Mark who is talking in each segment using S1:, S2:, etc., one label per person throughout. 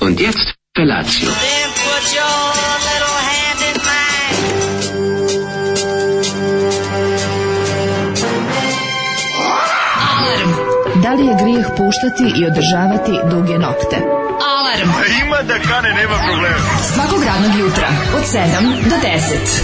S1: Und jetzt Felatio.
S2: Then put your little hand in mine.
S3: Da li je grijeh puštati i održavati duge nokte? Alarm!
S4: Pa ima da kane, nema problema.
S3: Svakog radnog jutra od 7 do 10.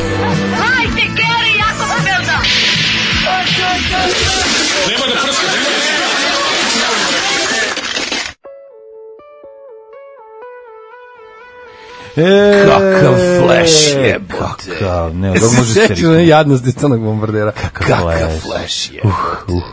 S5: E,
S6: Kakav flash je,
S5: Kakav, ne,
S6: Jesi
S5: dok može
S6: se
S5: se
S6: sjetio na
S5: riknuti.
S6: jadnost iz crnog bombardera. Kakav
S5: flash.
S6: flash je.
S5: Uh,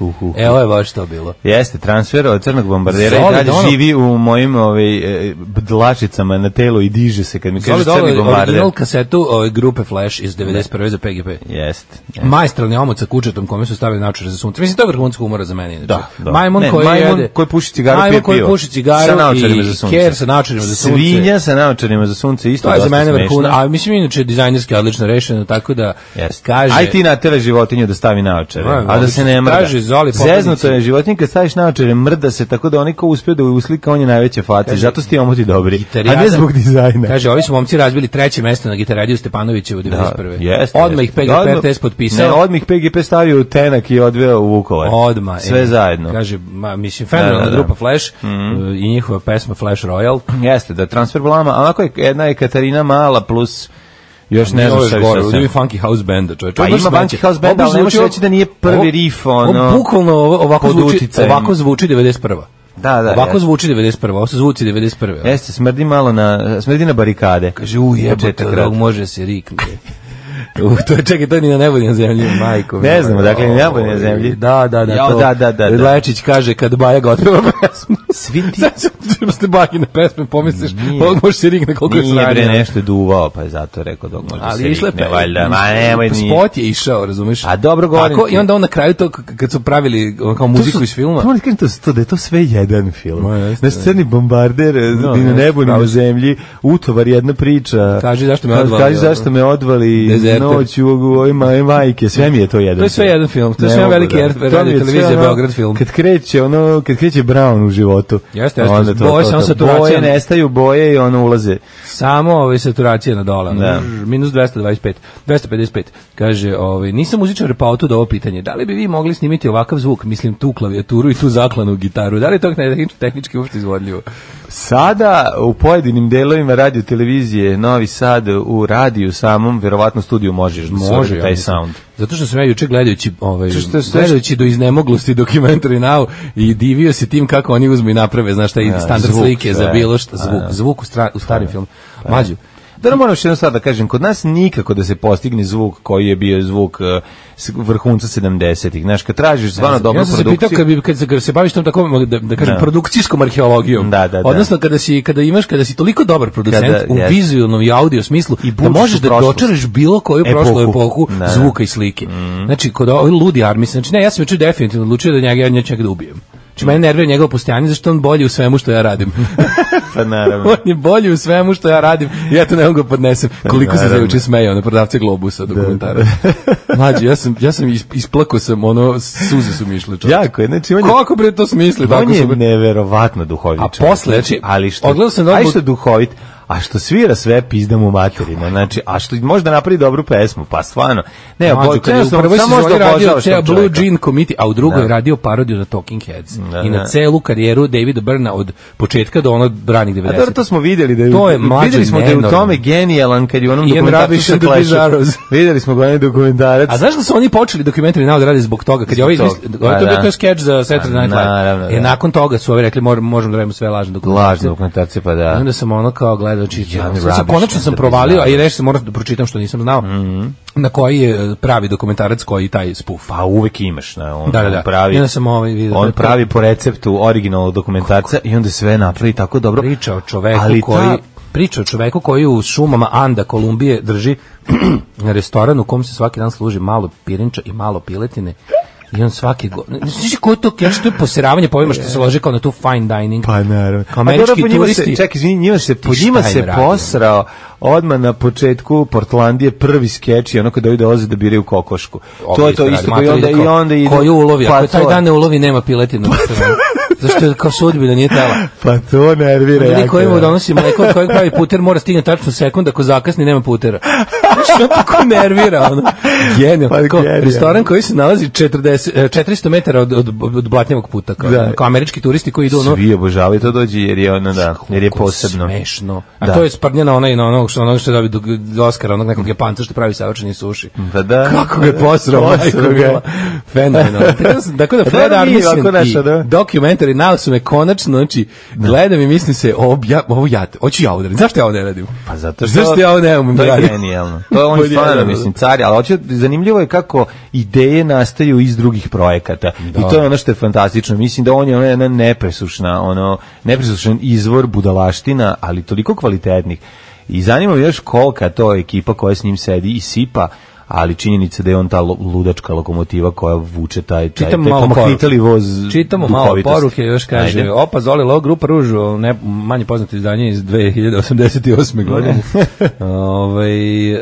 S5: uh, uh.
S6: Evo je baš to bilo.
S5: Jeste, transfer od crnog bombardera i
S6: Solid
S5: dalje
S6: ono.
S5: živi u mojim ovaj, e, dlačicama na telu i diže se kad mi kaže
S6: Zoli
S5: crni
S6: dole
S5: bombarder.
S6: ono, original kasetu ove grupe Flash iz 91. za PGP.
S5: Jeste. jeste.
S6: Majstralni omot sa kučetom kome su stavili načar za sunce. Mislim, to je vrhunska umora za mene. Inače.
S5: Da, da.
S6: Majmun
S5: Ne,
S6: koji
S5: majmun
S6: jede...
S5: koji puši cigaru,
S6: majmun
S5: pije
S6: koji
S5: pivo.
S6: puši cigaru
S5: Sa naočarima
S6: i
S5: za sunce.
S6: ker sa naočarima za sunce.
S5: Svinja sa naočarima za sunce, isto
S6: To je za
S5: dosta
S6: mene
S5: smešno.
S6: vrhuna, a mislim inače dizajnerski odlično rešeno, tako da
S5: Jeste.
S6: kaže...
S5: Aj ti natera životinju da stavi naočare,
S6: Da,
S5: a da se ne mrda.
S6: kaže Zoli Popadić.
S5: Zeznuto je životinje kad staviš naočare, mrda se, tako da oni ko uspe da uslika, on je najveće face. Zato su ti omoti dobri, a ne
S6: Gitarijada-
S5: zbog dizajna.
S6: Kaže, ovi su momci razbili treće mesto na gitaradiju Stepanovićevu 91.
S5: jeste,
S6: Odmah ih
S5: jeste.
S6: PGP
S5: Odmah-
S6: test potpisao.
S5: Ne, odmah ih PGP stavio u tenak i odveo u Vukovar.
S6: Odma.
S5: Pa, Sve
S6: e,
S5: zajedno.
S6: Kaže, ma, mislim, fenomenalna
S5: Da, Mhm. da, da.
S6: grupa Flash e, i njihova pesma Flash Royal.
S5: Jeste, da transfer blama, a onako je jedna je Katarina Mala plus još ne znam
S6: Ovo je
S5: šta je
S6: gore,
S5: sve.
S6: ovo je Funky House Banda, čovječ.
S5: Pa
S6: Ovo baš
S5: ima
S6: zvuči-
S5: Funky House Band,
S6: ovo baš
S5: ali ne možeš
S6: zvuči-
S5: reći da nije prvi
S6: ovo-
S5: riff,
S6: ovo
S5: ono,
S6: bukvalno ovo- ovako
S5: pod
S6: zvuči,
S5: uticajem.
S6: ovako zvuči 91.
S5: Da, da,
S6: Ovako
S5: jeste. E,
S6: zvuči 91. Ovo se zvuči 91.
S5: Jeste, smrdi malo na, smrdi na barikade.
S6: Kaže, u jebote,
S5: Početak rata.
S6: rog može se riknuti. U, to je čekaj, to ni na nebu ni na zemlji, majko.
S5: Ne
S6: mila.
S5: znam, dakle, ni na nebu, ni na
S6: Oj,
S5: zemlji.
S6: Da, da, da.
S5: Jao,
S6: to.
S5: da, da, da, da.
S6: Lečić kaže, kad Baja ga otpeva pesmu.
S5: Svi ti...
S6: Sad se čuo ste Bajine pesme, pomisliš,
S5: Nije.
S6: on može se rikne koliko je
S5: Nije bre
S6: sranje.
S5: nešto je duvao, pa je zato rekao dok može se
S6: Ali išle
S5: rikne, valjda, ma nemoj nije.
S6: pa Spot je išao, razumeš?
S5: A dobro, govorim
S6: Tako,
S5: ti.
S6: i onda on na kraju to, k- kad su pravili ono, kao muziku iz filma,
S5: Moram ti kažem to, to, da je to sve jedan film.
S6: Ma, jeste,
S5: Na sceni bombarder,
S6: No,
S5: ni na
S6: jeste,
S5: nebu, ni
S6: pravo
S5: na
S6: si.
S5: zemlji, utovar jedna priča.
S6: Kaži zašto me
S5: Kaži-
S6: odvali,
S5: Kaži
S6: ono.
S5: zašto me odvali,
S6: Dezerter.
S5: noć u ovoj maj, majke, sve mi je to jedan
S6: To je sve jedan film, to je
S5: Ne
S6: sve
S5: mogu,
S6: veliki
S5: da.
S6: er-
S5: To mi je
S6: radio
S5: sve
S6: televizija
S5: ono,
S6: Beograd film.
S5: Kad kreće, ono, kad kreće Brown u životu.
S6: Jeste, jeste,
S5: onda
S6: boje ono samo saturacijom.
S5: Boje nestaju, boje i ono ulaze.
S6: Samo ove saturacije na dole, ono,
S5: Da.
S6: brr, minus 225, 255. Kaže, ovaj nisam muzičar pa otud ovo pitanje. Da li bi vi mogli snimiti ovakav zvuk, mislim tu klavijaturu i tu zaklanu gitaru? Da li je to tehnički, tehnički uopšte izvodljivo?
S5: Sada u pojedinim delovima radio televizije Novi Sad u radiju samom, verovatno studiju možeš da stvori
S6: ja
S5: taj
S6: mislim.
S5: sound.
S6: Zato što sam ja juče gledajući, ovaj,
S5: Zato što je sve
S6: gledajući do iznemoglosti dokumentari now i divio se tim kako oni uzmu i naprave, znaš, taj standard
S5: zvuk,
S6: slike za
S5: sve.
S6: bilo šta, zvuk,
S5: Pa, da. Pa
S6: zvuk u, stra, u starim filmu. Mađu,
S5: Da ne moram još jedno sad da kažem, kod nas nikako da se postigne zvuk koji je bio zvuk eh, s- vrhunca 70-ih. Znaš, kad tražiš stvarno dobru
S6: ja sam se
S5: produkciju...
S6: pitao kad bi kad se, kad se baviš tom takom da, da kažem
S5: Da.
S6: produkcijskom arheologijom.
S5: Da, da, da.
S6: Odnosno kada si kada imaš kada si toliko dobar producent
S5: Kada,
S6: u
S5: jeste.
S6: vizuelnom i audio smislu
S5: I
S6: da
S5: budiš
S6: možeš
S5: u
S6: da
S5: prošlost.
S6: dočaraš bilo koju prošlu
S5: Epohu.
S6: epohu
S5: Da, Mhm. da.
S6: zvuka i slike. Znači kod ovih ludi armi, znači ne, ja sam juče definitivno odlučio da njega ja njega da ubijem. Znači mene nervira njegovo postojanje zašto je on bolji u svemu što ja radim.
S5: Pa naravno.
S6: on je bolji u svemu što ja radim. i Ja to ne mogu ga podnesem. Koliko sam se
S5: Naravno.
S6: juče smejao na prodavce Globusa dokumentara. Mlađi, ja sam ja sam is- isplakao sam ono suze su mi išle. čovječe.
S5: Jako je, znači on je...
S6: Kako bre to smisli?
S5: on
S6: Tako
S5: je
S6: su bre.
S5: neverovatno duhovičan.
S6: A posle, znači,
S5: ali što,
S6: odgledao sam da
S5: a i
S6: odmah-
S5: što je duhovit, a što svira sve pizda mu materina, znači, a što možda napravi dobru pesmu, pa stvarno. Ne,
S6: Mađo,
S5: obo,
S6: kad je u
S5: samo
S6: prvoj
S5: možda
S6: sezoni radio
S5: obožavaš
S6: ceo
S5: tog
S6: Blue
S5: čoveka.
S6: Jean Committee, a u drugoj je radio parodiju na Talking Heads. I na
S5: da.
S6: celu karijeru Davida Brna od početka do ono ranih
S5: A dobro, to
S6: 90.
S5: smo videli da je,
S6: To
S5: to
S6: je
S5: je
S6: mlađe
S5: videli smo da je u
S6: nenormalno.
S5: tome genijalan kad je u onom
S6: Ian
S5: dokumentarcu
S6: Rubbish
S5: sa
S6: and the
S5: Clashom.
S6: Bizarros.
S5: videli smo ga onaj dokumentarac.
S6: A znaš da su oni počeli dokumentari nao da rade zbog toga? Kad je ovaj
S5: Zbog
S6: izmislio,
S5: toga, Pa
S6: to je
S5: da,
S6: bio
S5: da.
S6: to skeč za Saturday Night
S5: naravno,
S6: Live. E,
S5: da.
S6: nakon toga su ovi rekli, mor- možemo da radimo sve lažne dokumentarce.
S5: Lažne dokumentarce, pa da.
S6: I onda sam ono kao gledao čisto.
S5: Ian
S6: Sad sam
S5: Rubbish
S6: konačno
S5: and
S6: sam
S5: the
S6: provalio, a i
S5: Bizarros.
S6: reći sam moram da pročitam što nisam znao.
S5: Mhm.
S6: Na koji je pravi dokumentarac, koji je taj spuf.
S5: Pa uvek imaš, na, on,
S6: Da, da, da.
S5: on pravi.
S6: I onda sam ovaj video.
S5: on pravi po receptu originalnog dokumentarca i onda sve napravi tako dobro.
S6: priča o čoveku
S5: Ali ta-
S6: koji priča o čoveku koji u šumama Anda Kolumbije drži restoran u kom se svaki dan služi malo pirinča i malo piletine i on svaki go... Znači, ko je to, ja što je poseravanje po ovima što se lože kao na tu fine dining.
S5: Pa naravno.
S6: Kao
S5: A dobro,
S6: američki
S5: po njima
S6: turisti.
S5: Se, čak, izvini, njima se, po
S6: šta
S5: njima
S6: im
S5: se
S6: radimo?
S5: posrao odmah na početku Portlandije prvi skeč i ono kada ovi dolaze da biraju kokošku.
S6: Ovo
S5: to je to isto
S6: radi.
S5: koji onda,
S6: Matori
S5: i
S6: kao,
S5: onda ide...
S6: Koju ulovi,
S5: Pa
S6: ako je taj
S5: to je.
S6: dan ne ulovi, nema piletinu. Zašto je kao sudbina nije tela.
S5: Pa to nervira
S6: Ili koji mu
S5: da.
S6: donosi mleko od kojeg pravi puter mora stigne tačno sekund, ako zakasni nema putera. Što tako nervira ono. Genio.
S5: Pa,
S6: kao,
S5: genijalno.
S6: restoran koji se nalazi 40, e, 400 metara od, od, od blatnjavog puta. Kao, ono,
S5: Da.
S6: kao američki turisti koji idu ono,
S5: Svi obožavaju to dođe jer je ono da, jer je posebno.
S6: Smešno. A
S5: Da.
S6: to je sparnja na onaj, na onog što, onog što je dobio do Oscara, onog nekog Japanca što pravi savršeni suši.
S5: Pa da.
S6: Kako ga je posrao, majko
S5: Posrao ga je.
S6: mila. Fenomenalno. Tako da- Tako da
S5: dobro,
S6: Fred
S5: nije
S6: Armisen
S5: ovako naša,
S6: i
S5: da.
S6: dokumentari Now su me konačno, znači, gledam i mislim se, ob, ja, ovo ja, hoću ja ovo da radim. Zašto ja ovo ne radim?
S5: Pa zato što...
S6: Zašto ja ovo ne umem
S5: To je
S6: da radim?
S5: genijalno. To je on
S6: Pa
S5: stvarno,
S6: genijalno.
S5: mislim, car, je, ali hoće, zanimljivo je kako ideje nastaju iz drugih projekata. I to je ono što je fantastično. Mislim da on je ona jedna nepresušna, ono, nepresušan izvor budalaština, ali toliko kvalitetnih. I zanima me još kolika to ekipa koja s njim sedi i sipa, ali činjenica da je on ta lo- ludačka lokomotiva koja vuče taj, taj,
S6: Čitamo
S5: taj
S6: malo
S5: pomahnitali voz
S6: Čitamo malo
S5: duhovitosti.
S6: poruke, još kaže,
S5: Ajde.
S6: opa, Zoli Lo, grupa Ružu, ne, manje poznato izdanje iz 2088. godine. Ove, e,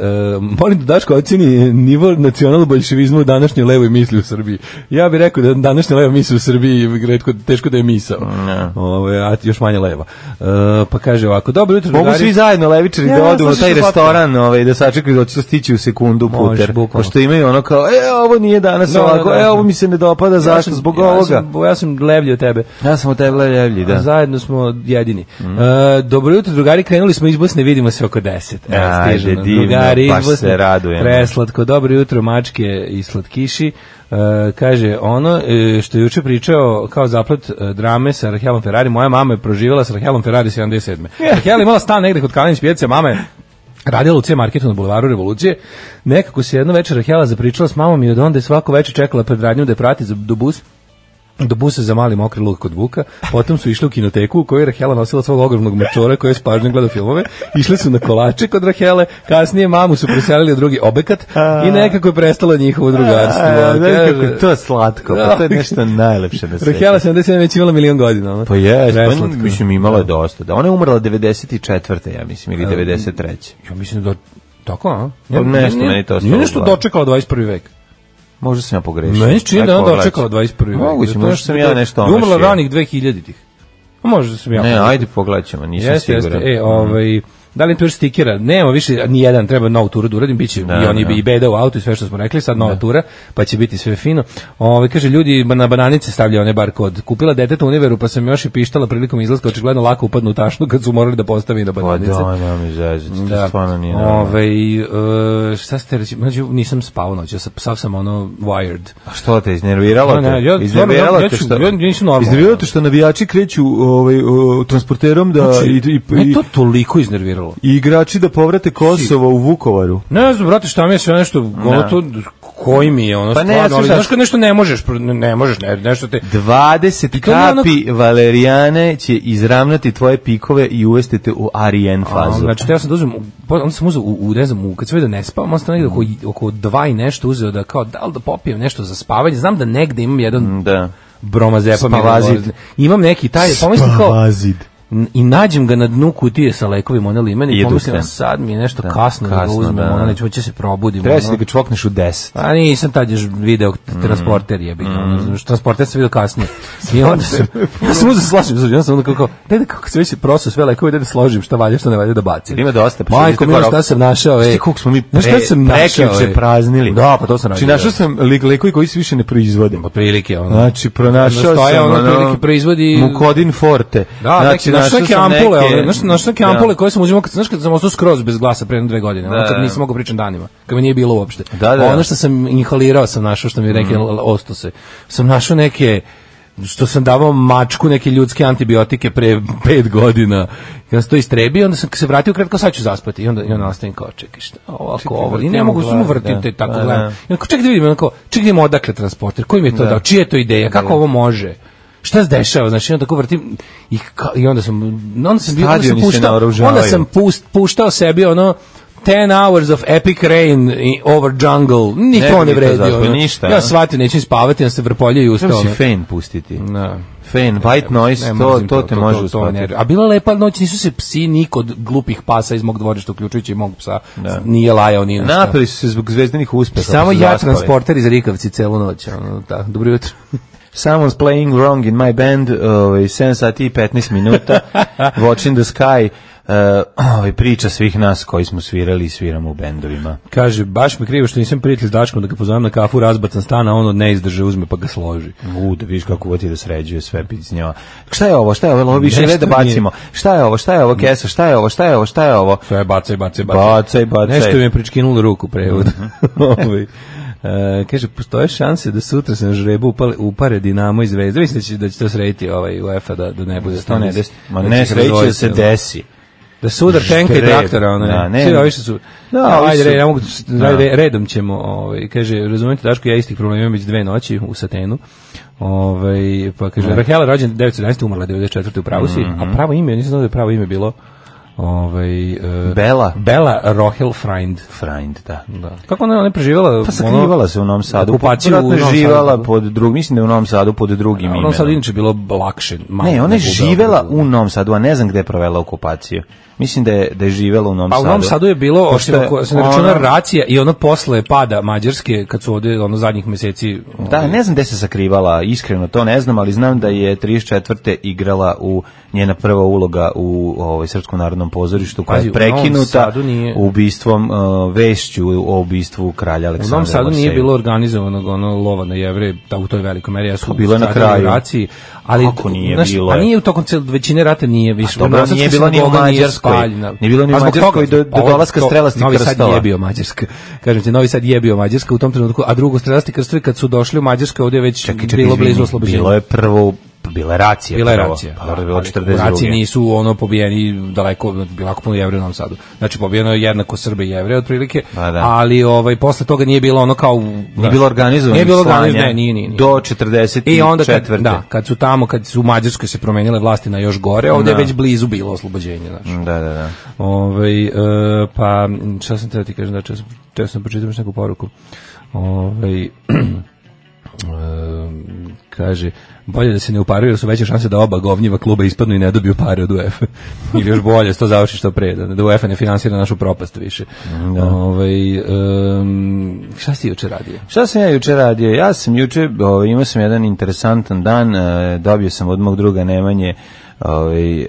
S6: molim da Daško oceni nivo nacionalnog bolševizma u današnjoj levoj misli u Srbiji. Ja bih rekao da današnja leva misli u Srbiji redko, teško da je misao.
S5: Mm,
S6: Ove, a još manje leva. E, pa kaže ovako, dobro jutro,
S5: Mogu
S6: drugari."
S5: svi zajedno levičari
S6: Ja,
S5: da odu u
S6: slušaj,
S5: taj
S6: što slatko.
S5: restoran, ovaj da sačekaju da će to stići u sekundu
S6: Može,
S5: puter.
S6: bukvalno.
S5: Pošto imaju ono kao e ovo nije danas
S6: Da,
S5: ovako,
S6: da, da.
S5: e ovo mi se ne dopada, zašto
S6: Ja sam-
S5: zbog
S6: ja
S5: ovoga.
S6: Sam, ja sam levlji od tebe.
S5: ja sam od tebe levlji,
S6: A Zajedno smo jedini. E, dobro jutro, drugari, krenuli smo iz Bosne, vidimo se oko 10. Evo,
S5: Ajde,
S6: stižemo.
S5: divno,
S6: drugari, iz
S5: baš se
S6: Bosne.
S5: radujemo.
S6: Preslatko, dobro jutro, mačke i slatkiši. E, kaže, ono e, što je juče pričao kao zaplet e, drame sa Rahelom Ferrari, moja mama je proživjela sa Rahelom Ferrari 77. Rahel je imala stan negde kod Kalinić pjece, mama je radila u C marketu na Bulvaru Revolucije. Nekako se jedno večer Rahela zapričala s mamom i od onda je svako večer čekala pred radnjom da je prati za- do bus do busa za mali mokri luk kod Vuka, potom su išli u kinoteku u kojoj je Rahela nosila svog ogromnog mačora koji je s pažnjom gledao filmove, išli su na kolače kod Rahele, kasnije mamu su preselili u drugi obekat i nekako je prestalo njihovo drugarstvo. ono,
S5: A, znaš
S6: Kaže-
S5: ono- kako je to slatko, pa to je nešto najlepše na svetu.
S6: Rahela 77 već imala milion godina. ono.
S5: Pa je, pa
S6: Preslatko.
S5: mislim imala je dosta. Da, ona je umrla 94. ja mislim ili 93.
S6: Ja mislim da tako, a?
S5: Pa nešto meni to ostalo
S6: Nije
S5: u
S6: nešto
S5: glavi.
S6: dočekala 21. vek.
S5: Možda sam ja pogrešio.
S6: Meni se čini
S5: Ajde,
S6: da je ona
S5: pogledat ću.
S6: dočekala 21. vek.
S5: Moguće,
S6: Zato
S5: možda
S6: što
S5: sam
S6: je
S5: ja
S6: to-
S5: nešto
S6: da je Umrla
S5: omašio.
S6: ranih 2000-ih. A Možda sam ja.
S5: Ne, ajde pogledat ćemo, nisam
S6: Jeste, jeste.
S5: siguran. Mhm.
S6: E, ovaj, da li tu još stikera? Nema više, ni jedan, treba novu turu da uradim, bit će i oni
S5: da.
S6: i beda u autu i sve što smo rekli, sad nova tura, pa će biti sve fino. Ovaj kaže, ljudi ba- na bananice stavljaju one bar kod. Kupila deteta univeru, pa sam još i pištala prilikom izlaska, očigledno lako upadnu u tašnu kad su morali da postavi na
S5: Pa
S6: bananice.
S5: da, nema mi zezati, to stvarno nije normalno.
S6: Ove, e, šta ste reći, mlađu, nisam spao noć, ja sam, sav sam ono wired.
S5: A što te iznerviralo?
S6: Ne, ne,
S5: te?
S6: ja-
S5: iznerviralo
S6: ja- ja
S5: te
S6: ću-
S5: što?
S6: ja nisam normalan.
S5: Iznerviralo te što navijači kreću ovaj o, transporterom da
S6: Znači,
S5: i, i,
S6: me
S5: i,
S6: to toliko iznerviralo.
S5: i igrači da povrate Kosovo u Vukovaru.
S6: Ne znam, brate, šta mi je sve nešto, ono to, koji mi je, ono,
S5: Pa ne,
S6: stvarno, ali
S5: slušaj,
S6: znaš kad nešto ne možeš, pro- ne, ne možeš, ne, nešto te,
S5: 20
S6: to nije ono-
S5: kapi valerijane će izravnati tvoje pikove i uvesti te u Arijen
S6: a,
S5: fazu.
S6: znači, teo sam da uzmem, u- pa onda sam uzeo, u, u, ne znam, u, kad sam vidio da ne spavam, onda sam negde oko, oko dva i nešto uzeo da kao, da li da popijem nešto za spavanje, znam da negde imam jedan
S5: da.
S6: bromazepa,
S5: Spavazid.
S6: mi je imam neki taj, pomislim kao,
S5: Spavazid.
S6: N- i nađem ga na dnu kutije sa lekovima, one limene, i
S5: Jedu
S6: pomislim,
S5: se.
S6: a sad mi je nešto kasno, da ga
S5: kasno,
S6: uzmem,
S5: da.
S6: ono, neću, hoće se probudim.
S5: Treba
S6: ono.
S5: si da ga čvokneš u 10.
S6: A nisam tad još video
S5: Mm.
S6: transporter jebi ga, ono, znaš, transporter sam video kasnije. I onda sam, ja sam uzeo slažem, znači, ja sam onda kako, daj da kako se već prosu sve lekove, daj da složim šta valja, šta ne valja da bacim.
S5: Ima dosta, pa
S6: Majko,
S5: što
S6: milo,
S5: ste
S6: šta sam našao, ej.
S5: Znaš ti koliko smo mi pre,
S6: Znaš šta sam našao,
S5: prekjuče
S6: ej?
S5: praznili.
S6: Da, pa to sam
S5: Znači,
S6: našao.
S5: našao sam lik- lekovi koji se više ne proizvode.
S6: Otprilike, ono.
S5: Znači, pronašao
S6: Nastoje
S5: sam
S6: ono, otprilike proizvodi-
S5: Mukodin Forte.
S6: Da, znači, neki, našao neke
S5: sam
S6: ampule, neke, znaš, našao neke ampule koje sam uzimao, kad, znaš kad sam ostao skroz bez glasa pre jedno dve godine, ono,
S5: Da,
S6: kad
S5: da.
S6: nisam mogao pričam danima, kad me nije bilo uopšte.
S5: Da, da.
S6: Ono što sam inhalirao sam našao, što mi je rekao, mm. ostao se. Sam našao neke, što sam davao mačku neke ljudske antibiotike pre pet godina. I onda sam to istrebio, onda sam se vratio kratko, sad ću zaspati. I onda, i onda nastavim kao, čekaj, šta, ovako, ovo. I ne
S5: vrtim
S6: mogu,
S5: u
S6: samo
S5: glavi,
S6: vrtim
S5: da.
S6: te tako,
S5: Da, da.
S6: gledam. I onda, čekaj da vidim, onako, čekaj da vidim odakle transporter, koji mi je to dao, čija je to ideja, kako ovo može? Šta se dešava? Znači, onda tako vrtim i, ka, i onda sam, onda sam bio, onda sam
S5: Stadioni se
S6: puštao,
S5: naoružavaju.
S6: onda sam pust, puštao sebi ono 10 hours of epic rain i- over jungle. Ni
S5: Ne bi
S6: to ne
S5: ni to
S6: vredi.
S5: zapravo,
S6: ono.
S5: ništa, a?
S6: Ja shvatio, neću spavati, onda se vrpoljio i
S5: Treba
S6: ustao.
S5: si
S6: ono.
S5: fen pustiti.
S6: Da.
S5: Fen, white noise,
S6: Ne,
S5: to,
S6: mrzim
S5: to te može
S6: to me
S5: uspati.
S6: nervira. A bila lepa noć, nisu se psi nik od glupih pasa iz mog dvorišta, uključujući i mog psa, nije lajao ni ništa.
S5: Napili su se zbog zvezdanih uspeha. pa
S6: Samo
S5: su
S6: ja
S5: zaspali.
S6: transporter iz Rikavci celu noć. Ono, da, dobro jutro.
S5: Someone's playing wrong in my band, ovaj, 7 sati i 15 minuta, Watching the Sky, uh, ovaj, priča svih nas koji smo svirali i sviramo u bendovima.
S6: Kaže, baš mi krivo što nisam prijatelj s Daškom da ga pozovem na kafu, razbacan stana, on od neizdrže uzme pa ga složi.
S5: U, da vidiš kako uvati da sređuje sve picnjava. Šta je ovo, šta je ovo, Jel ovo više
S6: Nešto
S5: ne da
S6: mi je-
S5: bacimo. Šta je ovo, šta je ovo kesa, šta je ovo, šta je ovo, šta je ovo.
S6: To je bacaj, bacaj, bacaj.
S5: Bacaj, bacaj. Mhm.
S6: Nešto mi je pričkinulo ruku prevod. Ovaj. E, kaže, postoje šanse da sutra se na žrebu upale, upare Dinamo i Zvezda. Mislim da će, da će to srediti ovaj UEFA da, da ne bude
S5: To ne
S6: da se-
S5: desi. Ma
S6: da
S5: ne,
S6: će se
S5: sreće da
S6: razvoditi,
S5: se
S6: ono.
S5: desi.
S6: Da sudar tenka i
S5: Žreb.
S6: traktora, ono.
S5: Da,
S6: Da,
S5: ne.
S6: ne. Svi ovi što su...
S5: Da,
S6: Da,
S5: ovi
S6: ajde,
S5: su-
S6: re, ne mogu,
S5: Da.
S6: ajde, redom ćemo, ovaj, kaže, razumete, Daško, ja istih problema imam već dve noći u Satenu. Ovaj, pa kaže, Rahela rođena 911, umrla 94. u pravu si,
S5: Mhm.
S6: a pravo ime, nisam znao da je pravo ime bilo ovaj, e,
S5: Bela.
S6: Bela Rohel Freind.
S5: Frajnd, da.
S6: Da. Kako ona, ona je ono- preživala?
S5: Pa sakrivala se u Novom Sadu.
S6: Okupaciju u
S5: Vjerojatno je
S6: Novom Sadu.
S5: živala pod drugim, mislim da je u Novom Sadu pod drugim
S6: A u
S5: imenom.
S6: Novom Sadu Ono inače bilo lakše. malo
S5: Ne, ona je
S6: nego u
S5: živela
S6: Beogradu.
S5: u Novom Sadu, a ne znam gde je provela okupaciju. Mislim da je, da je živela u Novom
S6: Pa
S5: Sadu.
S6: u Novom Sadu je bilo,
S5: Pošto
S6: osim
S5: je
S6: ako se ne računa
S5: ona-
S6: racija i ono posle pada Mađarske, kad su ovde ono zadnjih meseci...
S5: Da, ne znam gde se sakrivala, iskreno to ne znam, ali znam da je 34. igrala u njena prva uloga u ovaj Srpskom narodnom pozorištu koja
S6: Pazi,
S5: je
S6: u Novom
S5: prekinuta
S6: Sadu nije-
S5: ubistvom uh, vešću o ubistvu kralja
S6: U
S5: Aleksandra.
S6: Novom Sadu nije
S5: Moseja.
S6: bilo organizovanog ono lova na jevre da u toj velikoj meri ja su
S5: bilo Pa je na
S6: stradali
S5: kraju.
S6: u raciji, ali
S5: Kako nije bilo
S6: a
S5: je?
S6: nije u tokom cel većine rata nije
S5: A
S6: više.
S5: dobro,
S6: Novosadska
S5: nije bilo ni u
S6: sinagoga nije
S5: Mađarskoj.
S6: spaljena.
S5: Nije bilo ni u
S6: Pa zbog
S5: Mađarskoj
S6: toga,
S5: do- do
S6: ovo-
S5: dolaska
S6: to-
S5: strelačkih
S6: Novi
S5: krstova.
S6: Sad je bio Mađarska. Kažem ti, Novi Sad je bio Mađarska u tom trenutku, a drugo strelasti krstovi kad su došli u Mađarskoj ovdje je već
S5: Čekaj, čekaj,
S6: bilo
S5: izvini,
S6: blizu oslobođenja.
S5: Bilo je prvo, bila je racija.
S6: Bila je
S5: prvo.
S6: racija.
S5: Pa, dobro, bila
S6: Ali
S5: 42.
S6: Racije nisu ono pobijeni daleko, bilo jako puno jevreja u Novom Sadu. Znači pobijeno je jednako Srbe i jevreje otprilike,
S5: Pa da.
S6: ali ovaj posle toga nije bilo ono kao
S5: Nije bilo organizovano.
S6: Nije bilo organizovano, ne, nije, nije, nije.
S5: Do 44.
S6: I onda kad, da, kad su tamo, kad su u Mađarskoj se promenile vlasti na još gore, ovdje je
S5: Da.
S6: već blizu bilo oslobođenje, znači. znaš.
S5: Da, da, da.
S6: Ovaj, e, pa, m, šta sam teo ti kažem, da, teo sam, teo sam pročitam još neku poruku. Ovaj, e, kaže, bolje da se ne uparuju, jer su veće šanse da oba govnjiva kluba ispadnu i ne dobiju pare od UEFA. Ili još bolje, sto završi što pre, da, da UEFA ne finansira našu propast više. Ovaj, em, šta si juče radio?
S5: Šta sam ja juče radio? Ja sam juče, ovaj, imao sam jedan interesantan dan, eh, dobio sam od mog druga Nemanje ovaj, em,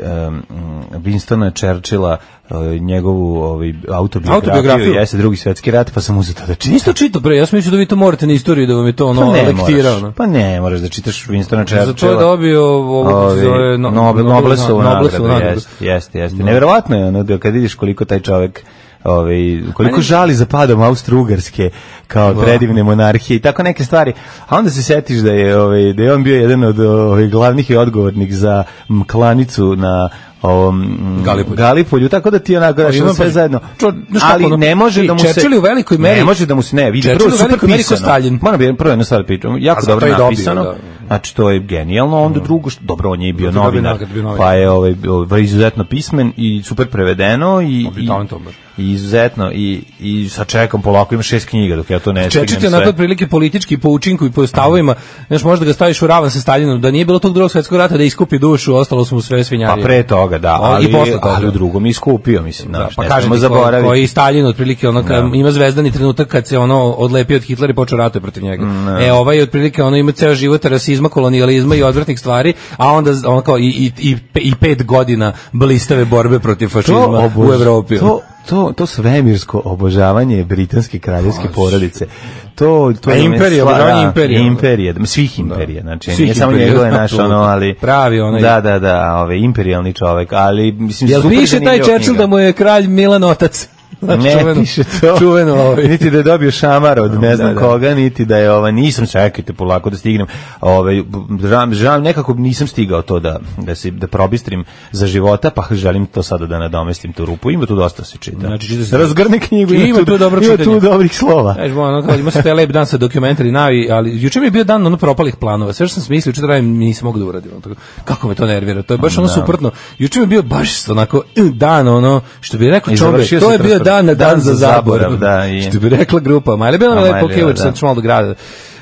S5: Winstona Churchilla ovaj, njegovu ovaj, autobiografiju,
S6: Autobiografiju?
S5: jeste drugi svetski rat, pa sam uzeo to da čitam.
S6: Niste čitao pre, ja sam mislio da vi to morate na istoriju da vam je to ono
S5: pa ne,
S6: lektirao.
S5: moraš,
S6: ono.
S5: pa ne, moraš da čitaš Winstona Churchilla.
S6: Za to je dobio ovo kako se
S5: Ovi,
S6: zove, no-
S5: Nobel,
S6: Nobel-
S5: Noblesovu nagradu,
S6: Noblesovu nagradu.
S5: jeste, jeste, jeste. Neverovatno je ono da kad vidiš koliko taj čovek Ovaj, koliko
S6: Meni-
S5: žali za padom Austro-Ugarske kao predivne monarhije i tako neke stvari. A onda se setiš da je, ovaj, da je on bio jedan od ovaj, glavnih i odgovornih za m, klanicu na ovom, m,
S6: Galipolju.
S5: Galipolju, tako da ti onako
S6: Ali
S5: rašao
S6: imam
S5: sve
S6: pa-
S5: zajedno.
S6: Čo- znaš kako,
S5: ali
S6: ono,
S5: ne može
S6: i
S5: da mu se...
S6: Churchill je u velikoj meri-
S5: Ne može da mu se ne vidi.
S6: Churchill
S5: Prvo
S6: je u
S5: super
S6: velikoj meri ko
S5: pisano.
S6: Stalin.
S5: Moram bi- prvo jednu stvar pričam. Jako
S6: A zato
S5: dobro
S6: je dobio,
S5: napisano.
S6: da.
S5: Znači, to je genijalno. Onda drugo, što, dobro, on je i bio
S6: Zato je dobio
S5: novinar,
S6: nagradu, bio novinar.
S5: pa je ovaj, ovaj, izuzetno pismen i super prevedeno. I,
S6: On bi
S5: i-
S6: talentovan baš.
S5: i izuzetno. I, I sad čekam polako, imam šest knjiga dok ja to ne stignem
S6: Čečet je onako prilike politički po učinku i po stavovima, znaš, možda ga staviš u ravan sa Stalinom, da nije bilo tog drugog svjetskog rata da iskupi dušu, ostalo su mu sve
S5: Pa
S6: svinjarije.
S5: pre toga, da,
S6: O,
S5: ali,
S6: i posle toga.
S5: ali u drugom je iskupio, mislim,
S6: Da,
S5: znaš,
S6: pa
S5: ne
S6: kaže
S5: smemo zaboraviti.
S6: koji Stalin otprilike ono
S5: Da.
S6: kad ima zvezdani trenutak kad se ono odlepio od Hitlera i počeo ratuje protiv njega.
S5: Mm,
S6: E ovaj je otprilike ono ima ceo život rasizma, kolonijalizma i odvratnih stvari, a onda z- ono kao i, i, i, pe- i pet godina blistave borbe protiv fašizma u
S5: obož-
S6: Evropi.
S5: To, to, to svemirsko obožavanje britanske kraljevske porodice. To, to
S6: A
S5: je
S6: imperije,
S5: sva-
S6: Pa obožavanje
S5: da,
S6: imperije.
S5: imperije, da, svih imperija, znači
S6: Svih
S5: nije samo
S6: imperija,
S5: njegove naš ono, ali
S6: Pravi onaj-
S5: Da, da, da, ovaj imperijalni čovjek, ali mislim
S6: Jel
S5: super
S6: piše taj
S5: zanimljiva
S6: Churchill
S5: knjiga.
S6: da mu je kralj Milan otac? Znaš,
S5: ne
S6: čuveno-
S5: piše to.
S6: Čuveno ovaj.
S5: niti da je dobio šamar od ne znam
S6: da.
S5: koga, niti da je ova nisam čekajte polako da stignem. Ovaj žam, žam nekako nisam stigao to da da se da probistrim za života, pa želim to sada da nadomestim tu rupu. Ima tu dosta se čita.
S6: Znači, čita se-
S5: Razgrni knjigu, ima,
S6: Ima
S5: tu,
S6: tu dobro
S5: ima tu
S6: čitanje.
S5: dobrih slova.
S6: Znaš, ono, kao, ima se taj lep dan sa dokumentari navi, ali juče mi je bio dan ono propalih planova. Sve što sam smislio, juče da radim, nisam mogao da uradim. Ono, tako, kako me to nervira? To je baš ono suprotno. Juče mi je bio baš onako eh, dan ono, što bi rekao
S5: I
S6: čobe,
S5: završio
S6: to
S5: se
S6: je bio
S5: transport-
S6: dan na
S5: dan
S6: dan
S5: za
S6: za zaborav.
S5: zaborav, da, i-
S6: Što bi rekla grupa. Ma, ali bilo
S5: A,
S6: mi je lepo,
S5: Majlija,
S6: okej,
S5: da.
S6: sam malo do grada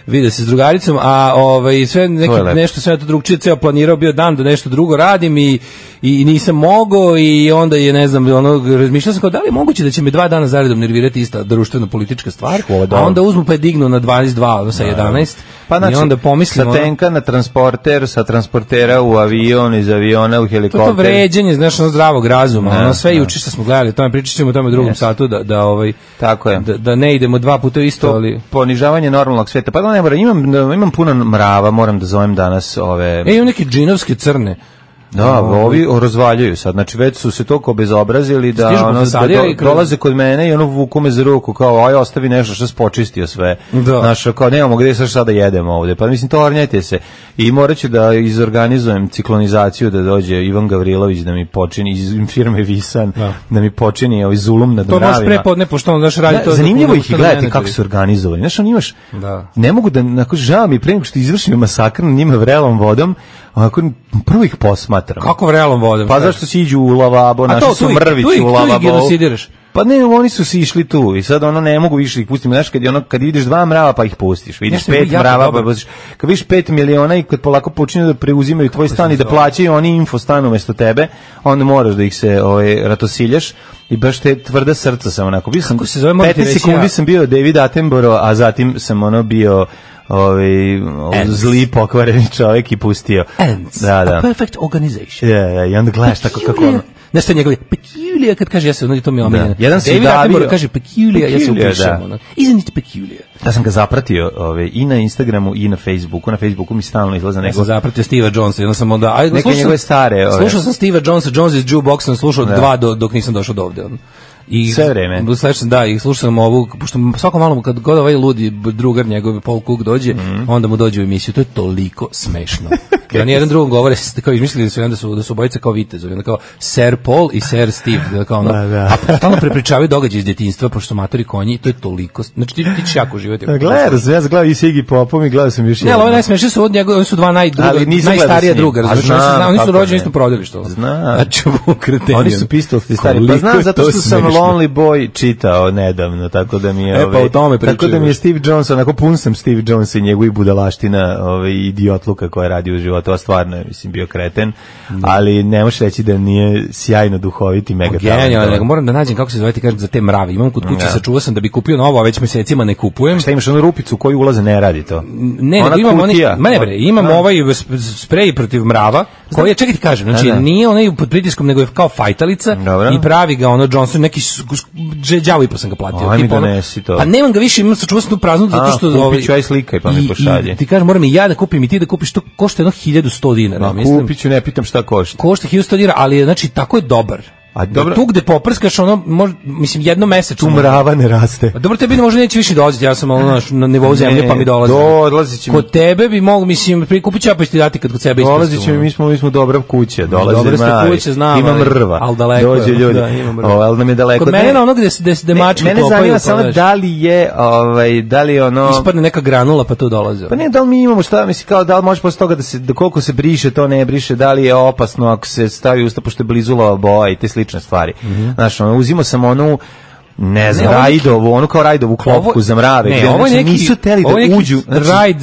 S6: vide se s drugaricom, a ovaj sve neki
S5: lepo.
S6: nešto sam ja to drugčije ceo planirao bio dan da nešto drugo radim i i nisam mogao i onda je ne znam ono razmišljao sam kao da li je moguće da će me dva dana zaredom nervirati ista društveno politička stvar
S5: Škoda.
S6: a onda uzmu pa je dignu na 22 ono, sa 11
S5: Ovaj, Pa znači,
S6: i onda pomislim
S5: sa
S6: ono,
S5: tenka na transporter, sa transportera u avion, iz aviona u
S6: to je to
S5: helikopter.
S6: vređanje znaš ono zdravog razuma
S5: Ne,
S6: ono sve
S5: ne.
S6: juče što smo gledali o tome pričat ćemo o tome u drugom satu da da ovaj
S5: Tako je.
S6: da, da ne idemo dva puta isto
S5: to
S6: ali
S5: ponižavanje normalnog sveta. Pa da ne mora, imam, imam puno mrava, moram da zovem danas ove...
S6: E, imam neke džinovske crne.
S5: Da, ovi razvaljuju sad. Znači već su se toliko bezobrazili da
S6: Stižu
S5: ono da
S6: profesorije
S5: do,
S6: i kroz-
S5: dolaze kod mene i ono vuku me za ruku kao aj ostavi nešto što si počistio sve.
S6: Da.
S5: Znaš, kao nemamo gde sad šta da jedemo ovde. Pa mislim to ornjajte se. I moraću da izorganizujem ciklonizaciju da dođe Ivan Gavrilović da mi počini iz firme Visan da,
S6: Da.
S5: mi počini ovaj zulum nad
S6: To možeš
S5: mravima.
S6: prepodne, pošto on, znaš, radi
S5: Da,
S6: to...
S5: zanimljivo ih je
S6: je
S5: gledati kako su organizovani. Znaš, on imaš,
S6: Da.
S5: ne mogu da, onako, žao mi je, pre nego što izvršim masakr na njima vrelom vodom, onako, prvo ih posmatram.
S6: Kako vrelom vodom.
S5: Pa zašto si iđu u lavabo,
S6: to,
S5: naši
S6: tu
S5: su
S6: ih-
S5: mrvići
S6: tu ih-
S5: u
S6: tu ih
S5: lavabo.
S6: genocidiraš.
S5: Pa ne, oni su si išli tu i sad ono ne mogu više ih pustiti. Znaš, kad, je ono, kad vidiš dva mrava pa ih pustiš, vidiš
S6: Nešto je
S5: pet
S6: bilo jako
S5: mrava pa
S6: dobro.
S5: pustiš. Kad vidiš pet miliona i kad polako počinju da preuzimaju tvoj stan i da plaćaju oni info stan umesto tebe, onda moraš da ih se ovaj, ratosiljaš i baš te tvrda srca sam onako. Bio sam,
S6: Kako se zove, moram ti
S5: 15
S6: reći,
S5: sekundi
S6: ja-
S5: sam bio David Attenborough, a zatim sam ono bio ovaj, zli pokvareni čovjek i pustio.
S6: Ants, Pa
S5: Da,
S6: a
S5: da.
S6: perfect organization.
S5: Ja, ja, E, i onda gledaš
S6: Pa
S5: tako kako ono,
S6: Znaš što je njegov, peculiar, kad kaže, ja se, ono, to mi je omiljeno.
S5: Da. Jedan se
S6: David
S5: udavio-
S6: Attenborough kaže, peculiar, ja se
S5: Peculiar,
S6: upišem,
S5: da.
S6: ono. Isn't it peculiar?
S5: Ja sam ga zapratio ove, i na Instagramu i na Facebooku. Na Facebooku mi stalno izlaza
S6: Ja sam
S5: neko...
S6: zapratio Steve'a Jonesa i onda sam onda... Ajde,
S5: Neke
S6: slušao sam-
S5: njegove stare, ove.
S6: Slušao sam Steve'a Jonesa, Jones iz Jukeboxa, sam slušao
S5: Da.
S6: dva do, dok nisam došao do ovde. ono. I
S5: Sve vreme.
S6: Slušao sam, da, i slušao sam ovu, pošto svako malo kad god ovaj ludi drugar njegov Paul Cook dođe,
S5: Mhm.
S6: onda mu dođe u emisiju, to je toliko smešno. da oni jedan drugom govore, s- kao izmislili su, i onda su, da su bojice kao vitezovi, onda kao Sir Paul i Sir Steve, da kao ono,
S5: Da, da.
S6: a stalno prepričavaju događaje iz djetinjstva, pošto su matori konji, i to je toliko, znači ti, ti ćeš jako uživati.
S5: Pa
S6: ako to
S5: Gledao sam, ja sam gledao i Sigi Popom i gledao sam još
S6: ne, ali
S5: jednom.
S6: ovo najsmešnije su od njega, oni su dva najdruga,
S5: Ali nisam gledao
S6: najstarija
S5: s njim.
S6: druga,
S5: A
S6: razumiješ, oni su,
S5: znam
S6: zna- oni su
S5: kako
S6: rođeni
S5: ne.
S6: isto prodilište. ono.
S5: Znam.
S6: Znači, ovo kreteni.
S5: Oni su pistolsti stari. Pa znam, zato što sam Lonely Boy čitao nedavno, tako da mi je...
S6: E, pa
S5: ovaj,
S6: o tome
S5: Tako da
S6: pričaju.
S5: mi je Steve Jones, onako pun sam Steve Jones i njegovi budalaština ovaj, idiotluka koja radi u životu, a stvarno je, mislim, bio kreten, ali ne možeš reći da nije sjajno duhoviti mega
S6: Genijalno,
S5: talentovan.
S6: nego moram da nađem kako se zove ti kažem za te mrave. Imam kod kuće,
S5: Da.
S6: sačuvao sam da bi kupio novo, a već mesecima ne kupujem.
S5: Šta imaš, onu rupicu u koju ulaze ne radi to?
S6: Ne,
S5: Ona
S6: nego imam oni,
S5: kutija.
S6: ma ne bre, imam
S5: Da.
S6: ovaj sp- sprej protiv mrava, koji je, čekaj ti kažem, znači
S5: Da, da.
S6: nije onaj pod pritiskom, nego je kao fajtalica
S5: Dobro.
S6: i pravi ga ono Johnson, neki s- s- dže- đavo i pa sam ga platio.
S5: Aj mi
S6: tipa ono-
S5: donesi to.
S6: Pa nemam ga više, imam sačuvao sam tu praznu, zato
S5: A,
S6: što...
S5: kupit
S6: ovaj-
S5: ću, aj slikaj pa mi
S6: i- i
S5: pošalji.
S6: Ti kažem, moram i ja da kupim i ti da kupiš, to košta jedno 1100 dinara,
S5: Ma,
S6: mislim.
S5: kupit ću, ne pitam šta košta.
S6: Košta 1100 dinara, ali je, znači tako je dobar.
S5: A dobro-
S6: Tu gde poprskaš, ono, mož, mislim, jedno mesečno.
S5: Tu mrava ne raste.
S6: Pa dobro, tebi možda neće više dolaziti, ja sam ono, naš, na nivou zemlje pa mi dolazi.
S5: Do, dolazi će mi,
S6: Kod tebe bi mogu, mislim, prikupit ću ja pa ću ti dati kad kod sebe isprstu.
S5: dolazi će mi, mi smo, mi smo dobra kuća, dolazi
S6: Dobre ono. ste
S5: mali.
S6: kuće, znam,
S5: Ima
S6: ali-
S5: mrva,
S6: ali daleko je,
S5: dođe ljudi,
S6: da, ima mrva.
S5: o, ali nam je daleko.
S6: Kod mene
S5: Ne,
S6: na ono gde se gde se gde mačke
S5: Mene
S6: kopaju,
S5: zanima
S6: pa,
S5: samo
S6: znaš,
S5: da li je, ovaj, da li je ono...
S6: ispadne neka granula pa tu dolazi.
S5: Pa ne, da li mi imamo šta, mislim, kao da li može posle toga da se, da koliko se briše, to ne briše, da li je opasno ako se stavi u usta, pošto je blizu lava boja i te slične stvari. Znaš, ono, uzimo sam onu, ne znam,
S6: Mhm. Ne, ovo-
S5: rajdovu, onu kao rajdovu klopku za mrave. gde,
S6: Ne, ovo je
S5: znači,
S6: neki,
S5: nisu teli
S6: ovo
S5: da
S6: je neki
S5: uđu. znači,
S6: rajd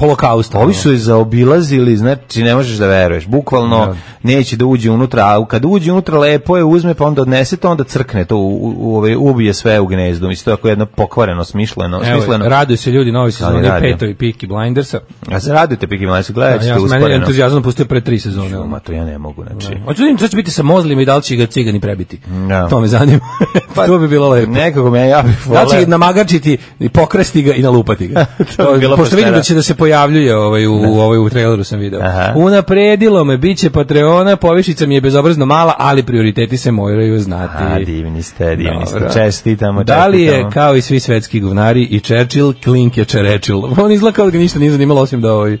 S6: holokausta.
S5: Ovi
S6: ono.
S5: su je zaobilazili, znači ne možeš da veruješ. Bukvalno neće da uđe unutra, a kad uđe unutra lepo je uzme pa onda odnese to, onda crkne to, u, u, u, ovaj, ubije sve u gnezdu. Mislim, to je ako jedno pokvareno, smišljeno.
S6: Evo,
S5: smisleno.
S6: raduju se ljudi novi sezoni
S5: rade.
S6: petovi Peaky Blindersa.
S5: a se radujete, Piki Mladić,
S6: Ja,
S5: gledat ćete
S6: ja sam mene
S5: usporeno.
S6: entuzijazam pustio pre tri sezone. ono.
S5: Ma to ja ne mogu, znači.
S6: Hoću da vidim šta će biti sa mozlim i da li će ga cigani prebiti.
S5: Da.
S6: To me zanima. Pa to bi bilo lepo.
S5: Nekako me ja bih
S6: Da
S5: voleo.
S6: li će ga namagarčiti i pokrasti ga i nalupati ga.
S5: To bi bilo
S6: Pošto vidim
S5: pošteno.
S6: da će da se pojavljuje ovaj u, u, ovaj, u traileru sam video.
S5: Aha.
S6: Unapredilo me, bit će Patreona, povišica mi je bezobrazno mala, ali prioriteti se moraju znati.
S5: A, divni ste, divni ste.
S6: Dobro.
S5: Čestitamo,
S6: Da li je,
S5: čestitamo.
S6: kao i svi svetski govnari, i Churchill, Klink je Čerečil? On izgleda kao da ga ništa nije zanimalo, osim da, ovaj,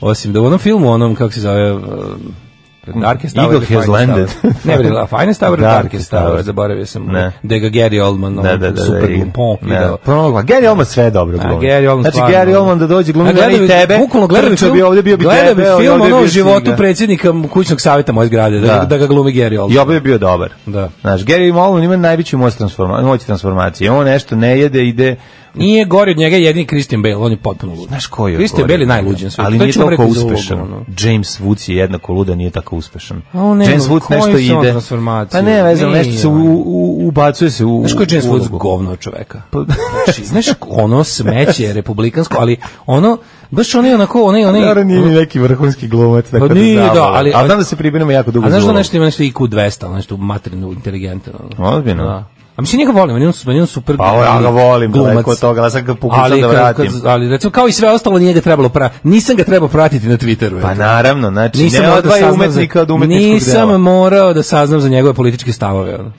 S6: osim da u onom filmu, onom, kako se zove, uh, Darkest Tower.
S5: Eagle
S6: The
S5: has
S6: Finest
S5: landed.
S6: Tower. ne, bre, la- Finest Tower,
S5: Darkest
S6: Darkest, Darkest Tower,
S5: Tower.
S6: zaboravio sam.
S5: Ne.
S6: Da ga Gary Oldman, da,
S5: Da, da, da.
S6: super
S5: da, i-
S6: glumpon,
S5: Ne,
S6: video.
S5: promogla. Gary Oldman sve dobro
S6: A,
S5: glumi.
S6: Gary Oldman
S5: znači,
S6: stvarno,
S5: Gary
S6: ono.
S5: Oldman da dođe glumi
S6: A gledao
S5: mene i
S6: bi-
S5: tebe.
S6: Bukvalno gledao
S5: prvi
S6: bi
S5: što
S6: film,
S5: bi ovde bio bi
S6: gledao
S5: tebe,
S6: bi
S5: ovde
S6: film
S5: bi
S6: ono o
S5: bio
S6: životu
S5: Siga.
S6: predsjednika kućnog savjeta moje zgrade, da,
S5: Da.
S6: da. ga glumi Gary Oldman.
S5: I oba je bio dobar.
S6: Da.
S5: Znaš, Gary Oldman ima najveću moć transforma moć transformacije. On nešto ne jede, ide
S6: Nije gori od njega jedini Christian Bale, on je potpuno lud.
S5: Znaš ko je
S6: Christian
S5: odgovorio?
S6: Bale je najluđen sve.
S5: Ali nije toliko uspešan.
S6: ono.
S5: James Woods je jednako luda, nije tako uspešan.
S6: A on nema,
S5: James Woods
S6: koji
S5: nešto
S6: su on
S5: ide.
S6: transformacije?
S5: Pa ne, vezano, nešto
S6: Nije
S5: se
S6: on.
S5: u, u, ubacuje se u
S6: Znaš ko je James Woods
S5: ulogu. Pa,
S6: govno od čoveka? Znači, znaš, ono smeće republikansko, ali ono, baš ono je onako, ono je, ono
S5: Naravno,
S6: je,
S5: nije ni neki vrhunski glumac. tako
S6: Pa nije, da,
S5: zabava.
S6: ali-
S5: A znam da se priprema jako dugo
S6: A znaš da
S5: zvulo.
S6: nešto ima nešto IQ 200, ono nešto materinu, inteligentan. Ono.
S5: Ozbiljno?
S6: Da. A mislim, njega volim, on je, on, su- on je super
S5: Pa, o, ja ga volim, daleko od toga, ali sad ga pokušam da
S6: kad-
S5: vratim.
S6: Kad, ali recimo, kao i sve ostalo, nije ga trebalo pratiti. Nisam ga trebao pratiti na Twitteru.
S5: Pa
S6: eto.
S5: naravno, znači, ne
S6: morao
S5: odvaj
S6: saznam
S5: umetnika od umetničkog
S6: Nisam
S5: dela.
S6: morao da saznam za njegove političke stavove. Ono.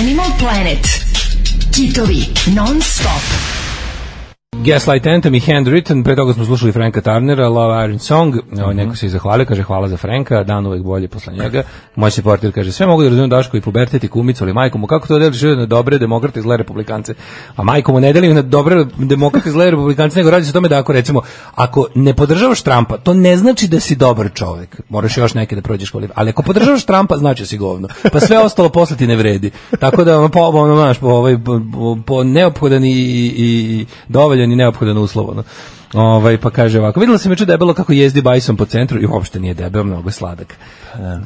S3: Animal Planet. Kitovi non stop.
S6: Gaslight Anthem i Handwritten, pre toga smo slušali Franka Turnera, Love Iron Song, Evo,
S5: Mhm.
S6: neko se i zahvalio, kaže hvala za Franka, dan uvek bolje posle njega. Moj se portir kaže, sve mogu da razumijem Daško i pubertet i kumicu, ali majkom, mu kako to deliš na dobre demokrate i zle republikance? A majkom mu ne delim na dobre demokrate i zle republikance, nego radi se o tome da ako recimo, ako ne podržavaš Trumpa, to ne znači da si dobar čovek, moraš još neke da prođeš kvalif, ali ako podržavaš Trumpa, znači da si govno, pa sve ostalo posle ti ne vredi. Tako da, ono, po, ono, znaš, po, ovaj, po, po neophodan i, i, i dovoljan i neophodan uslov, ono. Ovaj, pa kaže ovako, videla sam juče debelo kako jezdi bajsom po centru i uopšte nije debelo, mnogo je sladak.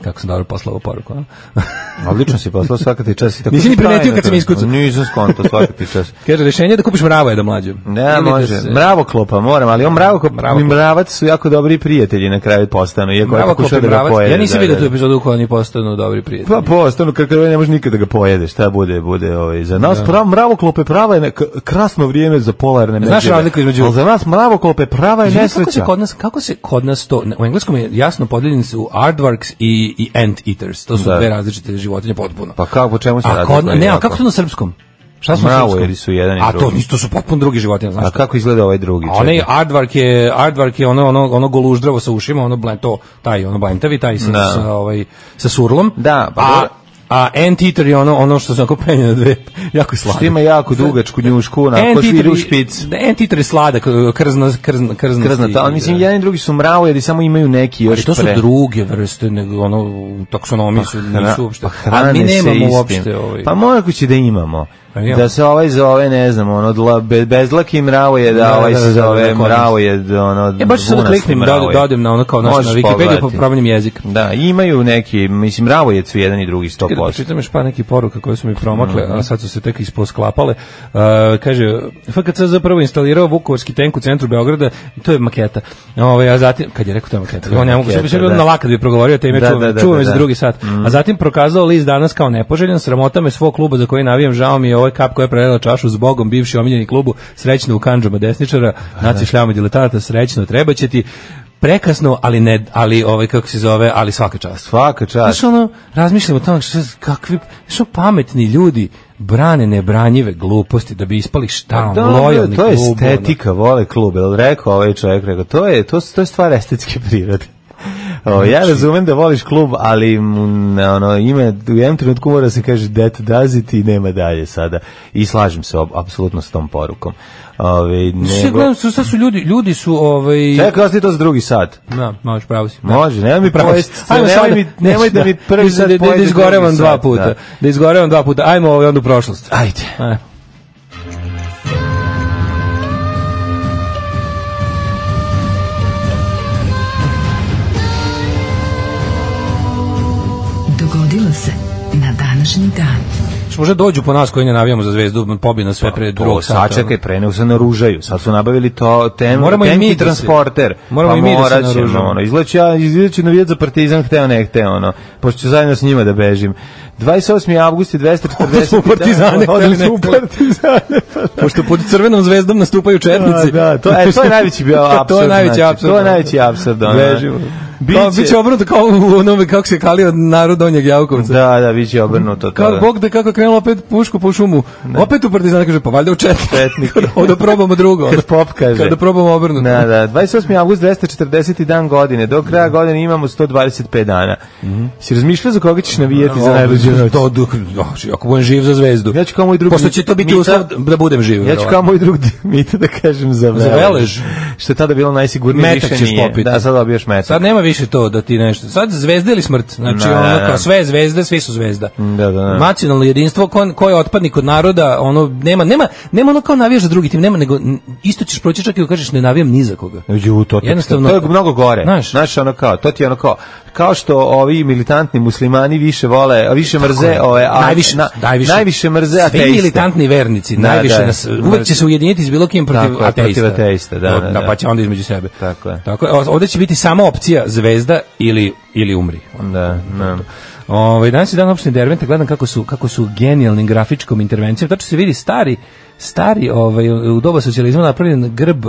S6: Kako sam dobro poslao ovu poruku. a?
S5: Odlično si poslao svaka ti čast. i tako
S6: Nisi ni primetio
S5: tajno
S6: kad sam
S5: to.
S6: iskucao.
S5: Nisam skonto svaka ti čast.
S6: kaže, rešenje je da kupiš mrava da mlađe.
S5: Ne,
S6: Ili da
S5: može.
S6: se-
S5: Mravoklopa moram, ali on mravokop
S6: Mravoklop.
S5: i mravac su jako dobri prijatelji na kraju postanu, iako je
S6: Mrava
S5: pokušao
S6: kupi
S5: da ga
S6: mravac.
S5: pojede.
S6: Ja nisam
S5: da,
S6: vidio
S5: da,
S6: tu
S5: da.
S6: epizodu u kojoj oni postanu dobri prijatelji.
S5: Pa postanu, kakav ne možeš nikada da ga pojede, šta bude, bude ovaj, za nas pravo, mravoklope prava je neka- krasno vrijeme za polarne medvjede.
S6: Znaš razliku između-
S5: Ali za nas mravoklope prava je
S6: Izvini, Kako se
S5: nesreća.
S6: kod nas kako se kod nas to u engleskom je jasno podeljeni su aardvarks i i ant eaters. To su
S5: Da.
S6: dve različite životinje potpuno.
S5: Pa kako, po čemu se
S6: a
S5: radi?
S6: kod, ne, a kako to na srpskom? Šta su na
S5: Mravo,
S6: srpskom?
S5: jer su jedan i
S6: a to
S5: drugi.
S6: nisu to su potpuno drugi životinje, znaš.
S5: A kako izgleda ovaj drugi?
S6: A onaj
S5: čekaj?
S6: aardvark je aardvark je ono ono ono goluždravo sa ušima, ono blan to taj ono blantavi taj sa,
S5: Da.
S6: sa ovaj sa surlom.
S5: Da, pa
S6: a,
S5: dobro.
S6: a ant eater je ono ono što se onako penje na dve jako je sladak.
S5: Što ima jako dugačku njušku, onako šviru špic.
S6: Ant eater je sladak, krzna krzna krzna.
S5: Krznata, ali mislim, jedan i drugi su mravojedi, samo imaju neki još
S6: Ali to su
S5: pre.
S6: druge vrste, nego ono u taksonomiji su nisu uopšte.
S5: Pa
S6: A mi
S5: hrane se
S6: nemamo
S5: istim.
S6: uopšte ovaj.
S5: Pa morako će da imamo.
S6: Pa imamo.
S5: Da se ovaj zove, ne znam, ono, dla, be, bezlaki mravojed,
S6: Da,
S5: a ovaj
S6: da, da,
S5: se
S6: da,
S5: zove
S6: da, da,
S5: mravojed, ono,
S6: E baš sad da
S5: vunasti
S6: kliknem, da,
S5: mravojed.
S6: da odem na ono kao naš, na
S5: Možeš
S6: Wikipediju pa
S5: pogledati.
S6: promenim jezik.
S5: Da, imaju neki, mislim, mravojed su jedan i drugi
S6: Čekaj da
S5: 100%.
S6: pročitam još par nekih poruka koje su mi promakle,
S5: Mhm.
S6: a sad su se tek isposklapale. Uh, kaže, FKC zapravo instalirao Vukovarski tenk u centru Beograda, to je maketa. Ove, a zatim, kad je rekao to je maketa, on ne mogu,
S5: maketa,
S6: sve bi se bilo
S5: da.
S6: na lakat bi progovorio, te ime
S5: Da,
S6: čuvam,
S5: da, da,
S6: čuvam
S5: da,
S6: već
S5: da. Mhm.
S6: drugi sat. A zatim prokazao list danas kao nepoželjan, sramota me svog kluba za koji navijam, žao mi je ovaj kap koja je prelila čašu s Bogom, bivši omiljeni klubu, srećno u kanđama desničara, naci šljama i diletanata, srećno, treba će ti prekasno, ali ne, ali ovaj kako se zove, ali svaka čast.
S5: Svaka čast.
S6: Znaš, ono, razmišljam o tome, što, kakvi, što pametni ljudi brane nebranjive gluposti da bi ispali šta, ono,
S5: Da,
S6: lojalni
S5: Pa to je
S6: klub, ono.
S5: estetika, vole klub, jel rekao ovaj čovjek, rekao, to je, to, su- to je stvar estetske prirode. O, ja
S6: Znači-
S5: razumem da voliš klub, ali mm, ne, ono, ima, u jednom trenutku mora se kaže that does it i nema dalje sada. I slažem se ob- apsolutno s tom porukom. Ove,
S6: Sve
S5: nego,
S6: gledam, sve sve su ljudi, ljudi su, ovaj...
S5: Čekaj, ostaje to za drugi sat.
S6: Da, možeš pravo si.
S5: Može, nemoj mi
S6: Pravo si.
S5: pojesti,
S6: Ajmo
S5: nemoj,
S6: sada-
S5: mi, nemoj da mi prvi sad
S6: da, da, da
S5: pojede
S6: izgorevam
S5: drugi
S6: dva
S5: sat,
S6: puta. Da.
S5: da.
S6: izgorevam dva puta. Ajmo ovaj onda u prošlost. E,
S5: Ajde.
S6: Ajmo.
S3: Dogodilo se na današnji dan.
S6: Što možda dođu po nas koji ne navijamo za zvezdu, pobi nas sve pre drugog sata. ono.
S5: Pa Sačekaj, pre nego se naružaju. Sad su nabavili to tem,
S6: Moramo i
S5: tenki
S6: mi da se-
S5: transporter.
S6: moramo
S5: pa
S6: i mi da se
S5: morat ćemo,
S6: naružamo.
S5: Ono. Izgleda ću ja izgleda ću navijat za partizan, hteo ne hteo, ono. Pošto ću zajedno s njima da bežim. 28. avgust i 240.
S6: Odli smo u Partizane,
S5: Da, odli
S6: hteli ne
S5: smo u
S6: hteli.
S5: partizane. pa
S6: Pošto pod crvenom zvezdom nastupaju četnici.
S5: Da, da, to, e, to je najveći bio apsurd.
S6: to je najveći
S5: znači,
S6: apsurd.
S5: To je najveći apsurd. Ono.
S6: Bežimo.
S5: Biće,
S6: Kao, biće obrnuto kao u onome kako se kalio narod Donjeg Javkovca.
S5: Da, da, biće obrnuto.
S6: Kao
S5: to, da.
S6: Bog da kako je krenulo opet pušku po šumu. Opet u partizana kaže, pa valjda u četnik.
S5: Četnike.
S6: Onda probamo drugo. ono.
S5: Kad pop kaže.
S6: Kada probamo obrnuto.
S5: Da, da, 28. avgust 240. dan godine. Do
S6: Mhm.
S5: kraja godine imamo 125 dana. Si razmišljao za koga ćeš navijati za najluđu noć?
S6: To, dok- da, ako budem živ za zvezdu.
S5: Ja ću kao moj drugi
S6: Pošto će to biti
S5: Mita-
S6: uslov da budem budem živ.
S5: Ja ću kao moj drug Dimita da kažem za velež.
S6: Za velež.
S5: Što je tada bilo najsigurnije,
S6: Metak
S5: više
S6: ćeš
S5: nije.
S6: popiti.
S5: Da, sad dobiješ metak.
S6: Sad nema više to da ti nešto. Sad zvezda ili smrt. Znači
S5: Da,
S6: ono
S5: da,
S6: kao
S5: da.
S6: sve je zvezda, svi su zvezda.
S5: Da, da, da.
S6: Nacionalno jedinstvo ko, ko je otpadnik od naroda, ono nema nema nema ono kao navijaš za drugi tim, nema nego n- isto ćeš proći čak i ako kažeš ne navijam ni za koga.
S5: Ju, to,
S6: Jednostavno-
S5: Jednostavno, to je mnogo gore.
S6: Znaš.
S5: Znaš, ono kao, to ti je ono kao, kao što ovi militantni muslimani više vole, a više mrze, ove, a,
S6: najviše,
S5: na-
S6: najviše,
S5: najviše mrze ateiste.
S6: Svi militantni vernici,
S5: Da,
S6: najviše
S5: da.
S6: nas, uvek će se ujediniti s bilo kim protiv
S5: Tako je,
S6: ateista.
S5: protiv ateista, da,
S6: To-
S5: da,
S6: da,
S5: da.
S6: pa će onda između sebe.
S5: Tako je.
S6: Tako je. o- Ovde će biti samo opcija zvezda ili, ili umri.
S5: Da, da.
S6: Ovaj danas je dan opštine Derventa, gledam kako su kako su genijalnim grafičkom intervencijom. Tačno se vidi stari stari ovaj u doba socijalizma napravljen grb e,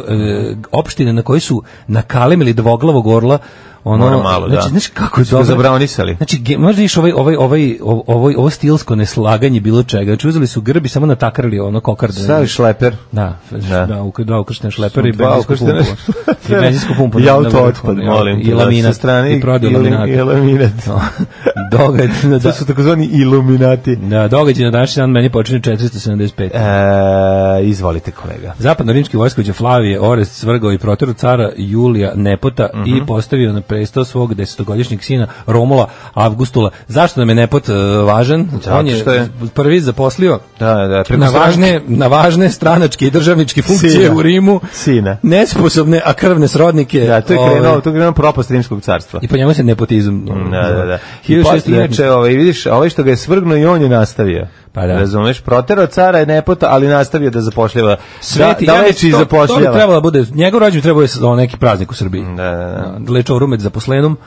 S6: opštine na koji su nakalemili dvoglavog orla ono
S5: Moram malo,
S6: znači,
S5: da.
S6: znaš kako je
S5: Su ga
S6: dobro
S5: zabraunisali.
S6: Znači ge- možda iš ovaj ovaj ovaj ovo- ovo ovo stilsko neslaganje bilo čega. Znači uzeli su grb i samo natakarili ono kokardu.
S5: Stavi šleper.
S6: Da, da,
S5: Da.
S6: da ukr, dva ukrštene šlepera i
S5: Dva
S6: benzinsku pumpu.
S5: ukrštene
S6: I benzinsku pumpu.
S5: I
S6: na- na
S5: auto
S6: vrhu,
S5: otpad,
S6: ono,
S5: molim. te,
S6: I
S5: da,
S6: laminat.
S5: Sa strane
S6: I prodaju
S5: ili-
S6: laminat.
S5: I laminat.
S6: Događaj,
S5: To
S6: da,
S5: su takozvani iluminati.
S6: da, događaj na današnji dan meni počinje 475.
S5: E, izvolite, kolega.
S6: Zapadno-rimski vojskovođa Flavije Orest svrgao i proteru cara Julija Nepota
S5: Mhm.
S6: i postavio na presto svog desetogodišnjeg sina Romula Avgustula. Zašto nam je Nepot e, važan?
S5: Zato
S6: On je,
S5: što je-
S6: prvi zaposlio
S5: Da, da, preko
S6: na
S5: stranke.
S6: važne, na važne stranačke i državničke funkcije
S5: Sina.
S6: u Rimu
S5: Sina.
S6: nesposobne, a krvne srodnike.
S5: Da, to je
S6: ovaj,
S5: krenuo, to je krenuo propast rimskog carstva.
S6: I po njemu se nepotizam. ono,
S5: Da, da, da. I pa,
S6: 1619.
S5: inače, ovaj, vidiš, ovaj što ga je svrgnuo i on je nastavio.
S6: Pa da.
S5: Razumeš, proterao cara je nepota, ali nastavio da zapošljava.
S6: Sveti,
S5: da, da
S6: ja
S5: leči i
S6: mislim, to- To bi
S5: zapošljava.
S6: trebalo da bude, njegov rođendan treba da bude neki praznik u Srbiji.
S5: Da, da,
S6: da. Lečo rumet zaposlenom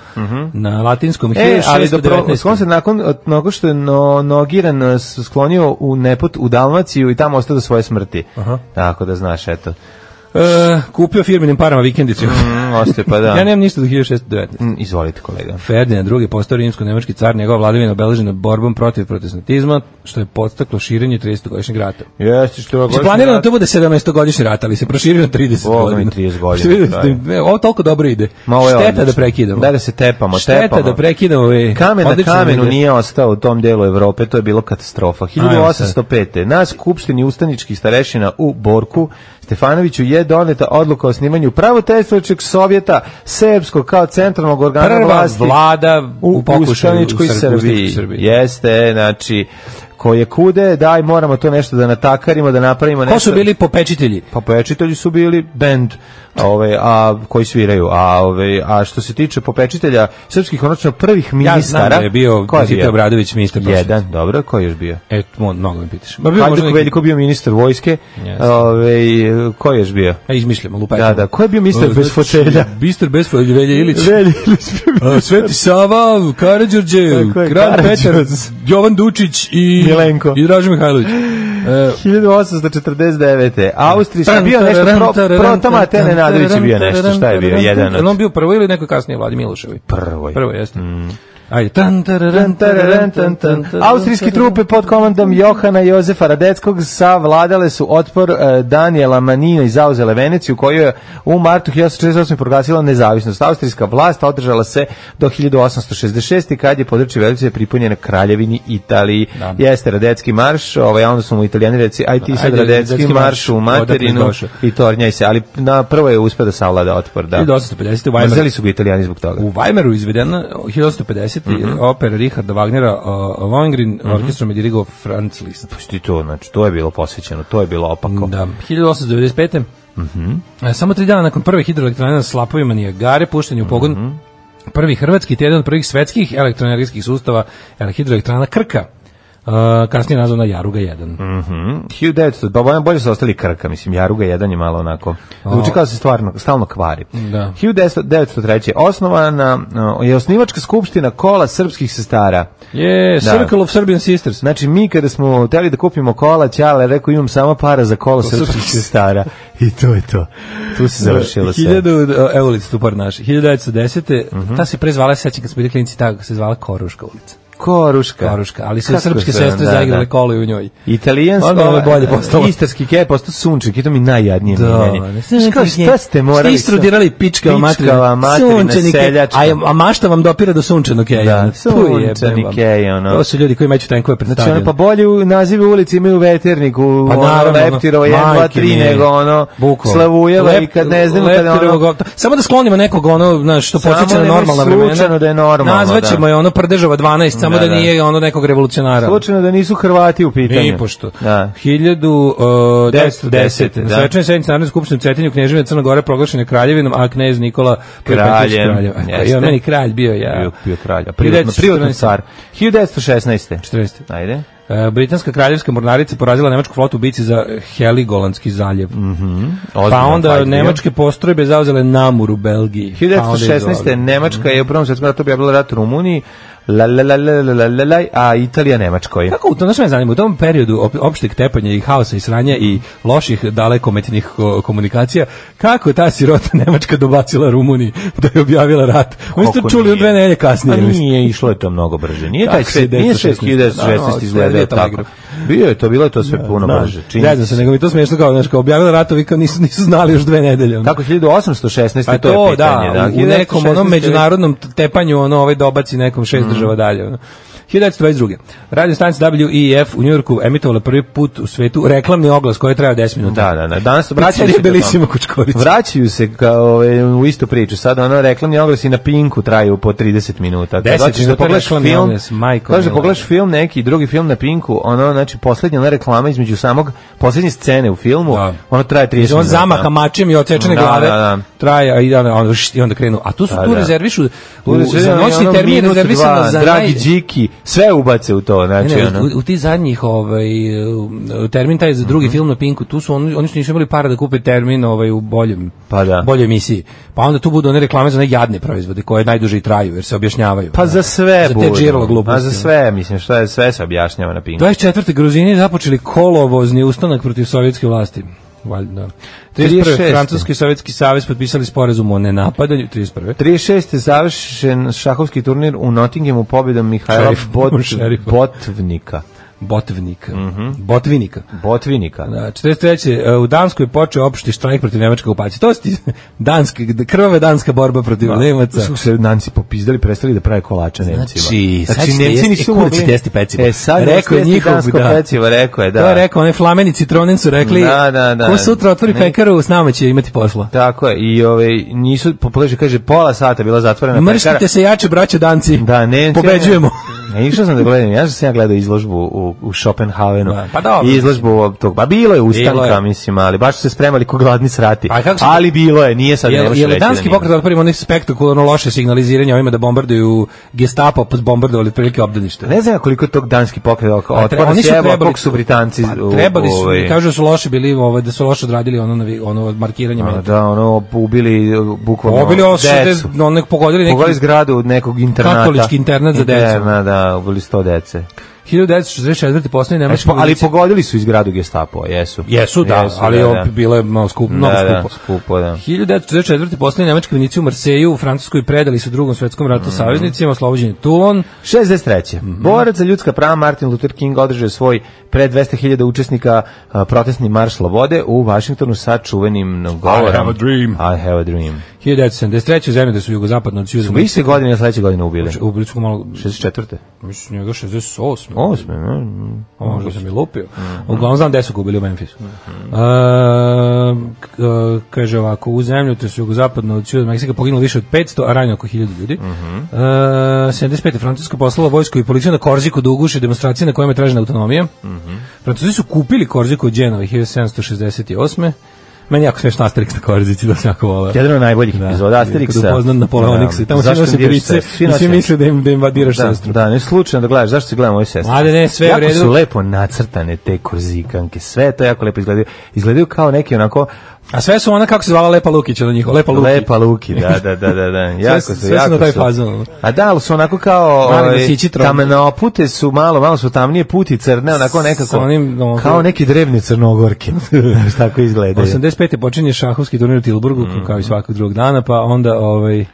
S6: na latinskom
S5: E, ali do pro,
S6: 1619.
S5: sklon se nakon od- nakon što je no, nogiran e, s- sklonio u nepot u Dalmaciju i tamo ostao do svoje smrti.
S6: Aha.
S5: Tako da znaš, eto.
S6: E, kupio firminim parama vikendicu.
S5: Mm, ostaje pa da.
S6: ja nemam ništa do 1619.
S5: Mm, Izvolite, kolega.
S6: Ferdinand II. postao rimsko-nemački car, njegova vladavina obeležena borbom protiv protestantizma, što je podstaklo širenje 30-godišnjeg rata.
S5: Jeste što je
S6: Se planirano da to bude 17-godišnji rat, ali se proširio na 30
S5: Bog mi,
S6: godina.
S5: 30 godina,
S6: Što vidite,
S5: da je.
S6: ne, e, Ovo toliko dobro ide.
S5: Ma, ovo je
S6: Šteta
S5: odlično.
S6: da prekidamo.
S5: Da, da se tepamo,
S6: Šteta
S5: tepamo.
S6: da prekidamo. e, Ove,
S5: Kamen na
S6: odlično
S5: kamenu
S6: ide.
S5: nije ostao u tom delu Evrope, to je bilo katastrofa.
S6: sad.
S5: 1805. Na skupštini ustaničkih starešina u Borku Stefanoviću je doneta odluka o snimanju pravotestovačeg sovjeta Serbskog kao centralnog organa
S6: Prva
S5: vlasti
S6: vlada u,
S5: u
S6: pokušaju
S5: ustaničkoj
S6: u Srb-
S5: Srbiji.
S6: ustaničkoj Srbiji.
S5: Jeste, znači, koje kude, daj, moramo to nešto da natakarimo, da napravimo nešto.
S6: Ko su bili popečitelji?
S5: Pa popečitelji su bili bend ovaj a koji sviraju a ovaj a što se tiče popečitelja srpskih odnosno prvih ministara
S6: Ja znam da je bio
S5: ko je
S6: Dositej
S5: bio?
S6: Obradović ministar prosvete.
S5: jedan dobro ko je još bio
S6: E, mo- mnogo me pitaš. Ma bio možda
S5: Hajduk
S6: neki-
S5: Veljko bio ministar vojske
S6: Jeste.
S5: ovaj ko je još bio
S6: Ja izmišljam, lupajmo.
S5: Da, da, ko je bio ministar
S6: E, O,
S5: bez
S6: znači,
S5: fotelja?
S6: Ministar bez fotelja, Velja Ilić.
S5: Velji Ilić bio
S6: A, Sveti Sava, Karadžorđe,
S5: Tako je,
S6: Kralj Petar,
S5: Karađorđe.
S6: Jovan Dučić i
S5: Milenko.
S6: i Dražen Mihajlović. E,
S5: 1849. Austrijski bio nešto pro, protama te Nenadović je bio nešto šta je bio jedan
S6: Jel on
S5: od
S6: bio prvo ili neko kasnije Vladi Miloševi?
S5: Prvo je.
S6: Prvo jeste.
S5: Mm.
S6: Ajde. Tan, tararan, tararan, tan, tan, tararan,
S5: Austrijske trupe pod komandom Johana Jozefa Radeckog savladale su otpor eh, Daniela Manina i zauzele Veneciju koju je u martu 1848 proglasila nezavisnost. Austrijska vlast održala se do 1866 i kad je područje Venecije pripunjeno kraljevini Italiji.
S6: Da.
S5: Jeste Radecki marš, ovaj, a onda su mu italijani reci, aj ti sad
S6: Ajde,
S5: Radecki
S6: Radecki
S5: marš u
S6: marš, odakle si
S5: materinu
S6: došao?
S5: i tornjaj se, ali na prvo je uspeo da savlada otpor. Da.
S6: 1850. u Weimaru.
S5: Mrzeli su ga italijani zbog toga.
S6: U Weimaru uh, izvedena 1850.
S5: Mhm.
S6: opera Richarda Wagnera uh, Lohengrin, orkestrom je dirigao Franz Liszt.
S5: Pusti to, znači, to je bilo posvećeno, to je bilo opako.
S6: Da, 1895.
S5: Mhm.
S6: E, Samo tri dana nakon prve hidroelektrane na slapovima Nijagare, pušten u pogon
S5: Mhm.
S6: prvi hrvatski, te jedan od prvih svetskih elektroenergetskih sustava ele- hidroelektrana Krka, uh, kasnije nazvana Jaruga 1.
S5: Mhm. 1900, pa bolje, bolje su ostali krka, mislim, Jaruga jedan je malo onako, zvuči kao da se stvarno, stalno kvari.
S6: Da.
S5: 1903. Osnovana uh, je osnivačka skupština kola srpskih sestara.
S6: Je,
S5: Da.
S6: Circle of Serbian Sisters.
S5: Znači, mi kada smo hteli da kupimo kola, Ćale je rekao imam samo para za kola srpskih
S6: srpskih
S5: sestara. I to je to. Tu se Mhm. završilo sve.
S6: 1000, e, evo ulica tu par naši. 1910. Ta se pre zvala, sećam kad smo bili klinici, ta se zvala Koruška ulica.
S5: Koruška.
S6: Koruška, ali su
S5: Kako
S6: srpske
S5: se-
S6: sestre
S5: da,
S6: zaigrale
S5: da.
S6: kolo i u njoj.
S5: Italijansko,
S6: Onda ovo je bolje postalo.
S5: Istarski kep, postao sunček, i to mi je najjadnije miljenje. Znaš kao, šta ste morali?
S6: Šta istrudirali pička
S5: Pičkava
S6: materina?
S5: materina, seljačka.
S6: A, je- a mašta vam dopira do sunčanog keja.
S5: Da,
S6: ono.
S5: sunčani
S6: Tu jebem vam.
S5: kej, ono.
S6: To su ljudi koji meću tenkove pred
S5: Znači, ono,
S6: stadion.
S5: pa bolje u nazive ulici imaju veterniku,
S6: Pa
S5: pa, ono,
S6: naravno,
S5: Leptirova 1, 2,
S6: majke
S5: 3,
S6: mi.
S5: nego ono,
S6: Bukvalno.
S5: Slavujeva i
S6: Lep-
S5: kad ne znamo kada
S6: Leptirovo
S5: ono...
S6: go- Samo da sklonimo nekog ono, znaš, što
S5: Samo
S6: podsjeća na
S5: nemoj
S6: normalna vremena.
S5: slučajno da je normalno,
S6: Nazvaćemo
S5: da.
S6: je ono Prdežova 12, samo da,
S5: Da, da.
S6: nije ono nekog revolucionara.
S5: Slučajno da nisu Hrvati u pitanju.
S6: I pošto.
S5: Da.
S6: 1910. Na
S5: Da.
S6: svečanoj sednici Narodne skupštine u Cetinju Kneževina Crna Gora proglašena kraljevinom, a knez Nikola Perpetić
S5: Kraljem,
S6: kraljem.
S5: jeste.
S6: Ja, meni kralj bio ja.
S5: Bio, bio kralj, a privatno, privatno
S6: 1914.
S5: car. 1916.
S6: 14.
S5: Ajde.
S6: E, Britanska kraljevska mornarica porazila nemačku flotu u bici za Heligolandski zaljev. pa
S5: Mhm. Ozbiljan
S6: onda
S5: fight bio.
S6: nemačke postrojbe zauzele Namur u Belgiji. Pa onda izvoli.
S5: 1916. Nemačka je u prvom svjetskom ratu objavila rat u Rumuniji, la, la, la, la, la, la, la, la, a Italija Nemačkoj.
S6: Kako u tom, znaš me zanima, u tom periodu op, opšteg tepanja i haosa i sranja i loših dalekometnih ko, komunikacija, kako je ta sirota Nemačka dobacila Rumuniji da je objavila rat? Oni ste
S5: Kako
S6: čuli
S5: nije?
S6: u dve nedelje kasnije.
S5: A
S6: mislim.
S5: nije, išlo je to mnogo brže. Nije
S6: Kako
S5: taj
S6: se
S5: svet, nije
S6: 1916,
S5: 1916
S6: da,
S5: izgledao
S6: da,
S5: tako.
S6: telegraf.
S5: Bio je to, bilo je to sve puno brže. čini
S6: Ne znam se,
S5: se.
S6: nego mi je to smiješno kao, znaš, kao objavila ratovi kao nisu, nisu znali još dve nedelje. ono.
S5: Tako 1816
S6: Pa
S5: to, je pitanje.
S6: da, u, u nekom
S5: 1916
S6: onom međunarodnom t- tepanju ono ovaj dobaci nekom šest
S5: Mhm.
S6: država dalje. Ono. 1922. Radio stanica WEF E u Njujorku emitovala prvi put u svetu reklamni oglas koji je trajao 10 minuta.
S5: Da, da, da. Danas vraćaju
S6: Pizzerija
S5: se Belisimo
S6: Belissimo Kučković.
S5: Vraćaju se kao ovaj, u istu priču. Sad ono reklamni oglasi na Pinku traju po 30 minuta. Kad
S6: 10
S5: hoćeš da
S6: minuta
S5: pogledaš
S6: reklamni
S5: film,
S6: oglas, majko
S5: kažeš da
S6: mila.
S5: pogledaš film neki drugi film na Pinku, ono znači poslednja ona reklama između samog poslednje scene u filmu,
S6: Da.
S5: ono traje 30
S6: Znači,
S5: minuta.
S6: on zamaha mačem i odsečene
S5: Da,
S6: glave
S5: da, da.
S6: traje a i onda, onda, št, i onda krenu. A tu su
S5: Da,
S6: tu
S5: da.
S6: rezervišu
S5: Tu
S6: u, za
S5: rezervirano je
S6: noćni
S5: ono
S6: termin
S5: minut,
S6: rezervisano
S5: dva,
S6: za
S5: dragi
S6: naj...
S5: Điki, sve ubace u to, znači
S6: Ne, ne,
S5: ono. Mhm.
S6: u, u ti zadnjih ovaj u- termin taj za drugi film na Pinku, tu su oni oni su nisu imali para da kupe termin ovaj u boljem
S5: Pa da.
S6: boljoj emisiji. Pa onda tu budu one reklame za one jadne proizvode koje najduže i traju jer se objašnjavaju. ono.
S5: Pa za sve
S6: Za te
S5: budu.
S6: džirlo
S5: Pa
S6: gluposti. ono.
S5: za sve, mislim, šta je, sve se objašnjava na Pinku.
S6: 24. Gruzini započeli kolovozni ustanak protiv sovjetske vlasti. Valjda. 31.
S5: 36..
S6: Francuski i Sovjetski savez potpisali sporazum o nenapadanju 31.
S5: 36. je završen šahovski turnir u Nottinghamu pobjedom Mihajla
S6: Šerif-
S5: Bot,
S6: šerifa.
S5: Botvnika.
S6: Botvnika.
S5: Mhm.
S6: Botvinika.
S5: Botvinika.
S6: Da, 43. e, U Danskoj je počeo opšti štrajk protiv Nemačke okupacije. To su ti danske, krvava danska borba protiv Nemaca.
S5: Su se Nanci popizdali, prestali da prave kolače Nemcima.
S6: Znači, sad ćete
S5: Nemci
S6: jesti-
S5: nisu
S6: e, kuda
S5: mogli-
S6: ćete jesti pecivo?
S5: E, sad
S6: Rekao
S5: rekao
S6: je
S5: je
S6: njihov,
S5: dansko
S6: da.
S5: pecivo, rekao je, da.
S6: To je rekao, one flameni citronin su rekli,
S5: Da, da, da.
S6: ko sutra otvori
S5: Ne.
S6: pekaru, s nama će imati posla.
S5: Tako je, i ovaj, nisu, popleže, kaže, pola sata bila zatvorena pekara.
S6: Mrštite se jače, braće danci.
S5: Da, Nemci.
S6: Pobeđujemo.
S5: Ne, išao sam da gledam, ja sam ja gledao izložbu u, u Schopenhavenu.
S6: Da, pa dobro.
S5: I izložbu ovog tog, pa bilo je ustanka,
S6: Bilo je.
S5: mislim, ali baš su se spremali ko gladni srati.
S6: A kako su-
S5: ali bilo je, nije sad ne
S6: Jel,
S5: možeš
S6: jel
S5: reći da
S6: danski
S5: nije.
S6: pokret otprimo onih spektakularno ono loše signaliziranje ovima da bombarduju gestapo, pa bombardovali prilike obdanište.
S5: Ne znam ja koliko je tog danski pokret oko
S6: Pa, tre-
S5: otpora
S6: oni su
S5: sjeba,
S6: trebali-
S5: koliko su Britanci...
S6: Pa,
S5: u-
S6: trebali su,
S5: ovaj,
S6: kažu da su loše bili, ovaj, da su loše odradili ono, navi- ono markiranje
S5: a,
S6: meta.
S5: da, ono, ubili uh, bukvalno
S6: Pobili ovo 60,
S5: decu.
S6: no, nek pogodili neki
S5: Pogodili zgradu od nekog internata.
S6: Katolički internat za decu.
S5: Internat, da, ubili 100 dece.
S6: 1964. posljednji
S5: E,
S6: nemački
S5: po- ali
S6: vojnici-
S5: pogodili su i zgradu gestapo, jesu.
S6: Jesu, da, ali
S5: da,
S6: da,
S5: da.
S6: bilo je malo skupo, mnogo
S5: Da, da,
S6: skupo.
S5: skupo, da.
S6: 1944. posljednji nemački vojnici u Marseju u Francuskoj predali su u drugom svetskom ratu
S5: Mhm.
S6: saveznicima, oslobođen je Toulon.
S5: 63. Borac za ljudska prava Martin Luther King održao je svoj pred 200.000 učesnika a, protestni marš slobode u Vašingtonu sa čuvenim govorom.
S6: I have a dream.
S5: I have a dream.
S6: 1973. u zemlji da su jugozapadno od Sjuzima.
S5: Vi se godine, sledeće godine ubili.
S6: U Blicu malo,
S5: 64.
S6: mislim, njega 68.
S5: Osme, ne?
S6: A možda Ono sam i lupio.
S5: Mhm.
S6: Uglavnom znam gde su gubili u Memphisu. E, k- e, kaže ovako, u zemlju, to su jugozapadno od Ciudad Meksika, poginulo više od 500, a ranjeno oko 1000 ljudi.
S5: Mhm.
S6: E, 75. Francuska poslala vojsku i policiju na Korziku da uguše demonstracije na kojima je tražena autonomija.
S5: Mhm.
S6: Francuzi su kupili Korziku od Dženova 1768. Meni je jako smiješno Asterix na Korzici, da sam jako volao.
S5: Jedan od najboljih
S6: Da,
S5: epizoda Asterixa.
S6: Kada upoznan Napoleoniksa i tamo svi
S5: Zašto
S6: nose
S5: ne dijeliš
S6: brice
S5: sestru? Svi
S6: i svi
S5: nose-
S6: misle da im, da im vadiraš
S5: da,
S6: sestru.
S5: da, ne slučajno da gledaš, zašto se gledamo ove sestre?
S6: Mlade, ne, sve je u
S5: jako
S6: redu.
S5: su lepo nacrtane te korzikanke, sve je to jako lepo izgledaju. Izgledaju kao neki onako
S6: A sve su ona, kako se zvala Lepa Lukić, ona njihova, Lepa Luki.
S5: Lepa Luki, da, da, da, da, da. Jako su,
S6: sve su
S5: jako
S6: na taj fazon, ono.
S5: A da, ali su onako kao
S6: Mali
S5: ovaj,
S6: nosići trombe.
S5: tamnopute su malo, malo su tamnije puti crne, onako
S6: S
S5: nekako,
S6: onim, ono, no,
S5: kao neki drevni crnogorke. Znaš, tako izgledaju. Mhm.
S6: 85. počinje šahovski turnir u Tilburgu, kao i svakog drugog dana, pa onda ovaj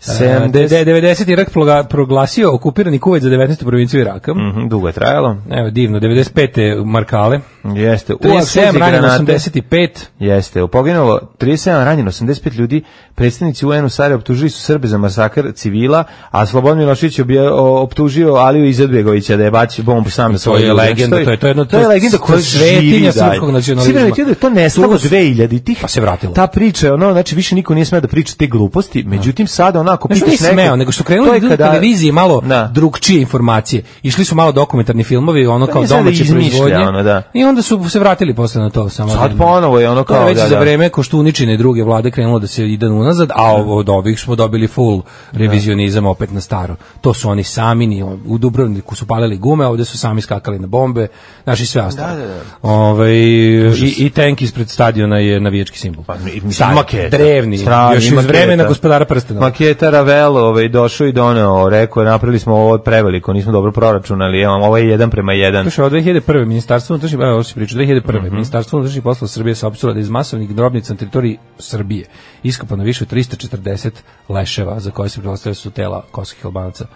S5: 70.
S6: Da je 90. Irak ploga- proglasio okupirani Kuvajt za 19. provinciju Iraka.
S5: Mhm, dugo je trajalo.
S6: Evo, divno, 95. Markale.
S5: Jeste. U
S6: 37,
S5: eksploziji
S6: ranjeno
S5: granate.
S6: 85.
S5: Jeste, u poginulo 37 ranjeno 85 ljudi, predstavnici UN-u Sare optužili su Srbe za masakr civila, a Slobodan Milošević je obje- o- optužio Aliju Izetbegovića da je bacio bombu sam na
S6: To
S5: svoje
S6: je
S5: ljude.
S6: legenda,
S5: Što
S6: to je to je jedno
S5: to je legenda koja živi
S6: svetinja
S5: dalje.
S6: srpskog
S5: Svi
S6: nacionalizma.
S5: primetili da je to nestalo
S6: Toga su-
S5: 2000 tih.
S6: Pa se vratilo.
S5: Ta priča je ono, znači više niko nije smeo da priča te gluposti. Međutim sada onako
S6: Znaš,
S5: pitaš
S6: nisam
S5: nekog-
S6: smeo, nego što
S5: To
S6: krenuli
S5: je
S6: da idu na
S5: kada-
S6: televiziji malo
S5: Da.
S6: drugčije informacije. Išli su malo dokumentarni filmovi, ono
S5: Pa
S6: kao
S5: nije sad da
S6: domaće
S5: izmišlja,
S6: proizvodnje.
S5: ono, da.
S6: I onda su se vratili posle na to samo.
S5: Sad
S6: da-
S5: ponovo je ono
S6: To je
S5: kao
S6: već
S5: da,
S6: za
S5: da.
S6: vreme Koštuničine i druge vlade krenulo da se ide unazad, a ovo od ovih smo dobili full revizionizam opet na staro. To su oni sami, ni- u Dubrovniku su palili gume, ovde su sami skakali na bombe, naši sve ostalo.
S5: Da, da, da.
S6: Ovaj, i, I tank ispred stadiona je navijački simbol.
S5: Pa, mi- mislim,
S6: Stari,
S5: maketa.
S6: Drevni,
S5: Strani
S6: još iz
S5: maketa.
S6: vremena gospodara prstenova.
S5: Maketa Ravel ovaj, došao i doneo, rekao, je, napravili smo ovo preveliko, nismo dobro proračunali, evo, ovo je jedan prema jedan.
S6: Slušaj, od 2001. ministarstvo unutrašnjih evo, ovo se priča, 2001.
S5: Mhm.
S6: ministarstvo unutrašnjih poslova Srbije saopštilo da je iz masovnih grobnica na teritoriji Srbije iskopano više od 340 leševa za koje se preostale su tela kosovskih Albanaca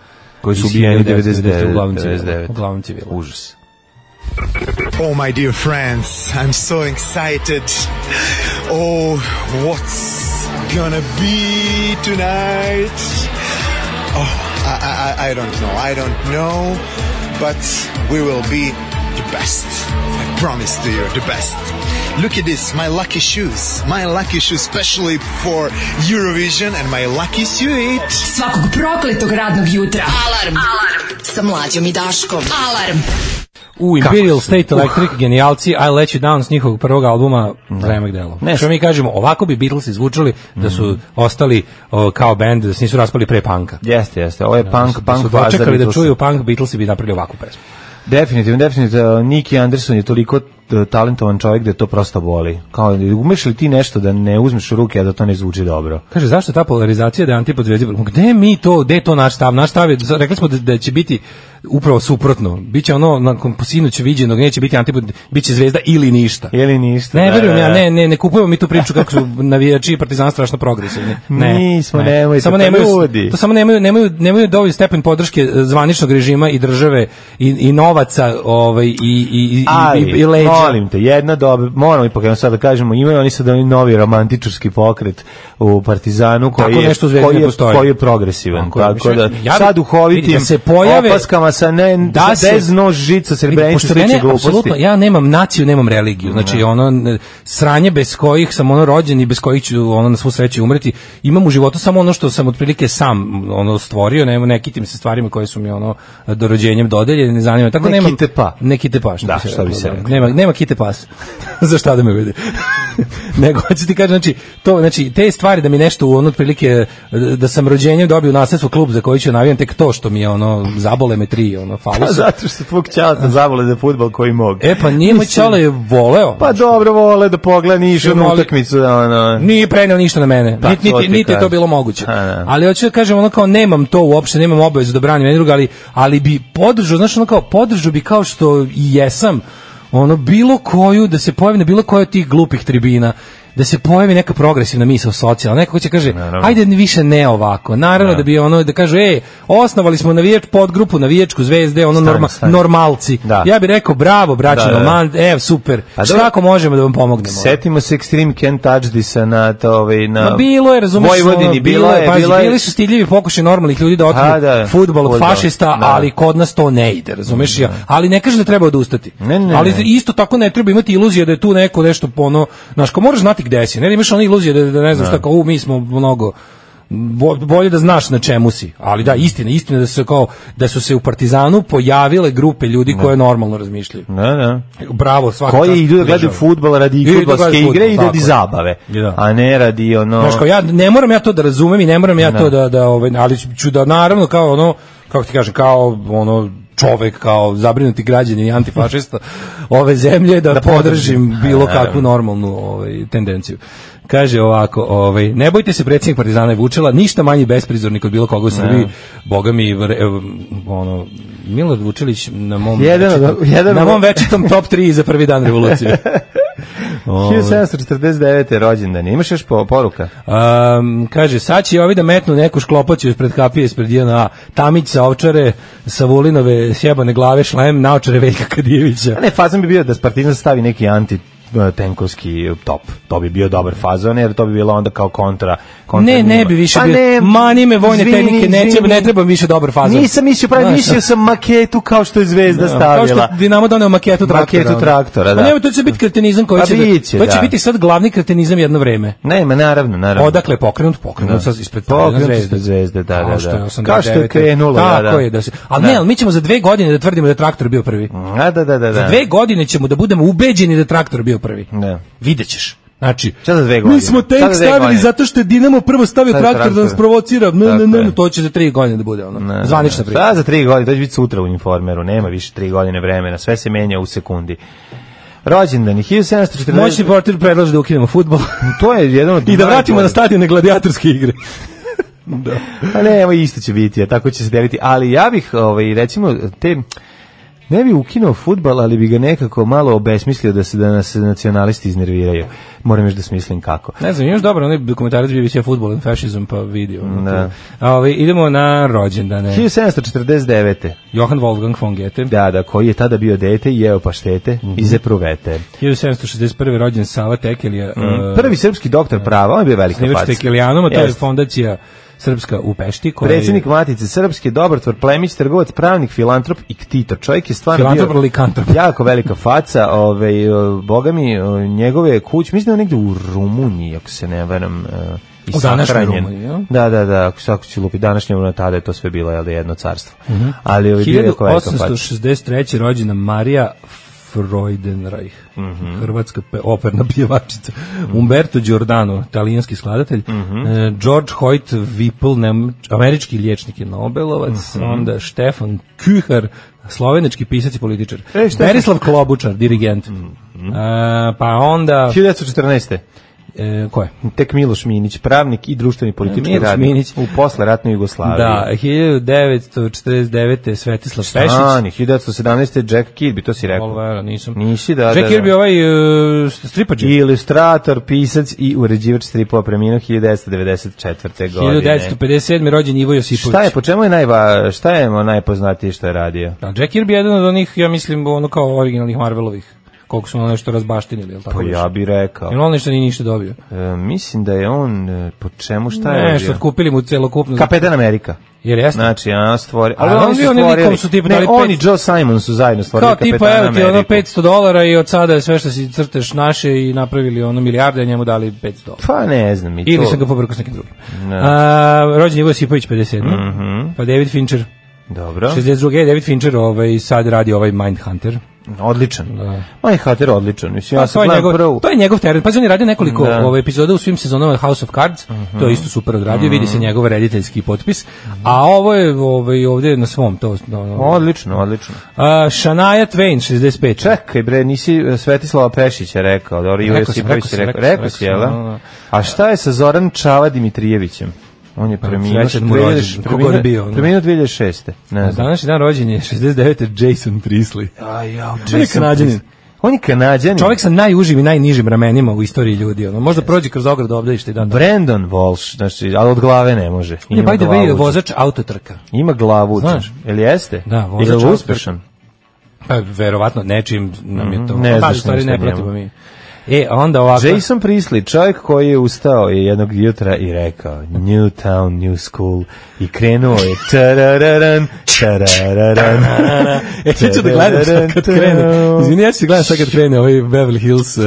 S5: Koji su
S6: Iz
S5: ubijeni
S6: 1999,
S5: 99,
S6: uglavnom civila,
S5: 99.
S6: uglavnom civila.
S5: Užas.
S1: Oh, my dear friends, I'm so excited. Oh, what's gonna be tonight? Oh, I, I, I- I don't know. I don't know, but we will be the best. I promise to you, the best. Look at this, my lucky shoes. My lucky shoes, especially for Eurovision and my lucky suit.
S3: Svakog prokletog radnog jutra. Alarm. Alarm. Sa mlađom i Daškom. Alarm.
S6: U Imperial State
S5: Uh.
S6: Electric, genijalci, I Let You Down s njihovog prvog albuma, Remek delo.
S5: Ne. Mhm.
S6: Što mi kažemo, ovako bi Beatlesi zvučali da su ostali o, kao band, da se nisu raspali pre punka.
S5: Jeste, jeste, ovo je punk,
S6: Da
S5: punk
S6: su
S5: faza
S6: dočekali da
S5: Beatlesa.
S6: čuju punk, Beatlesi bi napravili ovakvu pesmu.
S5: Definitivno, definitivno, Nicky Anderson je toliko e, talentovan čovjek da to prosto boli. Kao, umeš li ti nešto da ne uzmeš u ruke, a da to ne zvuči dobro?
S6: Kaže zašto ta polarizacija da je antipod zvezdi? Gde mi to, gde je to naš stav? Naš stav je za- rekli smo da, da će biti upravo suprotno. Biće ono nakon posinoć viđenog neće biti antipod, biće zvezda ili ništa.
S5: Ili ništa?
S6: Ne
S5: da,
S6: verujem
S5: da,
S6: ja,
S5: da.
S6: ne, ne, ne kupujemo mi tu priču kako su navijači i Partizan strašno progresivni. Ne.
S5: Nismo,
S6: ne.
S5: nemojte,
S6: samo
S5: pa
S6: nemaju,
S5: ljudi.
S6: To samo nemaju, nemaju, nemaju dovoljno stepen podrške eh, zvaničnog režima i države i, i novaca, ovaj i i i,
S5: Ali,
S6: i, i leđa.
S5: molim te, jedna dobra, moramo ipak jedno sad da kažemo, imaju oni sad oni novi romantičarski pokret u Partizanu koji
S6: Tako
S5: je,
S6: nešto u Zvezdi
S5: koji
S6: ne
S5: je,
S6: postoji.
S5: koji je progresivan.
S6: Tako
S5: Tako,
S6: je,
S5: da,
S6: mislim, ja bi-
S5: sad
S6: vidi,
S5: uhovitim
S6: da se pojave-
S5: opaskama sa ne,
S6: da
S5: da
S6: se-
S5: se, bez nož žica
S6: Vidi,
S5: srebrenice
S6: pošto mene,
S5: sliče
S6: apsolutno,
S5: gluposti.
S6: ja nemam naciju, nemam religiju. Znači, ono, ne, sranje bez kojih sam ono rođen i bez kojih ću ono, na svu sreću umreti. Imam u životu samo ono što sam otprilike sam ono, stvorio, ne, ne kitim se stvarima koje su mi ono, do rođenjem dodeljene, ne zanima. Tako
S5: Ne
S6: nemam,
S5: kite pa.
S6: Ne kite pa, što
S5: Da, što bi
S6: reklo,
S5: se
S6: da.
S5: reklo.
S6: Nema, nema kite pas. Za šta da me uvede? Nego, hoću ti kažem, znači, to, znači, te stvari da mi nešto u ono otprilike, da sam rođenjem dobio u nasledstvo klub za koji ću navijam tek to što mi je ono, zabole me tri, ono,
S5: Pa
S6: falusa.
S5: zato što tvog ćalata zavole za futbal koji mogu.
S6: E pa nije moj čale je voleo.
S5: pa dobro vole da pogleda niš
S6: Ili
S5: na
S6: voli-
S5: utakmicu. Da, ono,
S6: Nije preneo ništa na mene.
S5: Da, Pa,
S6: niti,
S5: to
S6: niti,
S5: ti
S6: niti je to
S5: kažem.
S6: bilo moguće.
S5: A, da.
S6: Ali hoću da kažem, ono kao nemam to uopšte, nemam obavezu da branim jednog druga, ali, ali bi podržao, znaš, ono kao podržao bi kao što i jesam, ono bilo koju, da se pojavi na bilo kojoj od tih glupih tribina, da se pojavi neka progresivna misao socijalna, neko ko će kaže, ajde više ne ovako. Naravno da bi ono da kažu, ej, osnovali smo navijač podgrupu navijačku zvezde, ono
S5: Stani,
S6: norma,
S5: stani.
S6: normalci.
S5: Da.
S6: Ja bih rekao, bravo, braćo,
S5: Da, da.
S6: Nomand, ev, super.
S5: Pa
S6: Šta
S5: dobro.
S6: ako možemo da vam pomognemo?
S5: Setimo se Extreme Can't Touch This-a na, to, ovaj, na
S6: Ma bilo je, razumeš,
S5: Vojvodini,
S6: ono,
S5: bilo, je,
S6: pazi,
S5: bilo je,
S6: bili su stidljivi pokušaj normalnih ljudi da otmu
S5: A, da,
S6: fudbal od
S5: fudbal,
S6: fašista,
S5: da.
S6: ali kod nas to ne ide, razumeš ja. Ali ne kažem da treba odustati.
S5: Ne, ne,
S6: ali
S5: ne.
S6: isto tako ne treba imati iluzije da je tu neko nešto ono, znaš, kao moraš znati gde si. Ne imaš one iluzije da, da ne znaš šta kao, u, mi smo mnogo bo- bolje da znaš na čemu si. Ali da, istina, istina da su se kao da su se u Partizanu pojavile grupe ljudi koje normalno razmišljaju.
S5: Da, da.
S6: Bravo, svaka čast
S5: Koje idu da gledaju
S6: državi.
S5: fudbal radi
S6: Idu da
S5: fudbalske
S6: gledaju
S5: igre i
S6: fudbal,
S5: radi
S6: tako je.
S5: zabave,
S6: I da.
S5: a ne radi ono
S6: Znaš, kao ja ne moram ja to da razumem i ne moram ja to da da ovaj ali ću da naravno kao ono kako ti kažem kao ono čovek kao zabrinuti građanin i antifašista ove zemlje da, podržim bilo kakvu normalnu ovaj tendenciju. Kaže ovako, ovaj ne bojte se predsjednik Partizana je Vučela, ništa manji besprizornik od bilo koga u Srbiji. Boga mi vre- evo, ono Milorad Vučelić na mom
S5: Jedan od-
S6: večitom,
S5: jedan
S6: na
S5: od-
S6: mom večitom top 3 za prvi dan revolucije. Ovaj,
S5: 1749. rođendan. Imaš još po- poruka?
S6: Um, kaže, sad će ovi da metnu neku šklopaću ispred kapije, ispred JNA. Tamić sa ovčare, sa Vulinove, sjebane glave, šlem, naočare Veljka Kadijevića.
S5: A ne, fazan bi bio da Spartizan stavi neki anti eh, tenkovski top. To bi bio dobar fazon, jer to bi bilo onda kao kontra. kontra
S6: Ne, ne
S5: njima.
S6: bi više
S5: Pa
S6: bio.
S5: ne,
S6: Mani me vojne
S5: izvini,
S6: tehnike, ne, treba,
S5: izvini.
S6: ne trebam više dobar fazon.
S5: Nisam mislio pravi,
S6: Znaš,
S5: mislio sam maketu kao što je Zvezda
S6: Kao što
S5: stavila.
S6: je Dinamo doneo maketu traktora.
S5: Maketu traktora, da.
S6: A nema, to će biti kretenizam koji
S5: Pa
S6: će, da-
S5: bit će,
S6: to će
S5: da.
S6: biti sad glavni kretenizam jedno vreme.
S5: Ne, ma naravno, naravno.
S6: Odakle je pokrenut, pokrenut
S5: Da.
S6: sa ispred
S5: Pokrenut
S6: Partizana
S5: ispred Zvezde, da, da,
S6: Kao što je
S5: da.
S6: 89.
S5: Kao što je krenulo, da,
S6: Tako
S5: da.
S6: je, da se. Ali
S5: Da. Mm.
S6: ne, ali mi ćemo za dve godine da tvrdimo da je traktor bio prvi.
S5: A, da, da, da, da.
S6: Za dve godine ćemo da budemo ubeđeni da je traktor bio prvi.
S5: Da.
S6: Videćeš. Znači,
S5: Šta za dve godine?
S6: mi smo
S5: Šta
S6: tank
S5: za dve
S6: stavili
S5: godine?
S6: zato što je Dinamo prvo stavio
S5: Sad
S6: traktor, da nas
S5: traktor.
S6: provocira. Ne, ne,
S5: Tako
S6: ne,
S5: je.
S6: to će za tri godine da bude ono.
S5: Ne, ne,
S6: Zvanična
S5: ne.
S6: priča.
S5: Šta za tri godine, to će biti sutra u uniformeru, nema više tri godine vremena, sve se menja u sekundi. Rođendan je 1740.
S6: Moćni portir predlaže da ukinemo futbol
S5: To je jedan od
S6: i da vratimo na
S5: najboljih.
S6: stadione gladijatorske igre.
S5: Pa ne, evo isto će biti, a tako će se deliti. Ali ja bih, ovaj, recimo, te... Ne bi ukinuo futbal, ali bi ga nekako malo obesmislio da se da nas nacionalisti iznerviraju. Moram još da smislim kako.
S6: Ne znam, još dobro, onaj dokumentarac bi bio futbol and fascism, pa vidio.
S5: Da.
S6: Ove, ovaj, idemo na rođendane.
S5: 1749.
S6: Johan Wolfgang von Goethe.
S5: Da, da, koji je tada bio dete i jeo paštete
S6: Mhm.
S5: i zepruvete.
S6: E. 1761. rođen Sava Tekelija. e,
S5: Prvi srpski doktor prava, on je bio velika
S6: Snivač
S5: faca.
S6: Tekelijanoma, to je
S5: Jeste.
S6: fondacija Srpska u Pešti, koja
S5: Predsjednik Matice Srpske, dobartvor, plemić, trgovac, pravnik, filantrop i ktito. Čovjek je
S6: je
S5: stvarno
S6: filantrop
S5: bio
S6: likantrop.
S5: jako velika faca, ovaj, e, boga mi, e, njegove kuće, mislim da je negde u Rumuniji, ako se ne varam, e, i
S6: U današnjoj
S5: sahranjen.
S6: Rumuniji, jel?
S5: Da, da, da, ako se ako ću lupi današnje, ono tada je to sve bilo, jel da jedno carstvo.
S6: Mhm.
S5: Ali ovaj, bio je jako velika faca.
S6: 1863. rođena Marija Freudenreich,
S5: Mhm.
S6: hrvatska pe- operna pjevačica, Umberto Giordano, italijanski skladatelj,
S5: Mhm.
S6: e, George Hoyt Whipple, nem- američki liječnik i Nobelovac,
S5: Mhm.
S6: onda Štefan Kühar, slovenički pisac i političar,
S5: E, Štefan-
S6: Berislav Klobučar, dirigent,
S5: Mhm.
S6: E, pa onda,
S5: 1914.
S6: e, ko je?
S5: Tek Miloš Minić, pravnik i društveni politički
S6: Miloš
S5: radnik
S6: Minić.
S5: u posleratnoj Jugoslaviji.
S6: Da, 1949. Svetislav Pešić,
S5: Ani, 1917. Jack Kirby, to si rekao.
S6: Olvera, nisam.
S5: Nisi, da, da,
S6: Jack
S5: da.
S6: Kirby ovaj uh, stripađe.
S5: Ilustrator, pisac i uređivač stripova preminuo 1994. godine.
S6: 1957. rođen Ivo Josipović.
S5: Šta je, po čemu je najva, šta je ono najpoznatije što je radio?
S6: Da, Jack Kirby je jedan od onih, ja mislim, ono kao originalnih Marvelovih. Koliko su ono nešto razbaštinili, jel tako?
S5: Pa ja bi rekao.
S6: Jel on nešto nije ništa dobio?
S5: E, mislim da je on, e, po čemu šta je
S6: Nešto,
S5: radio?
S6: otkupili mu celokupno.
S5: Kapetan Amerika.
S6: Jer jeste?
S5: Znači, a stvorio...
S6: Ali on bio onim likom su tipa
S5: ne,
S6: dali
S5: on i
S6: pet-
S5: Joe Simon su zajedno stvorili
S6: Kao
S5: Kapetana
S6: tipa, evo ti
S5: Ameriku.
S6: ono 500 dolara i od sada je sve što si crteš naše i napravili ono milijarde, a njemu dali 500 dolara.
S5: Pa ne znam. I
S6: Ili
S5: to.
S6: sam ga pobrkao s nekim drugim. A, rođen Ivo Josipović, 57.
S5: Mhm.
S6: Pa David Fincher,
S5: Dobro.
S6: 62. E, David Fincher ovaj, sad radi ovaj Mindhunter.
S5: Odličan. Da. Hater odličan. Mislim, ja
S6: Pa, to,
S5: sam
S6: je
S5: gledam
S6: njegov,
S5: prvu.
S6: to je njegov teren. Pazi, on je radio nekoliko
S5: Da.
S6: ove epizoda u svim sezonama House of Cards. To je isto super odradio. Vidi
S5: Mhm.
S6: se njegov rediteljski potpis. A ovo je ovaj, ovdje na svom. To, no, no.
S5: Odlično, odlično.
S6: A, Shania Twain, 65.
S5: Čekaj bre, nisi e, Svetislava Pešića rekao, dobro, Ivo
S6: Rekao sam,
S5: Josipović
S6: rekao
S5: je
S6: sam,
S5: rekao,
S6: rekao
S5: rekao
S6: sam,
S5: si,
S6: rekao
S5: jel?
S6: sam,
S5: da?
S6: da, da. Pa,
S5: A šta je sa Zoran Čava Dimitrijevićem? On je preminuo
S6: srećan mu rođendan, koliko on bio, ono.
S5: preminuo 2006. Ne znam.
S6: Današnji dan rođen je 69. Jason Priestley.
S5: A ja,
S6: On je Kanadjanin.
S5: On je kanadjanin.
S6: Čovjek sa najužim i najnižim ramenima u istoriji ljudi. Ono. Možda prođe kroz ogradu obdanište i dan.
S5: Brandon Walsh, znači, ali od glave ne može.
S6: On je
S5: Ima
S6: by the way
S5: glavuđu.
S6: vozač autotrka.
S5: Ima glavu,
S6: Znaš?
S5: Ili jeste?
S6: Da, vozač
S5: Ili je
S6: autotrka.
S5: uspešan?
S6: Pa, verovatno nečim nam je to.
S5: Mhm, ne
S6: Pa,
S5: znaš
S6: u stvari
S5: ništa
S6: ne
S5: o njemu.
S6: pratimo mi. E, a onda ovako.
S5: Jason Priestley, čovjek koji je ustao je jednog jutra i rekao New town, new school i krenuo je tarararan, tarararan.
S6: E, ja ću da gledam sad kad krene. Izvini, ja ću gledam sad kad krene ovaj Beverly Hills uh,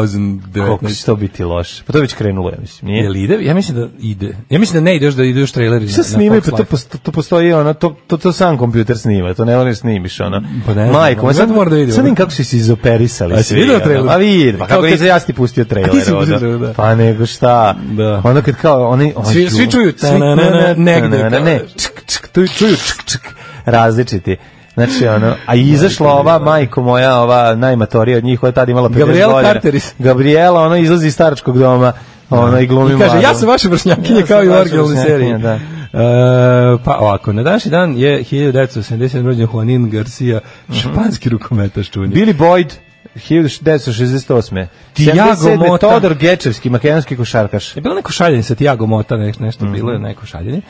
S5: Koliko će
S6: 2019.
S5: to biti loše? Pa to je već krenulo, ja mislim. Nije.
S6: Je li ide? Ja mislim da ide. Ja mislim da ne ide još da idu još traileri.
S5: Šta
S6: Šta
S5: snimaju, pa to, posto, to postoji ono, to, to, to sam kompjuter snima, to ne moraš snimiš, ono.
S6: Pa ne znam,
S5: Majko, ma sad,
S6: sad moram da vidim.
S5: Sad vidim kako su se izoperisali
S6: A si
S5: svi.
S6: video
S5: ono.
S6: trailer?
S5: A vidim,
S6: Pa
S5: pa
S6: kao
S5: kako
S6: kad-
S5: kad... ja ti pustio
S6: A ti si
S5: trailer.
S6: pustio
S5: ono.
S6: trailer, da.
S5: Pa nego šta.
S6: Da.
S5: Ono kad kao, oni... oni
S6: Svi- svi čuju
S5: Svi-
S6: tananana, negde
S5: tananana,
S6: kao-
S5: Ne, čk, čk, tu- čuju čk, čk, različiti. Znači, ono, a izašla ova, majko moja, ova najmatorija od njih, koja je tada imala 50
S6: Gabriela
S5: godina.
S6: Carteris.
S5: Gabriela, ono, izlazi iz staračkog doma, ono, i glumi
S6: I kaže, ja
S5: mladu.
S6: sam vaša vršnjakinja
S5: Ja sam
S6: kao i u
S5: vaša
S6: originalnoj seriji.
S5: vršnjakinja, da.
S6: E, pa ovako, na današnji dan
S5: Mhm.
S6: je 1977. rođen Juanin Garcia, španski rukometaš čunik.
S5: Billy Boyd, 1968.
S6: Tiago
S5: 77.
S6: Mota. E,
S5: Todor Gečevski, makedonski košarkaš.
S6: Je bilo neko šaljenje sa Tiago Mota, ne, nešto
S5: Mhm.
S6: bilo je neko šaljenje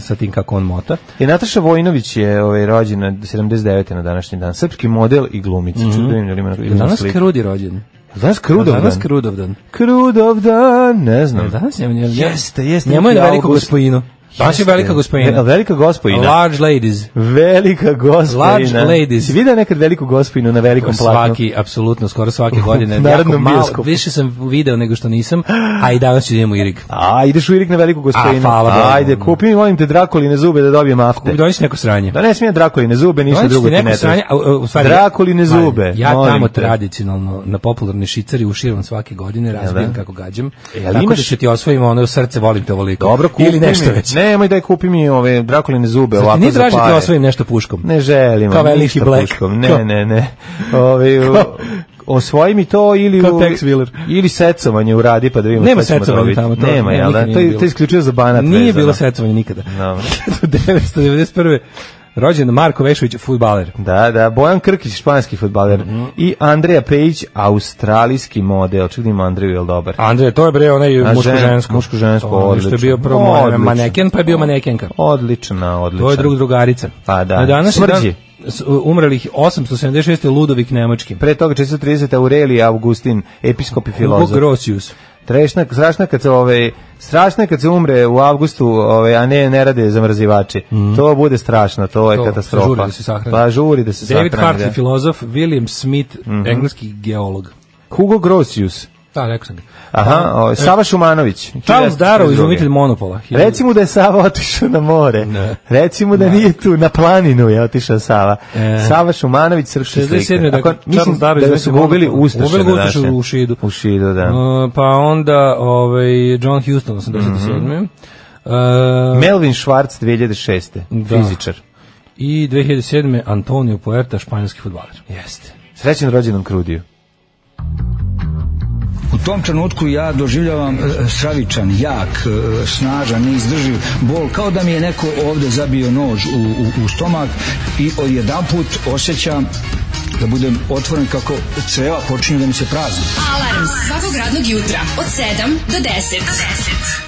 S6: sa tim kako on mota.
S5: I Nataša Vojinović je ovaj, rođena 79. na današnji dan. Srpski model i glumica. Mm -hmm. Čudo im je li ima na
S6: Je li Mhm. danas
S5: sliku.
S6: Krudi rođen?
S5: Danas Krudov dan.
S6: Danas Krudov dan.
S5: Krudov dan, ne znam.
S6: Danas je on je...
S5: Jeste, jeste.
S6: Njemu je
S5: neki
S6: veliko
S5: august.
S6: gospojino. Danas je
S5: Jeste.
S6: velika
S5: E,
S6: gospojina.
S5: Velika gospojina.
S6: Large ladies.
S5: Velika gospojina.
S6: Large ladies.
S5: Si vidio nekad veliku gospojinu na velikom platnu?
S6: Svaki, apsolutno, skoro svake godine.
S5: narodnom
S6: Jako malo,
S5: bioskopu.
S6: više sam video nego što nisam, a i danas ću idemo u Irig.
S5: A, ideš u Irik na veliku gospojinu.
S6: A, hvala Bogu.
S5: Ajde, kupi mi, molim te, drakoline zube da dobijem afte.
S6: Dođeš neko sranje.
S5: Da ne smijem drakoline zube, ništa
S6: Dođeš ti
S5: drugo ti ne treba.
S6: neko sranje, a, a, u stvari- pa,
S5: Drakoline zube.
S6: Ja
S5: molim
S6: tamo
S5: te.
S6: tradicionalno na popularni šicari uširam svake godine, razbijam kako gađam.
S5: Jel
S6: tako da
S5: imaš-
S6: ću ti osvojim ono srce, volim te ovoliko.
S5: Dobro, kupi
S6: Ili nešto
S5: mi.
S6: već.
S5: Nemoj daj kupi mi ove drakoline zube
S6: Ti
S5: ovako
S6: ne
S5: za pare.
S6: tražite da osvojim nešto puškom.
S5: Ne želim.
S6: Kao
S5: ništa
S6: veliki Black.
S5: puškom. Ne,
S6: Kao-
S5: ne, ne. Ove, u- osvoji mi to ili
S6: Kao
S5: u-
S6: Tex Wheeler.
S5: ili secovanje uradi pa da vidimo
S6: Nema
S5: šta ćemo
S6: secovanja
S5: dobiti.
S6: tamo, to-
S5: Nema,
S6: ne,
S5: jel
S6: nikad
S5: da?
S6: nije
S5: To je,
S6: bilo.
S5: to je isključio za banat.
S6: Nije
S5: vezano.
S6: bilo secovanje nikada.
S5: Dobro.
S6: 1991. Rođen Marko Vešović, futbaler.
S5: Da, da, Bojan Krkić, španski futbaler
S6: Mhm.
S5: i Andreja Pejić, australijski model. Čekaj da ima Andreju, je li dobar?
S6: Andrej, to je bre onaj
S5: žen-
S6: muško-žensko.
S5: muško-žensko,
S6: To je Što je
S5: odlično.
S6: bio prvo moj
S5: Odlično.
S6: maneken, pa je bio manekenka.
S5: Odlična, odlična.
S6: To je drug drugarica.
S5: Pa da.
S6: Na današnji
S5: Smrđi.
S6: dan s- umrlih 876. Ludovik Nemački.
S5: Pre toga 430. Aurelija Augustin, episkop i
S6: Hugo
S5: filozof.
S6: Grocius.
S5: Trešna, strašno je kad se ovaj strašno je kad se umre u avgustu, ovaj a ne ne rade zamrzivači. To bude strašno, to je
S6: Mhm. To,
S5: katastrofa.
S6: žuri da se sahrani.
S5: Pa žuri da se
S6: David
S5: sahrani,
S6: Hartley,
S5: da.
S6: filozof, William Smith, engleski geolog.
S5: Hugo Grosius.
S6: Da, rekao sam ga.
S5: Aha, ovaj, Sava Šumanović.
S6: E, Charles
S5: 1932.
S6: Darrow, izumitelj monopola.
S5: Recimo da je Sava otišao na more.
S6: Ne.
S5: Recimo da nije tu, na planinu je otišao Sava.
S6: E.
S5: Sava Šumanović, srpski
S6: 67.
S5: slikar.
S6: Dakle,
S5: Ako- Mislim
S6: Charles Darrow,
S5: da su
S6: izumitelj
S5: ga ubili
S6: monopola.
S5: Ustaše.
S6: Ubili ga Ustaše
S5: današnje.
S6: u Šidu.
S5: U Šidu, da.
S6: Uh, pa onda ovaj, John Houston,
S5: Mhm.
S6: 87. Uh,
S5: Melvin Schwartz, 2006.
S6: Da.
S5: Fizičar.
S6: I 2007. Antonio Puerta, španjolski futbaler.
S5: Jeste. Srećen rođendan Krudiju.
S7: U tom trenutku ja doživljavam e, stravičan, jak, e, snažan, neizdrživ bol, kao da mi je neko ovde zabio nož u, u, u stomak i odjedanput osjećam da budem otvoren kako creva počinju da mi se prazni.
S8: Alarm svakog radnog jutra od 7 do 10. Do 10.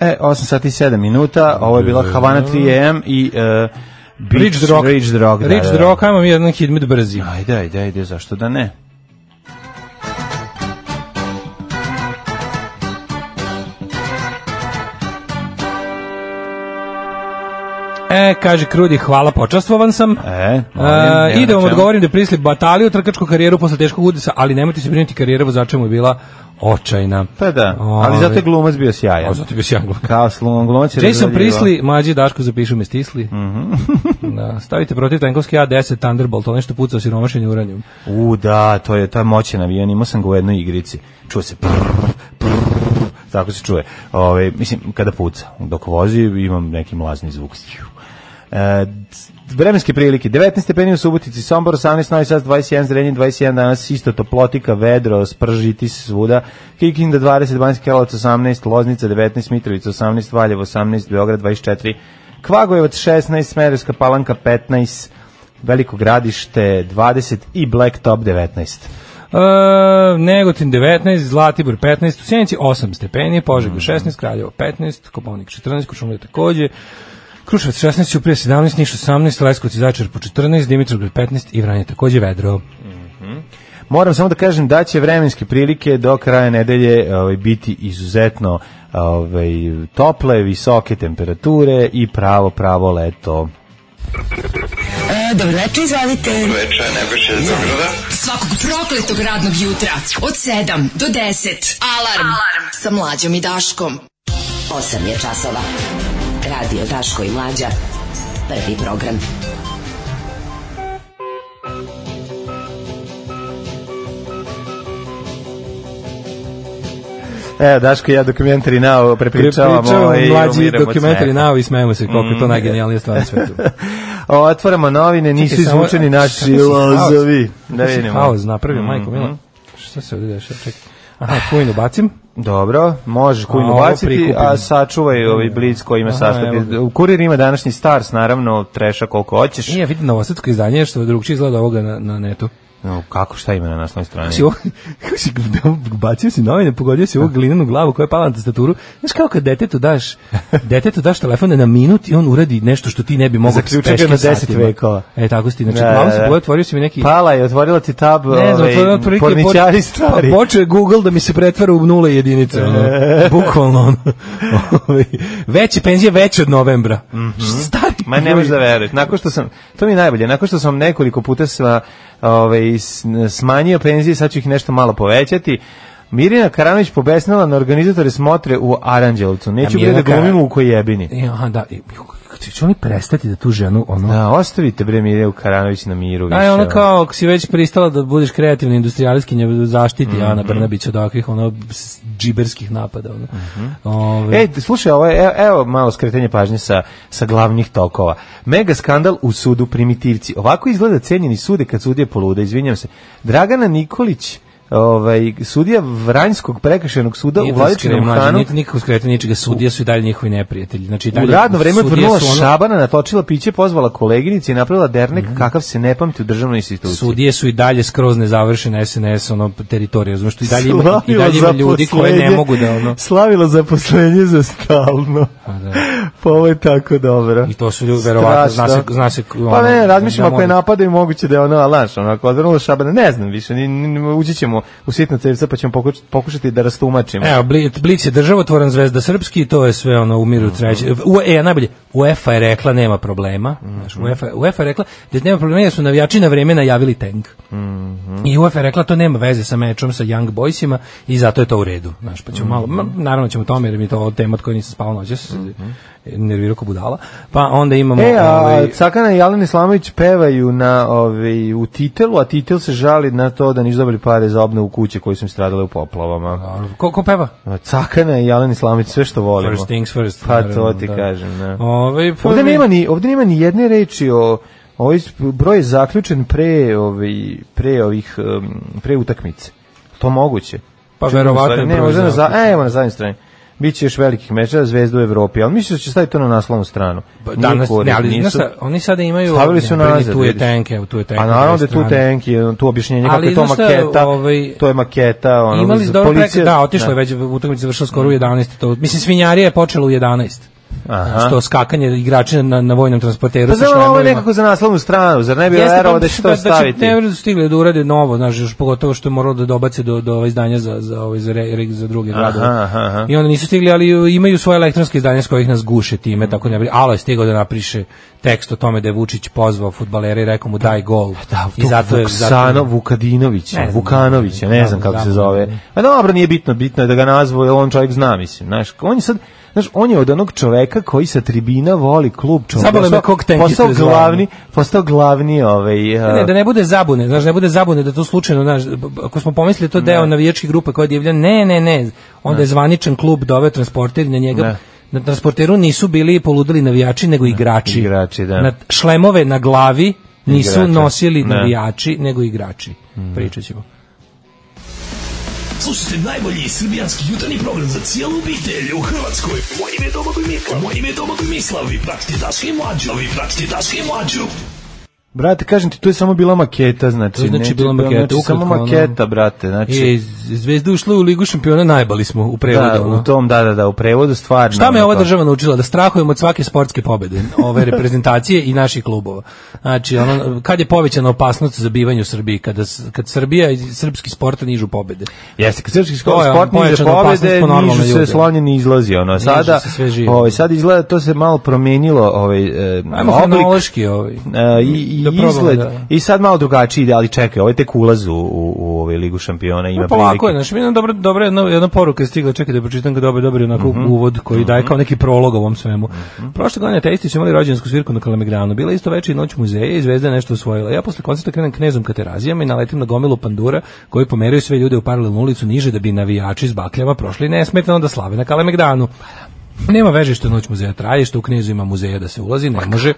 S5: E, 8 sati i 7 minuta, ovo je bila Havana 3AM i e, Beach,
S6: Rich Rock.
S5: Rich the Rock, da,
S6: Rich
S5: da,
S6: the
S5: da.
S6: Rock, ajmo mi jedan hitmet brzi.
S5: Ajde, ajde, ajde, zašto da ne?
S6: E, kaže Krudi, hvala, počastvovan sam.
S5: E,
S6: Uh,
S5: molim,
S6: I da vam
S5: nema na čemu.
S6: odgovorim da prisli bataliju trkačku karijeru posle teškog udesa, ali nemojte se brinuti karijera vozača mu je bila očajna.
S5: Pa da, ali
S6: Ove,
S5: zato je glumac bio sjajan.
S6: Ovaj. a zato bi se ja glumac.
S5: Kao slum, glumac je
S6: Jason
S5: razvaljivao.
S6: Prisli, mlađi Daško zapišu me stisli.
S5: Mhm.
S6: da, stavite protiv tankovski A10 Thunderbolt, to nešto puca osiromašenje uranijum.
S5: U, da, to je ta moćan avion, imao sam ga u jednoj igrici. Čuo se prr, prr, tako se čuje. Ove, mislim, kada puca, dok vozi imam neki mlazni zvuk. E, vremenske prilike, 19 stepeni u Subotici, Sombor 18, Novi Sad 21, Zrenjanin 21, danas isto toplotika, vedro, spržiti se svuda, Kikinda 20, Banjski Karlovac 18, Loznica 19, Mitrovica 18, Valjevo 18, Beograd 24, Kvagojevac 16, Smederska palanka 15, Veliko gradište 20 i Blacktop 19.
S6: E, Negotin 19, Zlatibor 15, u Sjenici 8 stepeni, Požega
S5: Mhm.
S6: 16, Kraljevo 15, Koponik 14, Kočumlje takođe, Kruševac 16, Uprije 17, Niš 18, Leskovac i Zaječar po 14, Dimitrovgrad 15 i Vranje takođe vedro.
S5: Moram samo da kažem da će vremenske prilike do kraja nedelje ovaj, biti izuzetno ovaj, tople, visoke temperature i pravo, pravo leto.
S8: E, Dobro večer, izvolite. Dobro večer, Nebojša iz Svakog prokletog radnog jutra od 7 do 10. Alarm, Alarm. sa Mlađom i Daškom.
S9: 8 je časova. Radio Daško i Mlađa. Prvi program.
S5: E, Daško i ja dokumentari nao prepričavamo. ovaj, i
S6: mlađi
S5: umiremo Mhm. od
S6: dokumentari
S5: smeha.
S6: nao i smejemo se koliko je to najgenijalnija stvar na svetu.
S5: O, Otvaramo novine, nisu
S6: Čekaj, samo-
S5: izvučeni
S6: šta
S5: naši
S6: si haos-
S5: lozovi. Da
S6: šta si
S5: vidimo. Mhm,
S6: Haos napravio, majko mila. Šta se ovde dešava? Čekaj. Aha, kujnu bacim.
S5: Dobro, možeš
S6: A,
S5: kujnu
S6: ovo
S5: baciti,
S6: prikupim.
S5: a sačuvaj ovaj blic koji ima
S6: Aha,
S5: sastavljen.
S6: evo ga.
S5: U kurir ima današnji stars, naravno, treša koliko hoćeš.
S6: Nije, vidi novosadsko izdanje, što drugčije izgleda od ovoga na, na netu.
S5: No, kako, šta ima na nasnoj strani?
S6: si ovo- kako si bacio si novine, pogodio si ovu glinenu glavu koja je pala na tastaturu. Znaš kako kad detetu daš, detetu daš telefon na minut i on uradi nešto što ti ne bi mogao s
S5: Zaključio ga
S6: peškim
S5: na 10
S6: satima.
S5: vekova.
S6: E, tako si. Znači,
S5: Da,
S6: malo
S5: da,
S6: si
S5: da.
S6: boje, otvorio si mi neki...
S5: Pala je, otvorila ti tab,
S6: Ne znam,
S5: ovaj,
S6: to je otprilike
S5: porničari
S6: poč-
S5: stvari.
S6: pa počeo je Google da mi se pretvara u nule i jedinice. Ono. Bukvalno ono. Ovaj, veće penzije veće od novembra. Stari.
S5: Mhm. Ma ne možeš da veruješ. Nakon što sam, to mi je najbolje, nakon što sam nekoliko puta sva, ovaj, s- smanjio penzije, sad ću ih nešto malo povećati. Mirjana Karanović pobesnala na organizatore smotre u Aranđelovcu. Neću bre
S6: A
S5: da
S6: Mirjana Kara-
S5: glumimo u kojebini.
S6: E, aha, da. E, ju, Će oni prestati da tu ženu, ono...
S5: Da, ostavite bre Mirjana Karanović na miru više.
S6: Aj, ono kao, ako si već pristala da budiš kreativni industrijalski, nje zaštiti
S5: Mhm,
S6: Ana Brnabić od ovakvih, ono, s- džiberskih napada, ono.
S5: Mhm.
S6: Ove,
S5: Ej, E, slušaj, ovo je, evo, evo malo skretanje pažnje sa, sa glavnih tokova. Mega skandal u sudu primitivci. Ovako izgleda cenjeni sude kad sudije poluda, izvinjam se. Dragana Nikolić, ovaj, sudija Vranjskog prekršenog suda
S6: nije
S5: u
S6: to
S5: Vladičinom
S6: skretanje,
S5: hanu,
S6: Nije nikako skretanje ničega, sudije su i dalje njihovi neprijatelji. Znači, i
S5: u
S6: dalje,
S5: radno vreme
S6: sudije
S5: odvrnula
S6: su ono-
S5: šabana, natočila piće, pozvala koleginici i napravila dernek kakav se ne pamti u državnoj instituciji.
S6: Sudije su i dalje skroz nezavršene SNS ono teritorije, znači i dalje ima i
S5: Slavilo
S6: dalje ima ljudi koji ne
S5: zaposlenje-
S6: mogu da ono
S5: Slavilo zaposlenje za stalno.
S6: da.
S5: Pa ovo je tako dobro.
S6: I to su ljudi, verovatno, zna se-
S5: Strašno.
S6: zna se, ono,
S5: pa ne, razmišljam
S6: da
S5: ako je
S6: može.
S5: napadaju moguće da je ono, ali znaš, ono, ako je odvrnula šabana, ne znam više, ni, ni, ni- ući ćemo u sitna cevca pa ćemo pokušati, pokušati da rastumačimo.
S6: Evo, Bli- Blic je državotvoran zvezda srpski, to je sve ono u
S5: Mhm.
S6: miru treće. U, e, a najbolje, UEFA je rekla nema problema. Znaš,
S5: Mhm.
S6: UEFA, UEFA je rekla da nema problema jer su navijači na vreme najavili tank.
S5: Mhm.
S6: I UEFA je rekla to nema veze sa mečom, sa Young Boysima i zato je to u redu. Znaš, pa ćemo malo, ma,
S5: Mhm.
S6: naravno ćemo o tome jer mi je to tema od koje nisam spao noćas, nervirao ko budala. Pa onda imamo...
S5: E, a
S6: ovaj,
S5: Cakana i Jelen Islamović pevaju na, ovaj, u titelu, a titel se žali na to da nisu dobili pare za obnovu kuće koje su im stradale u poplavama.
S6: ko, ko peva?
S5: A Cakana i Jelen Islamović, sve što volimo.
S6: First things first.
S5: Pa to
S6: naravno,
S5: ti
S6: da.
S5: kažem, da.
S6: Ovaj, pa
S5: Ovde
S6: mi-
S5: nema ni ovde nema ni jedne reči o ovaj sp- broj je zaključen pre ovaj pre ovih em, pre utakmice. To moguće.
S6: Pa
S5: Čekaj,
S6: verovatno
S5: u stvari,
S6: je
S5: Dakle, ne,
S6: broj
S5: možda na za,
S6: zaključen.
S5: e, evo na zadnjoj strani. Biće još velikih meča Zvezda u Evropi, ali mislim da će staviti to na naslovnu stranu.
S6: Pa
S5: Nije
S6: Danas,
S5: korist,
S6: ne, ali
S5: nisu-
S6: znaš šta, oni sada imaju
S5: Stavili su
S6: ne, brini,
S5: nazad,
S6: tu je
S5: vidiš.
S6: tenke, evo, tu je tenke.
S5: A
S6: na
S5: naravno da
S6: drugoj
S5: je tu
S6: strani.
S5: tenki, ono, tu objašnjenje kako
S6: Ali
S5: je to
S6: znaš šta,
S5: maketa,
S6: ovaj,
S5: to je maketa, ono,
S6: Imali su
S5: za-
S6: dobro
S5: policija-
S6: preka, da, otišlo je
S5: Da.
S6: već utakmica završila skoro u 11. To, mislim svinjarija je počela u 11.
S5: Aha.
S6: Što skakanje igrača na, na vojnom transporteru
S5: Pa
S6: sa
S5: znam, ovo je
S6: šlemovima.
S5: nekako za naslovnu stranu, zar ne bi
S6: Jeste,
S5: verovao
S6: pa,
S5: da će to
S6: Da
S5: staviti?
S6: će, ne vrlo stigli da urade novo, znaš, još pogotovo što je moralo da dobace do, do ova izdanja za, za, ovaj, za, re, re- za druge gradove.
S5: aha, aha.
S6: I onda nisu stigli, ali imaju svoje elektronske izdanje s kojih nas guše time, tako ne bi. Alo je stigao da napiše tekst o tome da je Vučić pozvao fudbalere i rekao mu daj gol.
S5: Da,
S6: I zato je... zato
S5: Vuksano, Vukadinović,
S6: Ne znam.
S5: Vukanović, ja ne znam kako se zove. A dobro, nije bitno, bitno je da ga nazvu, jer on čovjek zna, mislim, znaš, on je sad, znaš, on je od onog čoveka koji sa tribina voli klub čovjek.
S6: Zabole me kog tenki
S5: postao
S6: prezvao.
S5: glavni, postao glavni ovaj,
S6: Ne, ne,
S5: uh,
S6: da ne bude zabune, znaš, ne bude zabune da to slučajno, znaš, b- b- ako smo pomislili to deo navijačke grupe koja divlja, ne, ne, ne, onda je zvaničan klub doveo transporter i na njega
S5: Da.
S6: na transporteru nisu bili poludeli navijači, nego igrači.
S5: Igrači, da.
S6: Na šlemove na glavi nisu
S5: Igrači.
S6: nosili
S5: Da.
S6: navijači, nego igrači. Pričat ćemo.
S10: Slušajte najbolji srbijanski jutarnji program za cijelu obitelj u Hrvatskoj. Moje ime je Domagoj Mislav. Moje ime je Domagoj Mislav. Vi pratite Daška i Mlađu. Vi pratite Daška i Mlađu.
S5: brate, kažem ti, tu je samo bila maketa, znači,
S6: To je znači
S5: neće-
S6: bila maketa,
S5: znači, samo
S6: ukratko, ono-
S5: maketa, brate, znači,
S6: Je, zvezda ušla u ligu šampiona, najbali smo u prevodu.
S5: da,
S6: ono.
S5: u tom, da, da, da, u prevodu stvarno.
S6: Šta me
S5: ono,
S6: ova
S5: kao-
S6: država naučila? Da strahujemo od svake sportske pobede, ove reprezentacije i naših klubova. Znači, ono, kad je povećana opasnost za bivanje u Srbiji, kada, s- kad Srbija i srpski sport nižu pobede.
S5: Jeste, kad srpski
S6: To je ono,
S5: sport niže
S6: pojačana opasnost
S5: pobede,
S6: po normalne
S5: nižu se
S6: ljude.
S5: slonjeni izlazi, ono, sada,
S6: se sve živo.
S5: ovaj, sad izgleda, to se malo promijenilo, ovaj, e,
S6: Ajmo
S5: oblik,
S6: hronološki ovaj.
S5: e, i, i
S6: Da probamo,
S5: izgled,
S6: da.
S5: i sad malo drugačiji ide, ali čekaj, ovaj tek ulaz u, u, u ovaj Ligu šampiona ima
S6: No, polako je,
S5: prilike.
S6: znači, jedna dobra, dobra jedna, jedna poruka je stigla, čekaj da pročitam ga dobro, dobro je onako uvod koji daje kao neki prolog ovom svemu. Prošle godine teisti su imali rođensku svirku na Kalemegranu, bila je isto večer i noć muzeja i zvezda je nešto usvojila. Ja posle koncerta krenem knezom ka terazijama i naletim na gomilu pandura koji pomeraju sve ljude u paralelnu ulicu niže da bi navijači s bakljama prošli nesmetano da slave na Kalemegranu. Nema veze što noć muzeja traje, što u knezu ima muzeja da se ulazi, ne može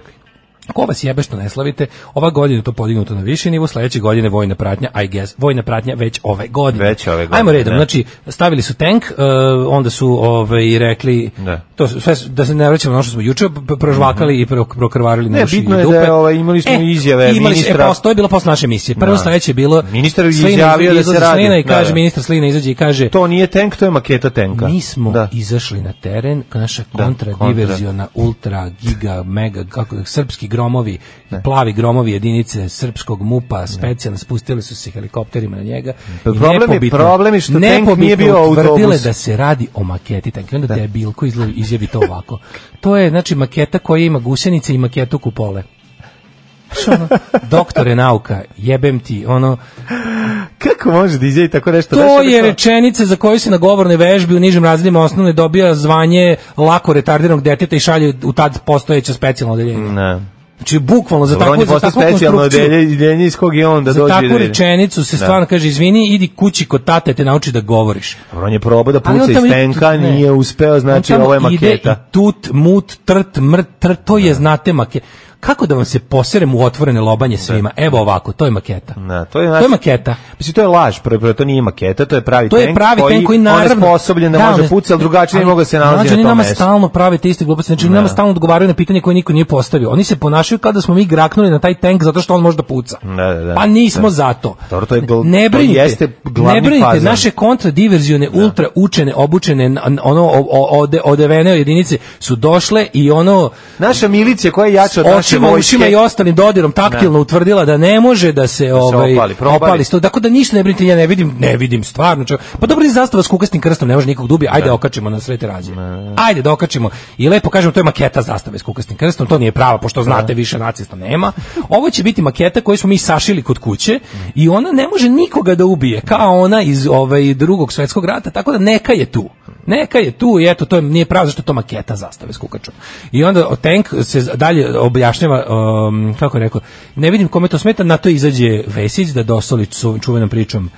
S6: Ko vas jebe što ne slavite, ova godina je to podignuto na viši nivo, sledeće godine vojna pratnja, I guess, vojna pratnja već ove godine.
S5: Već ove godine,
S6: Ajmo redom,
S5: da.
S6: znači, stavili su tank, eh, onda su ovaj, rekli,
S5: Da. Mhm.
S6: to su, sve, su- da se ne vraćamo na ono što smo juče p- prožvakali i pro, prokrvarili
S5: Ne,
S6: naši
S5: bitno je
S6: dupe. E,
S5: da, ovaj, imali smo izjave
S6: imali, smo-
S5: ministra.
S6: E, pa, to je bilo posle naše emisije. Prvo
S5: Da.
S6: sledeće je bilo...
S5: Ministar je
S6: Slina
S5: izjavio da se
S6: izlazi
S5: radi.
S6: Slina i
S5: Da,
S6: kaže,
S5: da.
S6: ministar Slina izađe i kaže,
S5: To nije tank, to je maketa tenka.
S6: mi smo
S5: da.
S6: izašli na teren, naša
S5: Da,
S6: kontradiverziona, ultra, giga, mega, kako da, srpski gromovi, plavi gromovi jedinice srpskog MUPA, specijalno, spustili su se helikopterima na njega.
S5: Pa
S6: i
S5: problem je-
S6: nepobitno-
S5: problem je što tank
S6: nepobitno
S5: nije bio
S6: utvrdile
S5: autobus.
S6: da se radi o maketi tanka. I Onda da. debil koji izla- izjavi to ovako. To je, znači, maketa koja ima gusenice i maketu kupole. Znaš, ono, doktore nauka, jebem ti, ono,
S5: Kako može da izjavi tako nešto? Znaš,
S6: to
S5: ono
S6: je
S5: kao-
S6: rečenica za koju se na govornoj vežbi u nižim razredima osnovne dobija zvanje lako retardiranog deteta i šalje u tad postojeće specijalno odeljenje.
S5: Ne.
S6: Znači, bukvalno za
S5: Mm. Dobro, on
S6: takvu,
S5: je
S6: za
S5: postao
S6: takvu
S5: specijalno
S6: konstrukciju,
S5: odelje- odeljenje iz kog je on da
S6: za
S5: dođe.
S6: takvu
S5: da-
S6: rečenicu se
S5: Da.
S6: stvarno kaže, izvini, idi kući kod tate, te nauči da govoriš.
S5: Dobro, on je probao da
S6: Ali on
S5: puca iz
S6: tamo ide-
S5: tenka,
S6: ne.
S5: nije uspeo, znači
S6: On tamo
S5: ovo je
S6: ide
S5: maketa.
S6: i tut, mut, trt, mrt, trt, to je, znate, maketa. Kako da vam se poserem u otvorene lobanje svima? Evo ovako, to je maketa.
S5: Na, to je
S6: To je
S5: znači
S6: maketa.
S5: Mislim, to je laž, prvo, prvo, to nije maketa, to je pravi
S6: To je
S5: tank
S6: pravi
S5: koji,
S6: tank koji naravno
S5: On je sposobljen da, može
S6: ne-
S5: pucati, ali drugačije ne
S6: ali,
S5: mogu da se nalazi
S6: mlađe,
S5: na
S6: oni
S5: tom
S6: nama
S5: mestu.
S6: stalno prave te iste gluposti, znači oni nama stalno odgovaraju na pitanje koje niko nije postavio. Oni se ponašaju kao da smo mi graknuli na taj tank zato što on može da puca.
S5: Da, da, da.
S6: Pa nismo
S5: Da.
S6: zato.
S5: Dobro, to je gl-
S6: ne
S5: to
S6: brinite,
S5: jeste glavni
S6: ne brinite,
S5: fazon.
S6: naše kontradiverzione, ultra učene, obučene, n- n- ono o- o- ode, odevene jedinice su došle i ono
S5: Naša milicija koja je jača od naše
S6: očima,
S5: vojske.
S6: ušima i ostalim dodirom taktilno utvrdila da ne može da se, ovaj,
S5: opali, probali.
S6: sto. Tako da ništa ne brinite, ja ne vidim, ne vidim stvarno. Čo... Pa dobro, i zastava s kukasnim krstom, ne može nikog dubi, ajde okačimo na svete rađe. Ajde da okačimo. I lepo kažemo, to je maketa zastave s kukasnim krstom, to nije prava, pošto znate, više nacista nema. Ovo će biti maketa koju smo mi sašili kod kuće i ona ne može nikoga da ubije, kao ona iz ovaj, drugog svetskog rata, tako da neka je tu. Neka je tu i eto, to je, nije pravo, zašto je to maketa zastave s kukačom. I onda o, tank se z- dalje objašnjava, um, kako je rekao, ne vidim kome to smeta, na to izađe Vesić da dosoli su, čuvenom pričom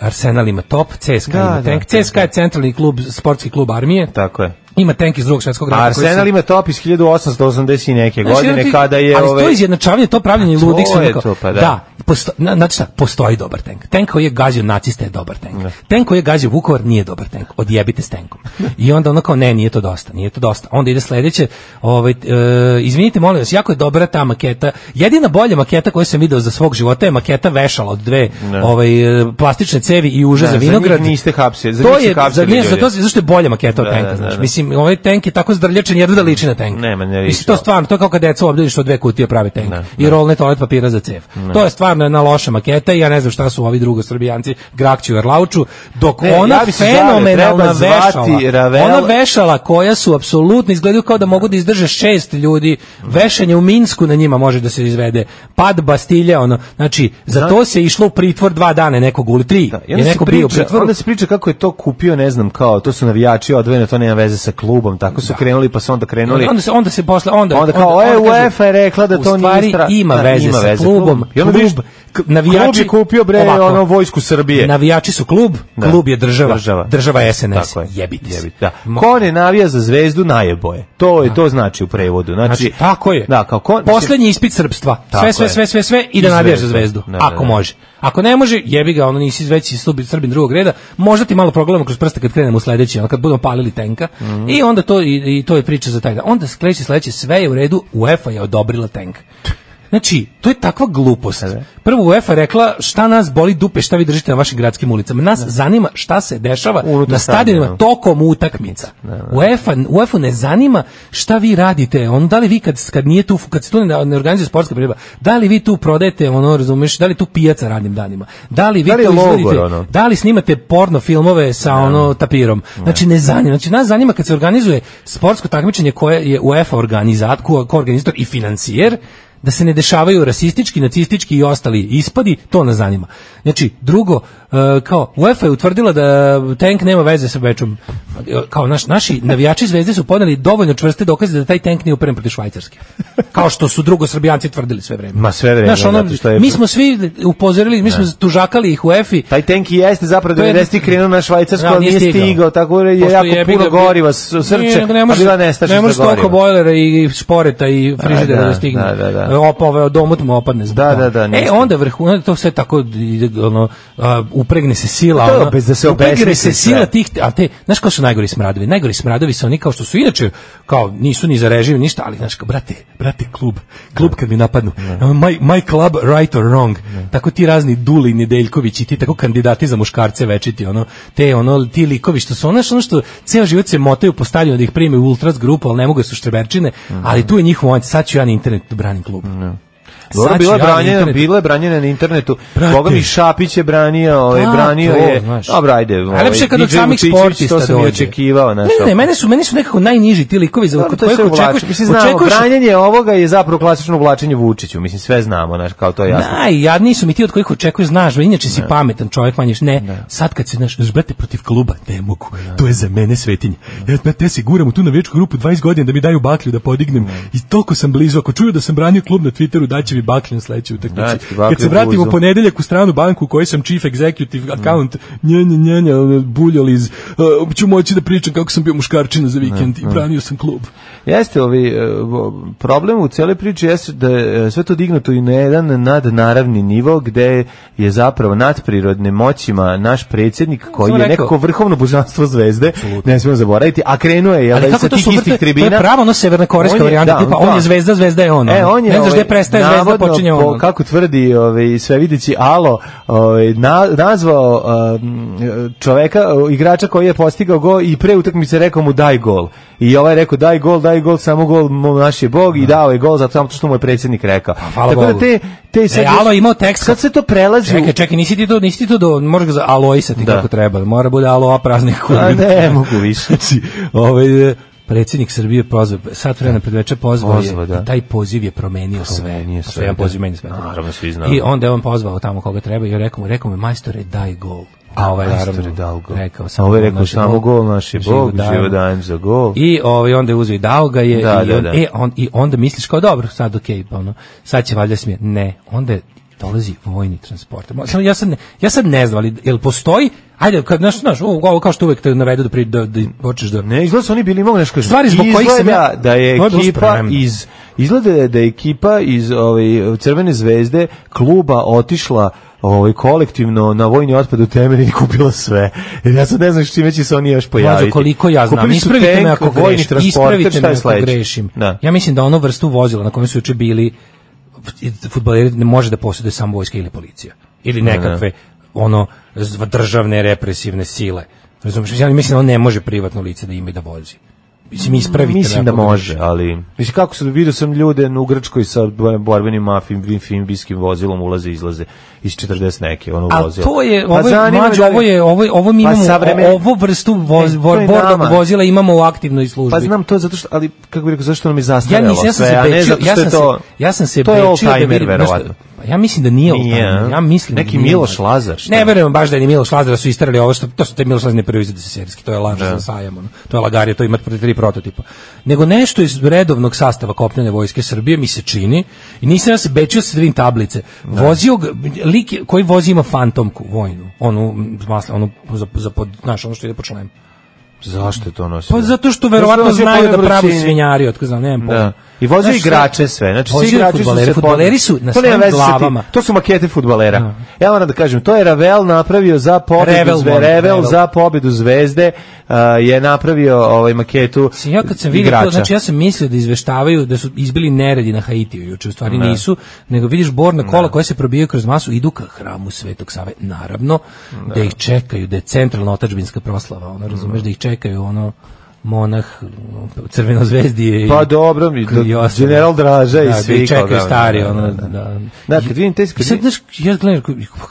S6: Arsenal ima top, CSKA
S5: Da,
S6: ima
S5: da,
S6: tank. CSKA je centralni klub, sportski klub armije.
S5: Tako je.
S6: Ima tank iz drugog svetskog rata.
S5: A
S6: koji se-
S5: Arsenal ima top iz 1880 i neke
S6: Znaš,
S5: godine
S6: jedno ti-
S5: kada je...
S6: Znači, Ali
S5: ovaj-
S6: to izjednačavanje, to pravljanje
S5: to
S6: ludih su
S5: je
S6: neko-
S5: to, pa da.
S6: da. posto, na, znači šta, postoji dobar tank. Tank koji je gazio naciste je dobar tank. Tank koji je gazio Vukovar nije dobar tank. Odjebite s tankom. I onda ono kao ne, nije to dosta, nije to dosta. Onda ide sledeće, ovaj e, izvinite molim vas, jako je dobra ta maketa. Jedina bolja maketa koju sam video za svog života je maketa vešala od dve ovaj e, plastične cevi i uže
S5: Ne, za
S6: za
S5: njih
S6: vinograd.
S5: niste hapsili, za
S6: to
S5: njih su
S6: je
S5: hapsili
S6: za, ne,
S5: ljude.
S6: za to zašto je bolja maketa od
S5: Da,
S6: tanka,
S5: da,
S6: znaš.
S5: da, da.
S6: Mislim ovaj tank je tako zdrljačen jedva da liči na tank.
S5: Nema, ne liči,
S6: Mislim to
S5: ali.
S6: stvarno, to je kao kad deca obdeliš od dve kutije prave tank i rolne toalet papira za cev. To je stvarno jedna loša maketa i ja ne znam šta su ovi drugo srbijanci Grakću i Erlauču, dok
S5: Ne,
S6: ona
S5: E, ja bi se
S6: fenomenalna
S5: žalio, treba zvati
S6: vešala,
S5: Ravel-
S6: ona vešala koja su apsolutno izgledaju kao da mogu da izdrže šest ljudi, vešanje u Minsku na njima može da se izvede, pad Bastilja, ono, znači, za to se išlo u pritvor dva dana, je nekog uli, tri,
S5: Da, i
S6: je
S5: onda, se
S6: neko bio u
S5: priča,
S6: pritvoru.
S5: onda se priča kako je to kupio, ne znam, kao, to su navijači odvojeno, to nema veze sa klubom, tako su krenuli, pa su onda krenuli.
S6: onda se onda se posle onda
S5: Onda kao, e,
S6: kažu,
S5: UEFA je rekla da
S6: u
S5: to nije
S6: stvari
S5: stra-
S6: ima
S5: da,
S6: veze
S5: ima
S6: sa
S5: veze
S6: klubom.
S5: klub. I onda vidiš,
S6: Klub-
S5: k-
S6: navijači
S5: klub je kupio, bre, ono, vojsku Srbije.
S6: Navijači su klub,
S5: Da.
S6: klub je država,
S5: Država.
S6: država, je SNS.
S5: Tako je.
S6: Jebite. se.
S5: Da.
S6: Mo-
S5: Ko ne navija za zvezdu, najebo je. To, je, to znači u prevodu. Znači,
S6: Znači, tako je.
S5: Da, kao ko,
S6: Poslednji ispit srpstva.
S5: Tako
S6: Sve, sve,
S5: je.
S6: sve, sve, sve i
S5: I
S6: da navijaš za
S5: zvezdu.
S6: zvezdu.
S5: Da, da,
S6: ako
S5: da.
S6: može. Ako ne može, jebi ga, ono nisi već si slubi- srbin drugog reda. Možda ti malo progledamo kroz prste kad krenemo u sledeći, ono kad budemo palili tenka.
S5: Mhm.
S6: I onda to, i, i to je priča za taj dan. Onda sledeće, sledeće, sve je u redu, UEFA je odobrila tank. Znači, to je takva glupost. Prvo UEFA je rekla šta nas boli dupe, šta vi držite na vašim gradskim ulicama. Nas zanima šta se dešava
S5: Unutar
S6: na stadionima
S5: stadiona.
S6: tokom utakmica. UEFA UEFA ne zanima šta vi radite. On da li vi kad kad nije tu kad se tu ne, ne organizuje sportska priredba, da li vi tu prodajete ono razumeš, da li tu pijaca radnim danima? Da li vi
S5: Da li je
S6: to
S5: logor,
S6: izvodite?
S5: ono?
S6: Da li snimate porno filmove sa ono tapirom? Znači ne zanima. Znači nas zanima kad se organizuje sportsko takmičenje koje je UEFA organizat, ko, ko organizator i financijer, da se ne dešavaju rasistički, nacistički i ostali ispadi, to nas zanima. Znači, drugo, e, kao, UEFA je utvrdila da tank nema veze sa Bečom. E, Kao, naš, naši navijači zvezde su podali dovoljno čvrste dokaze da taj tank nije uperen protiv Švajcarske. Kao što su drugo srbijanci tvrdili sve vreme.
S5: Ma, sve vreme,
S6: Znaš, ono,
S5: zato što je-
S6: mi smo svi upozorili, mi smo tužakali ih u EFI,
S5: Taj tank i jeste zapravo
S6: To je-
S5: 90 krenuo na švajcarsko,
S6: Da,
S5: ali nije
S6: nije
S5: stigao.
S6: stigao.
S5: tako je
S6: Pošto
S5: jako
S6: jebi
S5: puno
S6: ga, bi-
S5: goriva, s- srce,
S6: Nije, nego
S5: a
S6: može-
S5: bila nestašica
S6: Ne može
S5: goriva.
S6: toliko bojlera i šporeta i frižidera
S5: da,
S6: da stigne.
S5: da, da, da.
S6: opa, ovaj domot mu opadne zbog
S5: Da, da,
S6: toga.
S5: da,
S6: E,
S5: ništa.
S6: onda vrhu, onda to sve tako, ide, ono, a, upregne se sila.
S5: To je
S6: ono,
S5: bez da se
S6: Upregne
S5: obesmisli
S6: se
S5: sve.
S6: sila tih, a te, znaš ko su najgori smradovi? Najgori smradovi su oni kao što su inače, kao nisu ni za režim, ništa, ali znaš, kao, brate, brate, klub, klub kad mi napadnu, my, my club right or wrong, tako ti razni Duli Nedeljković i ti tako kandidati za muškarce večiti, ono, te, ono, ti likovi što su, ono, ono što ceo život se motaju po stadionu da ih prime u ultras grupu, ali ne mogu jer su štreberčine,
S5: Mhm.
S6: ali tu je njihov moment, sad ću ja na internet da branim klub.
S5: Dobro,
S6: Sad
S5: bila je
S6: ću ja na
S5: branjena,
S6: internetu.
S5: bila je branjena na internetu.
S6: Brate.
S5: Boga mi Šapić je branio, ovaj
S6: Da,
S5: branio
S6: to,
S5: je.
S6: znaš.
S5: Dobro, ajde. ovaj,
S6: Najlepše je kad od
S5: DJ
S6: samih
S5: Vučićević,
S6: sportista
S5: to sam i
S6: dođe.
S5: očekivao,
S6: Ne,
S5: znaš.
S6: ne, ne,
S5: ali-
S6: mene su, meni su nekako najniži ti likovi za
S5: Dobro,
S6: kod
S5: to je
S6: kojih
S5: sve
S6: očekuješ,
S5: uvlačenje. Mislim, znamo,
S6: očekuješ
S5: branjenje ovoga je zapravo klasično uvlačenje Vučiću. Mislim, sve znamo, znaš, kao to je jasno.
S6: Najjadniji su mi ti od kojih očekuješ, znaš, inače si pametan čovjek, manje više. ne. Sad kad se znaš, znaš, brate protiv kluba, ne mogu. To je za mene svetinje. Ja brate ja se guram u tu navijačku grupu 20 godina da mi daju baklju da podignem. I toliko sam blizu, ako čuju da sam branio klub na Twitteru, daće mi baklju na sledećoj
S5: Daće ti
S6: utakmici.
S5: baklju
S6: Kad se
S5: u
S6: vratim u
S5: guzu.
S6: ponedeljak u stranu banku u kojoj sam chief executive account, nje nje nje nje ono, buljol iz uh, ću moći da pričam kako sam bio muškarčina za vikend i branio sam klub.
S5: Jeste, ovi, e, vo- problem u cijeloj priči jeste da je e, sve to dignuto i na jedan nadnaravni nivo gde je zapravo nadprirodne moćima naš predsjednik koji
S6: Samo
S5: je
S6: rekao-
S5: nekako vrhovno božanstvo zvezde, ne smijemo zaboraviti, a krenuo je jel, sa tih
S6: vrte-
S5: istih
S6: To je
S5: tribina.
S6: pravo ono severnokorejska
S5: On je-
S6: varijanta,
S5: da,
S6: tipa on
S5: da.
S6: je zvezda, zvezda je on.
S5: E, on je,
S6: ono, ne znaš
S5: ovaj,
S6: gde prestaje zvezda,
S5: navodno,
S6: počinje ono.
S5: po-
S6: on.
S5: Kako tvrdi ovaj, sve videći Alo, ovaj, na, nazvao um, čoveka, uh, igrača koji je postigao gol i pre utakmice rekao mu daj gol. I ovaj je rekao daj gol, daj gol, samo gol, mo- naš je bog i dao je gol zato samo što mu je predsjednik rekao.
S6: Pa, hvala
S5: Tako da
S6: Bogu.
S5: te, te
S6: E,
S5: još-
S6: Alo je imao tekst.
S5: Sad se to prelazi u-
S6: Čekaj, čekaj, nisi ti to, nisi ti to do, moraš ga za aloisati
S5: Da.
S6: kako treba. Mora bude aloa praznih kurvi.
S5: A ne, mogu više.
S6: Znači, ovaj, e, predsjednik Srbije pozvao, sat vremena pred večer pozvao
S5: Pozvao,
S6: je,
S5: da.
S6: i taj poziv je promenio sve.
S5: Promenio
S6: Pošto
S5: sve,
S6: jedan
S5: da.
S6: poziv meni sve.
S5: Naravno, svi znamo.
S6: I onda je on pozvao tamo koga treba i rekao mu, rekao mu, majstore, daj gol. A ovaj
S5: Majstore,
S6: naravno
S5: dao gol.
S6: rekao
S5: A
S6: samo
S5: ovaj rekao,
S6: naš je
S5: samo gol, naš je
S6: Živo
S5: Bog,
S6: dajem.
S5: živo dajem za gol.
S6: I ovaj onda je uzeo i dao ga je
S5: Da,
S6: i,
S5: da,
S6: on,
S5: da.
S6: E, on, i onda misliš kao dobro, sad okej, pa ono, sad će valjda smije. Ne, onda je- dolazi vojni transport. Mo- Samo ja sad ne, ja sad ne znam, ali jel postoji? Ajde, kad znaš, znaš, ovo ovo kao što uvek te navedu da pri da da počneš da
S5: Ne, izgleda su oni bili mogu nešto.
S6: Stvari zbog kojih sam ja-
S5: da je
S6: To je bilo
S5: ekipa
S6: spremno.
S5: iz izgleda je da je ekipa iz ovaj Crvene zvezde kluba otišla ovaj kolektivno na vojni otpad u Temerin i kupila sve. Jer ja sad ne znam s čime će se oni još pojaviti.
S6: Mlađo, koliko ja znam,
S5: Kupili su
S6: ispravite me
S5: tank,
S6: ako
S5: vojni
S6: grešim.
S5: transporter,
S6: Ispravite
S5: šta
S6: me
S5: je
S6: ako
S5: sledeće?
S6: grešim.
S5: Da.
S6: Ja mislim da ono vrstu vozila na kojem su juče bili fudbaleri ne može da posjeduje samo vojska ili policija ili nekakve ono zv- državne represivne sile. Razumeš? Ja mislim da on ne može privatno lice da ima i da vozi. Mislim ispravite me
S5: Mislim da
S6: ako
S5: može,
S6: grešim.
S5: ali mislim kako su vidio sam ljude u Grčkoj sa borbenim mafijim fimbiskim vozilom ulaze i izlaze iz 40 neke ono
S6: A
S5: vozilo.
S6: to je, ovo je,
S5: zanima me
S6: mlađe,
S5: da li-
S6: ovo je, ovo, je- ovo mi
S5: Pa
S6: imamo,
S5: savremen-
S6: ovo vrstu voz,
S5: Ne, to je
S6: borbenog
S5: nama.
S6: vozila imamo u aktivnoj službi.
S5: Pa znam to je zato što ali kako bih rekao zašto nam je
S6: Ja
S5: zastarelo
S6: nisam, ja sam
S5: Pa sve,
S6: se
S5: a ne
S6: bečio,
S5: zato
S6: ja
S5: što
S6: sam
S5: je
S6: se,
S5: to
S6: ja sam se
S5: to je
S6: bečio da
S5: oldtimer,
S6: vidim, znaš šta-
S5: verovatno.
S6: pa ja mislim da nije
S5: Nije,
S6: oldtimer,
S5: a?
S6: ja mislim da
S5: Neki
S6: nije
S5: Miloš
S6: oldtimer.
S5: Lazar, šta?
S6: Ne verujem baš da je ni Miloš Lazar da su isterali ovo što, to su te Miloš Lazar ne preuzeti se serijski, to je laž za sajam, ono. to je lagarija, to ima pr- tri prototipa. Nego nešto iz redovnog sastava kopnene vojske Srbije mi se čini, i nisam ja se bečio sa vidim tablice, vozio ga, lik je- koji vozi ima fantomku vojnu, onu, mm, masla, onu za, za pod, znaš, ono što ide po člemu.
S5: Zašto je to nosio?
S6: Pa zato što verovatno
S5: verovatno
S6: znaju da pravu svinjari, otko znam, nemam pojma.
S5: Da. I vozio
S6: Znaš,
S5: igrače sve. Znači, svi
S6: vozio je
S5: igrači su
S6: fudbalere,
S5: se
S6: fudbaleri su na
S5: To nema
S6: svojim
S5: veze sa tim.
S6: glavama.
S5: To su makete fudbalera. Ja moram da kažem, to je Ravel napravio za pobedu
S6: Revel,
S5: Zvezde.
S6: molim,
S5: Revel,
S6: Revel.
S5: za pobedu Zvezde uh, je napravio ovaj maketu
S6: Mislim, ja kad sam vidio
S5: igrača.
S6: to, znači ja sam mislio da izveštavaju da su izbili neredi na Haitiju juče, u stvari nisu, nego vidiš borna kola koja se probijaju kroz masu, idu ka hramu Svetog Save, naravno, da ih čekaju, da je centralna otačbinska proslava, ono, razumeš, da ih čekaju, ono, monah crveno zvezdije i-
S5: Pa dobro, mi,
S6: i
S5: do-
S6: ostalo.
S5: general Draža i
S6: da,
S5: svi
S6: da ih
S5: kao,
S6: čekaju
S5: da,
S6: stari
S5: da,
S6: ono
S5: da,
S6: da,
S5: da. Da, kad vidim te- kad
S6: I sad,
S5: vidim-
S6: znaš, ja gledam,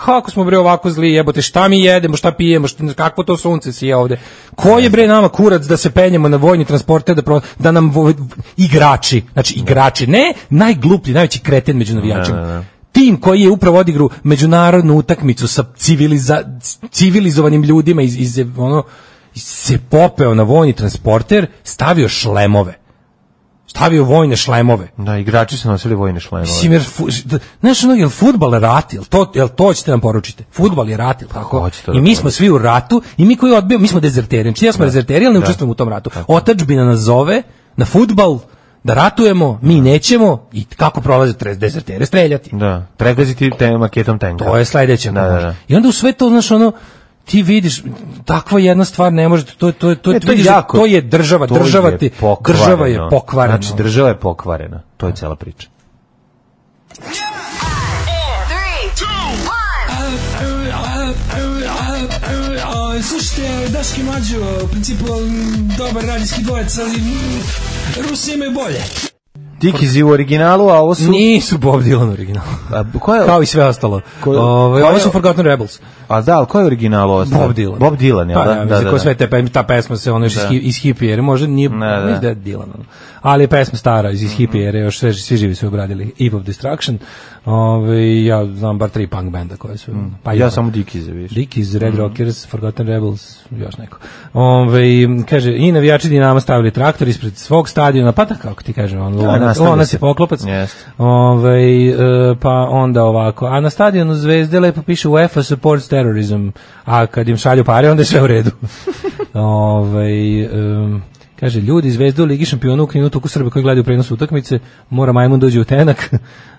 S6: kako smo bre ovako zli, jebote, šta mi jedemo, šta pijemo, šta, kakvo to sunce sije ovde. Ko je bre nama kurac da se penjemo na vojni transporte, da, pro- da nam vo- igrači, znači igrači, ne najgluplji, najveći kreten među navijačima. Tim koji je upravo odigru međunarodnu utakmicu sa civiliza- civilizovanim ljudima iz, iz ono, se popeo na vojni transporter, stavio šlemove. Stavio vojne šlemove.
S5: Da, igrači su nosili vojne šlemove.
S6: Mislim, jer, fu, d- znaš, ono, jel futbal rat, jel to, jel to ćete nam poručiti? Futbal je rat, jel tako?
S5: hoćete da
S6: I mi smo
S5: poručite.
S6: svi u ratu i mi koji odbijamo, mi smo dezerteri. Znači, ja smo dezerteri, ali ne učestvujemo u tom ratu. Otačbina nas zove na futbal, da ratujemo, mi nećemo i kako prolaze tres dezertere streljati.
S5: Da, pregaziti te maketom tenka.
S6: To je sledeće.
S5: Da, da, da.
S6: I onda u sve to, znaš, ono, ti vidiš takva jedna stvar ne može to to to
S5: Ne,
S6: to, vidiš da to je država
S5: E, to
S6: država
S5: je
S6: ti
S5: pokvareno.
S6: država je pokvarena
S5: Znači, država je pokvarena. To je cela priča.
S10: Slušajte, Daški Mađo, u principu m, dobar radijski dvojec, ali m, Rusi imaju bolje.
S5: Tikizi u originalu, a ovo
S6: Ну,
S5: su...
S6: Nisu Bob Dylan original.
S5: A, ko je,
S6: Kao i sve ostalo.
S5: Ko-
S6: Ovaj,
S5: ko
S6: ovo
S5: je-
S6: su Forgotten Rebels.
S5: a da, ali ko je original ovo?
S6: Bob Dylan.
S5: Bob Dylan, jel
S6: Pa,
S5: da?
S6: ja,
S5: Da,
S6: mislim,
S5: da,
S6: ko
S5: da.
S6: sve te pe- ta pesma se ono još iz, hi- iz hippie ere, možda nije,
S5: Da, da.
S6: mislim da je Dylan. ono. Ali je pesma stara iz, iz hippie ere, još sve, svi živi su obradili Eve of Destruction. Э, Ove, ja znam bar tri punk benda koje su. Pa i
S5: Ja
S6: ono.
S5: samo Tikizi, vidiš.
S6: Lik iz
S5: Mhm.
S6: Red Rockers, Forgotten Rebels, još neko. Ove, kaže, i navijači Dinama stavili traktor ispred svog stadiona, pa tako kako ti kažem, on, ona,
S5: nastavlja
S6: ona
S5: se.
S6: se poklopac.
S5: Jeste.
S6: Ovaj, e, pa onda ovako, a na stadionu Zvezde lepo piše UEFA supports terrorism, a kad im šalju pare, onda je sve u redu. Ovaj, em, kaže, ljudi Zvezde u Ligi šampiona ukrinu toku Srbe koji gledaju prenos utakmice, mora Majmun dođe u tenak.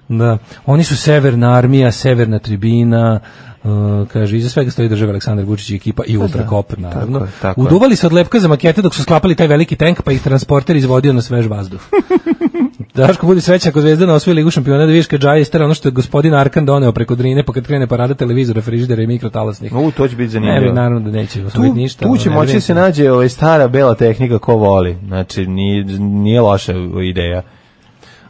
S6: da. Oni su severna armija, severna tribina, e, kaže, iza svega stoji država Aleksandar Vučić i ekipa i Ultra Kop, naravno.
S5: Pa tako je, tako je.
S6: Uduvali se od lepka za makete dok su sklapali taj veliki tank, pa ih transporter izvodio na svež vazduh. Daško budi srećan ako Zvezdana osvoji ligu šampiona da vidiš kad Džaja istera ono što je gospodin Arkan doneo preko Drine pa kad krene parada televizora, frižidera i mikrotalasnih.
S5: U, to će biti
S6: Ne,
S5: zanimljivo.
S6: bi, naravno da neće
S5: tu,
S6: osvojiti ništa.
S5: tu
S6: ali
S5: će
S6: ne
S5: moći
S6: vidim
S5: da se nađe ovaj, stara bela tehnika ko voli. Znači, nije, nije loša ideja.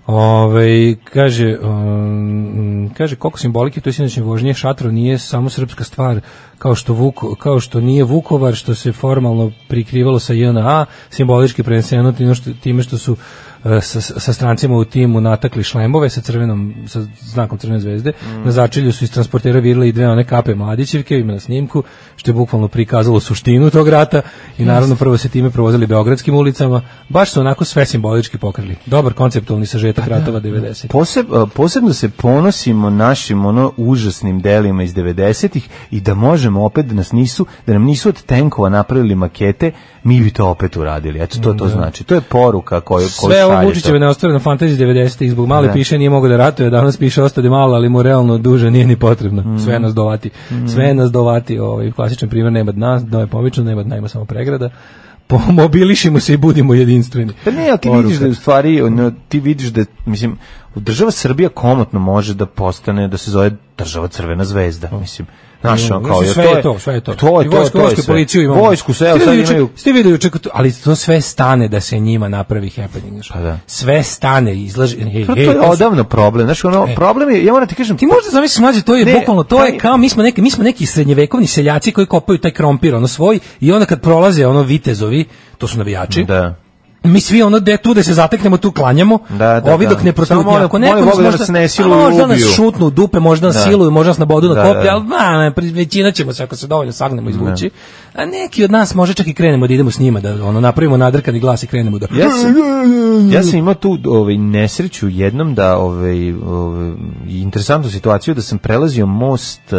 S6: Ove, Ovaj, kaže, um, kaže, koliko simbolike to je sinoćne vožnje, šatro nije samo srpska stvar, kao što, Vuko, kao što nije Vukovar, što se formalno prikrivalo sa JNA, simbolički preneseno time što, time što su e, sa, sa strancima u timu natakli šlemove sa crvenom sa znakom crvene zvezde. Na začelju su iz transportera virile i dve one kape Mladićevke, ima na snimku, što je bukvalno prikazalo suštinu tog rata i naravno prvo se time provozili beogradskim ulicama. Baš su onako sve simbolički pokrili. Dobar konceptualni sažetak ratova 90.
S5: Poseb, a, posebno se ponosimo našim ono užasnim delima iz 90-ih i da možemo opet da nas nisu da nam nisu od tenkova napravili makete, mi bi to opet uradili. Eto to to znači. To je poruka koju koju
S6: Sve ovo
S5: šalje
S6: Vučićeve
S5: to.
S6: neostvareno fantazije 90-ih zbog male
S5: Da.
S6: piše nije mogao da ratuje, danas piše ostade malo, ali mu realno duže nije ni
S5: Mm.
S6: potrebno. Sve nas dovati. Sve nas dovati. Ovaj klasičan primer nema dna, dno je pomično, nema dna, ima samo pregrada. Pomobilišimo se i budimo jedinstveni.
S5: Pa ne, ali ti
S6: Poruka.
S5: vidiš da je u stvari, ono, ti vidiš da, mislim, država Srbija komotno može da postane, da se zove država Crvena zvezda, mislim. Znaš, ono, kao,
S6: Mm. Mislim,
S5: jer
S6: sve je to, sve je to.
S5: To je
S6: I
S5: to,
S6: vojsku,
S5: to je
S6: vojsku i
S5: sve.
S6: policiju imamo.
S5: Vojsku, sve, ali
S6: Ste
S5: sad
S6: videli juče-
S5: imaju...
S6: Ste videli juče, kod- ali to sve stane da se njima napravi happening. znaš.
S5: Pa da.
S6: Sve stane, izlaži... Hej,
S5: Pa to
S6: hej,
S5: je
S6: to su-
S5: odavno problem, znaš, ono, problem je, ja moram ti kažem,
S6: E. Ti možda zamisliš mlađe, to je
S5: Ne,
S6: bukvalno, to je
S5: taj-
S6: kao mi smo neki, mi smo neki srednjevekovni seljaci koji kopaju taj krompir, ono svoj, i onda kad prolaze ono vitezovi, to su navijači,
S5: Da.
S6: mi svi ono de tu da se zateknemo tu klanjamo
S5: Da, da,
S6: ovi
S5: da.
S6: dok
S5: Samo
S6: ne protutnju
S5: molim-
S6: ako
S5: molim
S6: neko nas
S5: Boga da
S6: možda,
S5: nas ne siluju i
S6: a možda nas
S5: ubiju.
S6: šutnu u dupe možda nas
S5: Da.
S6: siluju možda nas nabodu na
S5: Da,
S6: koplje
S5: da.
S6: ali ma, ne, pri- većina ćemo se ako se dovoljno sagnemo izvući a neki od nas možda čak i krenemo da idemo s njima da ono napravimo nadrkani glas i krenemo da
S5: Ja sam, ja sam imao tu ovaj, nesreću jednom da ovaj, ovaj, interesantnu situaciju da sam prelazio most eh,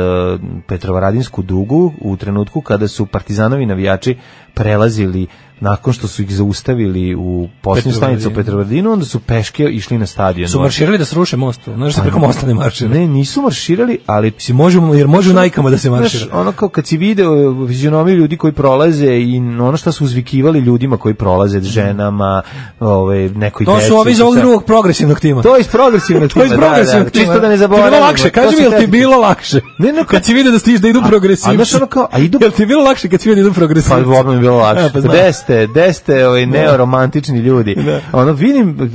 S5: Petrovaradinsku dugu u trenutku kada su partizanovi navijači prelazili nakon što su ih zaustavili u posljednju
S6: Petrovaradinu.
S5: stanicu u Petrovaradinu, onda su peške išli na stadion. Ovaj,
S6: su marširali da sruše most ono, znaš da se preko mosta ne maršira
S5: Ne, nisu marširali, ali
S6: si možemo jer može u najkama da se maršira
S5: Znaš, ono kao kad si video vizionomiju ljudi koji prolaze i ono što su uzvikivali ljudima koji prolaze, ženama, ovaj, nekoj
S6: to
S5: deci.
S6: su ovi iz ovog
S5: sve.
S6: drugog progresivnog tima
S5: To je iz progresivnog
S6: To
S5: tima.
S6: je iz progresivnog
S5: da, da,
S6: tima.
S5: Čisto da ne
S6: Ti
S5: zaboravimo.
S6: bilo lakše,
S5: To
S6: kaži
S5: su
S6: mi, jel ti
S5: te-
S6: bilo lakše?
S5: Ne, ne,
S6: kad si vidio da stiš da idu progresivci.
S5: a znaš ono kao, a idu-
S6: Jel ti bilo lakše kad si vidio da idu
S5: Pa
S6: progresivci?
S5: odmah mi je bilo
S6: E,
S5: lakše.
S6: pa znam.
S5: Gde ste, gde ste ovaj, neoromantični ljudi? Ono, vidim,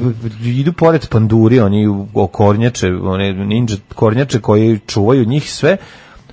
S5: idu pored panduri, oni u- o kornjače, one ninja kornjače koji čuvaju njih sve,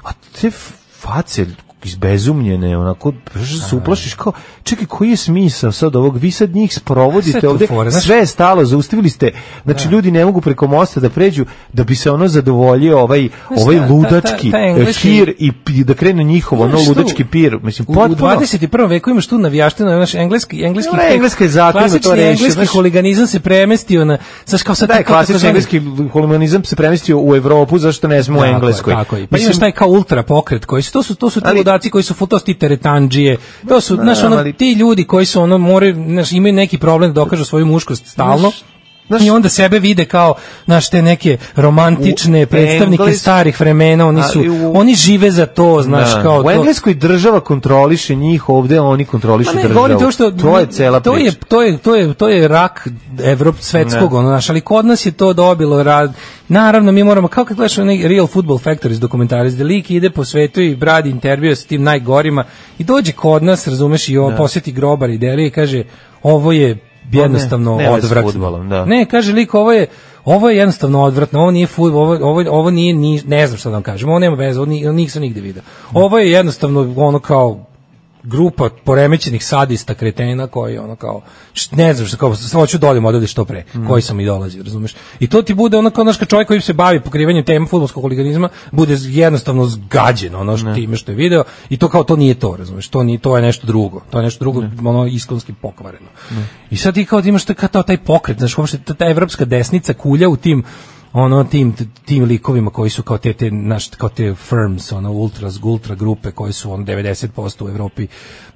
S5: a te face izbezumljene, onako, baš se uplašiš kao, čekaj, koji je smisao sad ovog, vi sad njih
S6: Sve
S5: sprovodite
S6: tu
S5: ovde,
S6: fore, znaš-
S5: sve je stalo, zaustavili ste, znači ljudi ne mogu preko mosta da pređu, da bi se ono zadovoljio ovaj,
S6: Znaš
S5: ovaj
S6: šta, ta-
S5: ludački
S6: ta- taj
S5: eh,
S6: engleski-
S5: pir i pi- da krene njihov, ono
S6: Znaš šta,
S5: ludački pir, mislim,
S6: U, u
S5: potpuno...
S6: 21. veku imaš tu navijaštinu, znaš, engleski, engleski,
S5: Ne, engleska je zakonito
S6: klasični
S5: to rešio,
S6: engleski
S5: znaš.
S6: huliganizam se premestio na, znaš, kao sad...
S5: Da, je
S6: tako-
S5: klasični
S6: takozvani-
S5: engleski huliganizam se premestio u Evropu, zašto ne smo u
S6: Tako je,
S5: Engleskoj?
S6: Tako je. Pa
S5: Mislim,
S6: imaš taj kao ultra pokret koji su to su to su ti
S5: Ali-
S6: ludaci koji su futosti teretandžije. To su
S5: Ma,
S6: znaš ono
S5: ali-
S6: ti ljudi koji su ono moraju znaš imaju neki problem da dokažu svoju muškost stalno. I onda sebe vide kao naš te neke romantične
S5: U
S6: predstavnike
S5: Engles-
S6: starih vremena, oni su
S5: Ali u-
S6: oni žive za to, znaš,
S5: Da.
S6: kao
S5: u
S6: to.
S5: Engleskoj država kontroliše njih, ovde oni kontrolišu
S6: Ma Pa ne,
S5: državu.
S6: govorim to što
S5: to je cela
S6: to
S5: priča.
S6: je to je to je to je rak evrop svetskog
S5: Ne.
S6: ono naš, ali kod nas je to dobilo rad. Naravno mi moramo kao kad gledaš onaj Real Football Factory iz dokumentarac da lik ide po svetu i bradi intervjue sa tim najgorima i dođe kod nas, razumeš, i on posjeti grobar i delije i kaže ovo je jednostavno
S5: Pa ne veze s
S6: odvratno.
S5: fudbalom, da.
S6: Ne, kaže lik ovo je ovo je jednostavno odvratno, ovo nije fudbal, ovo, ovo, ovo nije, ni, ne znam šta da vam kažem, ovo nema veze, ovo ni- ovo nisam nigde video. Ovo je jednostavno ono kao grupa poremećenih sadista kretena koji ono kao št- ne znam što kao samo hoću dolje odavde što pre koji sam i dolazio razumeš i to ti bude ono kao naš čovjek koji se bavi pokrivanjem tema fudbalskog huliganizma bude z- jednostavno zgađen ono što time što je video i to kao to nije to razumeš to ni to je nešto drugo to je nešto drugo ono iskonski pokvareno i sad ti kao da imaš taj- kao taj pokret znaš uopšte ta, ta evropska desnica kulja u tim ono tim tim likovima koji su kao te te naš kao te firms ono ultra ultra grupe koji su on 90% u Evropi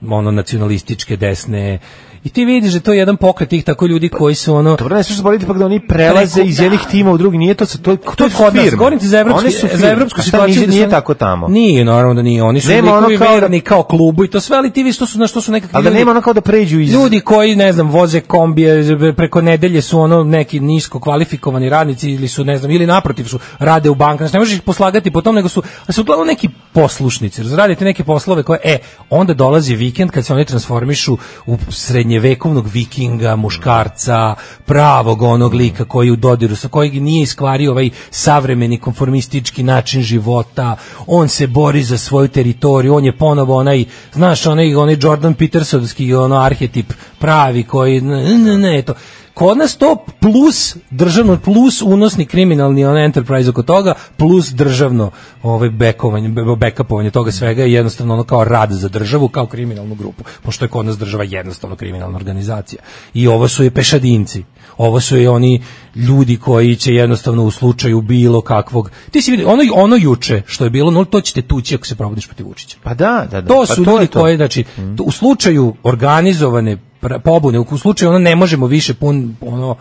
S6: ono nacionalističke desne i ti vidiš da je to jedan pokret tih tako ljudi koji su ono
S5: Dobro, ne smiješ zaboraviti ipak da oni prelaze
S6: Preko-
S5: iz jednih
S6: da.
S5: tima u drugi, nije to sa to, to,
S6: to je kod nas, govorim ti za evropsku,
S5: One su
S6: za
S5: firme.
S6: evropsku
S5: A šta,
S6: situaciju.
S5: Nije,
S6: da su
S5: nije
S6: oni-
S5: tako tamo.
S6: Nije, naravno da nije. Oni su
S5: Nema ono
S6: likovi
S5: kao da-
S6: verni kao klubu i to sve, ali ti vidiš, to su, znaš, to su nekakvi
S5: Ali da
S6: ljudi-
S5: nema ono kao da pređu iz...
S6: Ljudi koji, ne znam, voze kombije, preko nedelje su ono neki nisko kvalifikovani radnici ili su, ne znam, ili naprotiv su, rade u bankama, znači ne možeš ih poslagati po tom, nego su, ali su uglavnom neki poslušnici, razradite neke poslove koje, e, onda dolazi vikend kad se oni transformišu u srednjevekovnog vikinga, muškarca, pravog onog lika koji je u dodiru, sa kojeg nije iskvario ovaj savremeni konformistički način života, on se bori za svoju teritoriju, on je ponovo onaj, znaš, onaj, onaj Jordan Petersonski ono arhetip pravi koji, ne, ne, ne, to. Kod nas to plus državno, plus unosni kriminalni on enterprise oko toga, plus državno ovaj bekovanje, be- bekapovanje toga svega je jednostavno ono kao rad za državu, kao kriminalnu grupu, pošto je kod nas država jednostavno kriminalna organizacija. I ovo su je pešadinci, ovo su je oni ljudi koji će jednostavno u slučaju bilo kakvog, ti si vidi, ono, ono juče što je bilo, no to ćete tući ako se probudiš protiv Vučića.
S5: Pa da, da, da.
S6: To
S5: pa
S6: su
S5: je
S6: ljudi
S5: to. Mm.
S6: koji, znači, t- u slučaju organizovane pra- pobune, u slučaju ono ne možemo više pun, ono,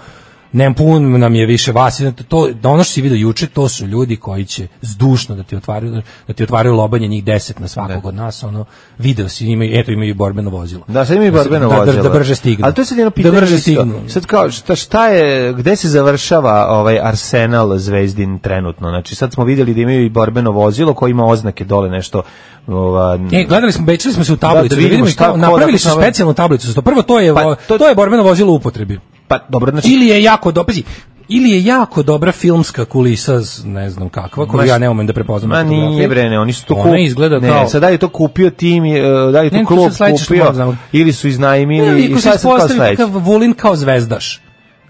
S6: ne pun nam je više vas, to, da ono što si vidio juče, to su ljudi koji će zdušno da ti otvaraju, da ti otvaraju lobanje njih deset na svakog od nas, ono, video si, imaju, eto imaju i borbeno vozilo.
S5: Da, sad imaju
S6: Da se-
S5: borbeno
S6: da- da-
S5: vozilo.
S6: Da, brže stignu.
S5: Ali to je sad jedno
S6: Da
S5: pitanje.
S6: brže
S5: isto.
S6: stignu.
S5: Sad kao, šta, šta je, gde se završava ovaj Arsenal Zvezdin trenutno? Znači, sad smo vidjeli da imaju i borbeno vozilo koje ima oznake dole nešto... Ova,
S6: E, gledali smo, bečili smo se u tablicu, da,
S5: vidimo
S6: vidimo
S5: šta,
S6: šta,
S5: ko,
S6: napravili
S5: da
S6: su
S5: poznava-
S6: specijalnu tablicu. za to. Prvo, to je,
S5: Pa,
S6: vo-
S5: to-
S6: to je borbeno vozilo u upotrebi.
S5: pa, dobro, znači...
S6: ili je jako dobro, pazi, ili je jako dobra filmska kulisa, z- ne znam kakva, koju
S5: Ma
S6: ja
S5: š-
S6: ne umem da prepoznam. na
S5: Ma nije
S6: fotografiji.
S5: bre, ne, oni su to
S6: Ona
S5: kup-
S6: izgleda
S5: ne,
S6: kao-
S5: Sad da li je to kupio tim, e, da li je to
S6: Ne, to
S5: klub
S6: sad sledeće što
S5: kupio,
S6: moram znamo.
S5: ili su
S6: Ili
S5: iznajmili,
S6: ako
S5: i
S6: se
S5: sad sad kao
S6: ispostavi
S5: sledeće.
S6: kakav Vulin kao zvezdaš,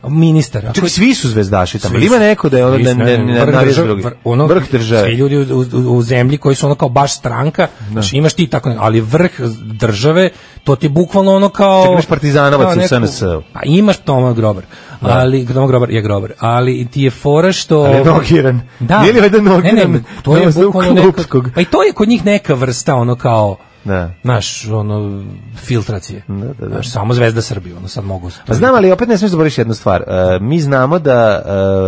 S6: ministar. ako-
S5: Čekaj, svi su zvezdaši tamo.
S6: Svi
S5: Ili
S6: su-
S5: Ima neko da je ono
S6: svi
S5: da
S6: su,
S5: ne,
S6: znam,
S5: ne,
S6: vrh
S5: navez
S6: države,
S5: drugi.
S6: vrh- ono,
S5: Vrh države.
S6: Svi ljudi u, u, u zemlji koji su ono kao baš stranka, znači imaš ti tako, ne- ali vrh države, to ti je bukvalno ono kao...
S5: Čekaj, imaš partizanovaca
S6: kao
S5: u
S6: neku-
S5: SNS-u.
S6: Pa imaš Toma Grobar, ali Toma Grobar je Grobar, ali ti je fora što...
S5: Ali je nokiran.
S6: Da.
S5: Nije li valjda
S6: Ne,
S5: nokiran
S6: ne, to je
S5: na osnovu
S6: bukvalno neka,
S5: klupskog?
S6: pa i to je kod njih neka vrsta ono kao
S5: Da.
S6: naš ono filtracije.
S5: Da, da, da.
S6: Znaš, samo Zvezda Srbije, ono sad mogu.
S5: Pa znam, ali opet ne smiješ zaboraviti jednu stvar. E, mi znamo da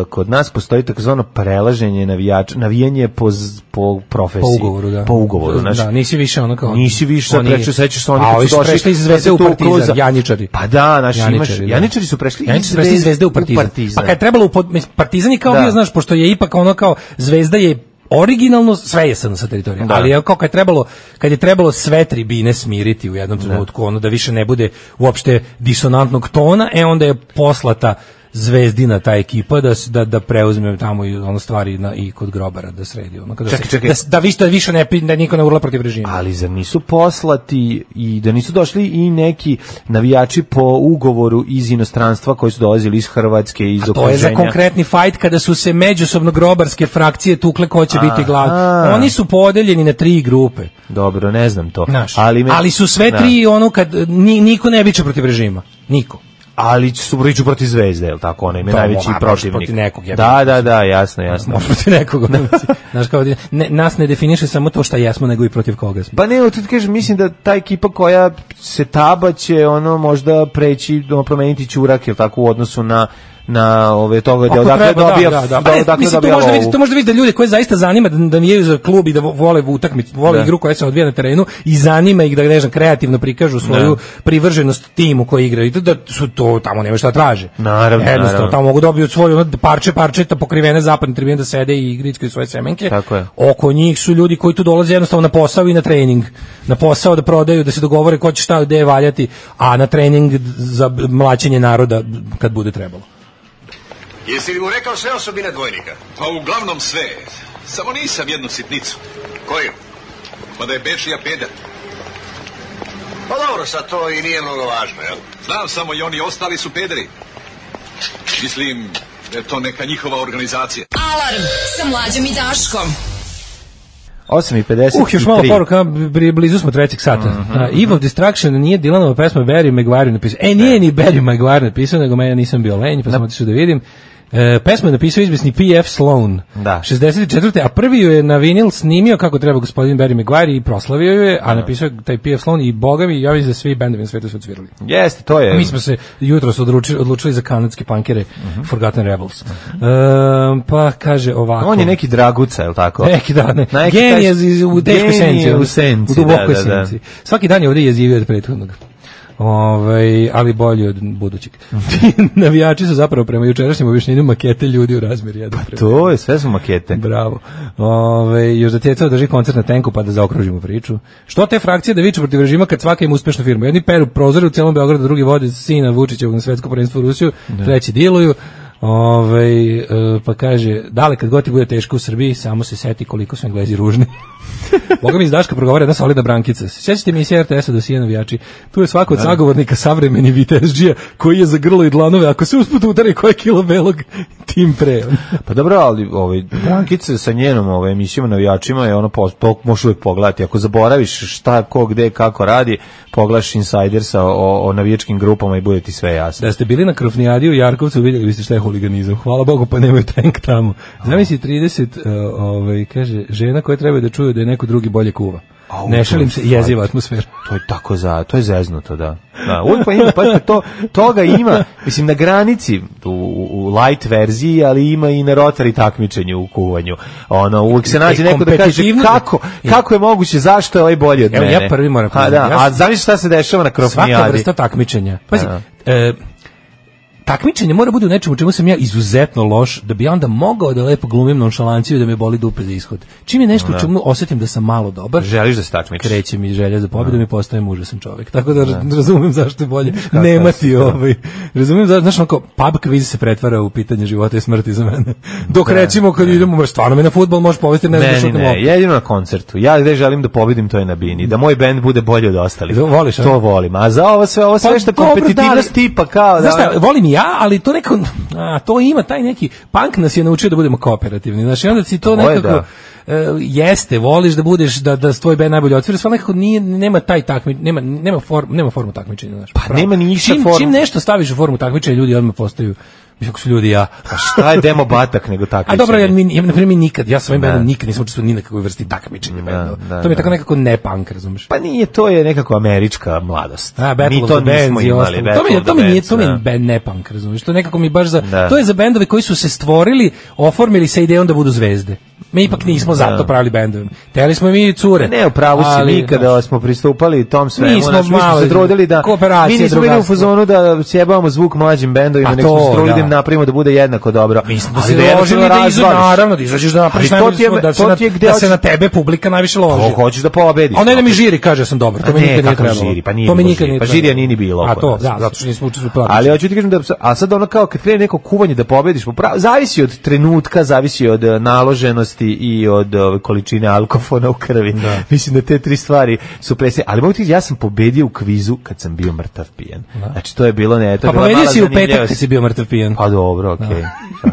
S5: e, kod nas postoji takozvano prelaženje navijača, navijanje po, z- po
S6: po
S5: profesiji.
S6: ugovoru, da.
S5: Po ugovoru, znaš.
S6: Da, nisi više ono kao...
S5: Nisi više sad
S6: oni-
S5: prečio, sećaš se oni
S6: A,
S5: kad
S6: ovi
S5: su došli
S6: prešli iz
S5: kad
S6: Zvezde
S5: se
S6: u
S5: tu
S6: Partizan,
S5: kruza-
S6: Janičari.
S5: Pa da, naš, imaš-
S6: da.
S5: Janičari su prešli iz
S6: Janičari su prešli iz
S5: Zvezde
S6: Zvezde u
S5: u
S6: Partizan.
S5: Partizan.
S6: Pa kad je trebalo, u pod- mislim, Partizan je kao
S5: Da.
S6: bio, znaš, pošto je ipak ono kao, Zvezda je originalno sve je sad sa teritorijom,
S5: Da.
S6: ali je kao kad je trebalo kad je trebalo sve tribine smiriti u jednom trenutku, ono da više ne bude uopšte disonantnog tona, e onda je poslata Zvezdina ta ekipa da s- da da preuzme tamo i ono stvari na i kod grobara da sredi ono kada
S5: Čekaj,
S6: se-
S5: čekaj.
S6: da s- da više da više ne pi- da niko ne urla protiv režima.
S5: Ali zar nisu poslati i da nisu došli i neki navijači po ugovoru iz inostranstva koji su dolazili iz Hrvatske, iz
S6: To je
S5: okruženja?
S6: za konkretni fight kada su se međusobno grobarske frakcije tukle ko će biti
S5: Aha.
S6: glavni. Oni su podeljeni na tri grupe.
S5: Dobro, ne znam to.
S6: Znaš, ali,
S5: ali, me-
S6: su sve
S5: Da.
S6: tri ono kad ni, niko ne biće protiv režima. Niko.
S5: Ali su priču protiv zvezde, je li tako? Ona im je
S6: To
S5: najveći
S6: mora,
S5: protivnik.
S6: protiv nekog, ja bih
S5: da, da, da, jasno, jasno.
S6: Može protiv nekoga. Znaš, kao, ne, nas ne definiše samo to šta jesmo, nego i protiv koga smo.
S5: Pa ne, ali tu ti kažem, mislim da ta ekipa koja se taba će ono možda preći, ono, promeniti čurak, je li tako, u odnosu na na ove toga da
S6: Ako
S5: odakle
S6: treba, da,
S5: dobija
S6: da, da.
S5: da,
S6: Pa,
S5: odakle
S6: mislim, tu
S5: dobija
S6: možda vidite,
S5: lovu.
S6: tu možda vidite ljude koje zaista zanima da, da nijaju za klub i da vo- vole utakmicu, vole
S5: Da.
S6: igru koja se odvija na terenu i zanima ih da ne znam kreativno prikažu svoju privrženost timu koji igraju. I Da, da su to tamo nema šta traže.
S5: Naravno,
S6: Jednostavno,
S5: naravno.
S6: tamo mogu dobiju svoju ono, parče parčeta pokrivene zapadne tribine da sede i grickaju svoje semenke.
S5: Tako je.
S6: Oko njih su ljudi koji tu dolaze jednostavno na posao i na trening. Na posao da prodaju, da se dogovore ko će šta gde valjati, a na trening za mlaćenje naroda kad bude trebalo.
S4: Jesi li mu rekao sve osobine dvojnika? Pa uglavnom sve. Samo nisam jednu sitnicu. Koju? Pa da je Bečija peda. Pa dobro, sad to i nije mnogo važno, jel? Znam samo i oni ostali su pederi. Mislim da je to neka njihova organizacija.
S8: Alarm sa mlađom i Daškom.
S5: 8.53.
S6: Uh, još malo poruka, bri- blizu smo trećeg sata.
S5: Mhm.
S6: A, Eve of Distraction nije Dylanova pesma Barry Maguire napisao. E, nije ni Barry Maguire napisao, nego meni ja nisam bio lenj, pa sam otišao da vidim. E, pesmu je napisao izbisni P.F. Sloan.
S5: Da.
S6: 64. A prvi ju je na vinil snimio kako treba gospodin Barry Maguire i proslavio ju je, a napisao je taj P.F. Sloan i boga mi, ja mislim da svi bendovi na svetu su odsvirali.
S5: Jeste, to je.
S6: Mi smo se jutro se odlučili, odlučili za kanadske pankere
S5: Mhm.
S6: Forgotten Rebels. E, pa kaže ovako.
S5: On je neki draguca, je li tako?
S6: Neki dan, ne.
S5: Neki taj-
S6: Genij je ziz- u teškoj
S5: Genije
S6: senci. ono,
S5: u senci,
S6: u dubokoj
S5: da, da, da.
S6: senci. Svaki dan je ovdje jezivio od prethodnog. Ovaj, ali bolji od budućeg. Ti
S5: Mhm.
S6: navijači su zapravo prema jučerašnjem objašnjenju makete ljudi u razmjer jedan. prema
S5: Pa To je, sve su makete.
S6: Bravo. Ove, još da Ceca održi koncert na tenku pa da zaokružimo priču. Što te frakcije da viču protiv režima kad svaka ima uspešnu firmu? Jedni peru prozore u celom Beogradu, drugi vode sina Vučićevog na svetsko prvenstvo u Rusiju, treći diluju. Ove, e, pa kaže, dale kad god ti bude teško u Srbiji, samo se seti koliko su Englezi ružni. Boga mi iz Daška progovara jedna solidna brankica. Sjećate mi se RTS-a do Sije navijači. Tu je svako od sagovornika savremeni vitezđija koji je za grlo i dlanove. Ako se usput udari koje kilo belog, tim pre.
S5: Pa dobro, ali ovaj Brankica sa njenom ovaj emisijom navijačima je ono pos- to možeš uvijek pogledati. Ako zaboraviš šta ko gde kako radi, pogledaš Insidersa o, o navijačkim grupama i bude ti sve jasno.
S6: Da ste bili na Krofnijadi u Jarkovcu, vidjeli biste šta je huliganizam. Hvala Bogu, pa nemaju tank tamo. Zamisli 30, uh, ovaj, kaže, žena koje treba da čuju da je neko drugi bolje kuva.
S5: Au,
S6: ne šalim se,
S5: to je
S6: jeziva atmosfera.
S5: To je tako za, to je zeznuto, da. Da, uvijek pa ima, pa to, toga ima, mislim, na granici, u, u- u light verziji, ali ima i na rotari takmičenju u kuvanju. Ono, uvijek se nađe neko da kaže
S6: E, kompetitivno-
S5: kako, kako je moguće, zašto je ovaj bolji od
S6: Evo,
S5: mene.
S6: ja prvi moram
S5: A,
S6: priznati,
S5: da, a
S6: ja sam-
S5: zamisli šta se dešava na krofnijadi.
S6: Svaka vrsta takmičenja. Pazi,
S5: Da.
S6: e, takmičenje mora bude u nečemu u čemu sam ja izuzetno loš, da bi ja onda mogao da lepo glumim nonšalanciju i da me boli dupe za ishod. Čim je nešto u čemu osjetim da sam malo dobar,
S5: Želiš da se takmičiš?
S6: kreće mi želja za pobjedom i postajem užasan čovjek. Tako da razumijem zašto je bolje
S5: Kako
S6: nemati
S5: si, da.
S6: ovaj. Razumijem zašto, znaš, onako, pub quiz se pretvara u pitanje života i smrti za mene. Dok recimo kad idemo, stvarno me na fudbal možeš povesti, ne znam da
S5: Ne, ne,
S6: šutnem
S5: ne,
S6: loptu.
S5: jedino na koncertu. Ja gde želim da pobedim, to je na bini. Da moj bend bude bolji od ostalih.
S6: Da, voliš, a? Pa
S5: To volim. A za ovo sve, ovo sve što je
S6: dobro,
S5: kompetitivnost
S6: da, ali-
S5: tipa kao...
S6: Znaš
S5: da, ono,
S6: šta, volim i ja, ali to neko, a, to ima taj neki, punk nas je naučio da budemo kooperativni, znaš, i onda si to
S5: To je
S6: nekako, e, jeste, voliš da budeš, da, da tvoj band najbolje odsvira, sve nekako nije, nema taj takmi, nema, nema, form, nema formu takmičenja, znaš.
S5: Pa nema ni išta
S6: čim,
S5: formu.
S6: Čim nešto staviš u formu takmičenja, ljudi odmah postaju, Kako su ljudi ja.
S5: Pa šta je demo batak nego takmičenje?
S6: A dobro, ja, mi, ja, na primjer, mi nikad, ja svojim bandom nikad nisam učestvovao ni na kakvoj vrsti takmičenja bendova.
S5: da,
S6: to mi
S5: da.
S6: je tako nekako ne punk, razumeš?
S5: Pa nije, to je nekako američka mladost.
S6: A, Battle
S5: mi to
S6: of the
S5: nismo
S6: Bands i
S5: imali.
S6: ostalo.
S5: Battle
S6: To mi, je-
S5: of
S6: to
S5: the
S6: mi nije,
S5: Bands,
S6: to mi je
S5: da.
S6: ben- ne punk, razumiješ? To nekako mi baš za,
S5: Da.
S6: to je za bendove koji su se stvorili, oformili se idejom da budu zvezde. Mi ipak nismo zato pravili bendove. Teli smo i mi cure.
S5: Ne, u pravu si, ono,
S6: ali,
S5: mi kada smo pristupali tom svemu,
S6: Mi smo
S5: znači, mi smo
S6: malo-
S5: se trudili da,
S6: kooperacija,
S5: mi nismo bili u
S6: drugarstvo.
S5: fazonu da sjebavamo zvuk mlađim bendovima,
S6: Pa
S5: nego smo
S6: to,
S5: se trudili da
S6: da.
S5: im napravimo da bude jednako dobro.
S6: Mi smo
S5: Ali
S6: se
S5: jednostavno
S6: ložili da iza,
S5: razvališ.
S6: naravno, da izađeš da napraviš
S5: Ali to
S6: najbolje
S5: ti je-
S6: svoje, da, se
S5: to
S6: na,
S5: ti je gde
S6: da se
S5: hoćeš-
S6: na tebe publika najviše
S5: Ako
S6: loži.
S5: hoćeš da pobediš.
S6: A ne da mi žiri kaže da sam dobar,
S5: Pa
S6: to mi
S5: ne,
S6: nikad nije
S5: kakav
S6: trebalo.
S5: žiri, pa nije
S6: to mi
S5: bilo
S6: nikad
S5: žiri,
S6: nije
S5: pa
S6: trebalo.
S5: žirija nije ni bilo
S6: A
S5: kod
S6: to,
S5: nas.
S6: da, zato što nismo učestvovali.
S5: Ali hoću ti kažem da a sad ono kao kad krene neko kuvanje da pobediš, pa pravo- zavisi od trenutka, zavisi od e, naloženosti i od ove, količine alkofona u krvi. Mislim da te tri stvari su presne. Ali mogu ti reći, ja sam pobedio u kvizu kad sam bio mrtav pijen. Znači to je bilo ne, to je
S6: Pa
S5: bila
S6: pobedio
S5: mala
S6: si u petak
S5: zanimljivost.
S6: kad si bio mrtav pijen.
S5: Pa dobro, okej.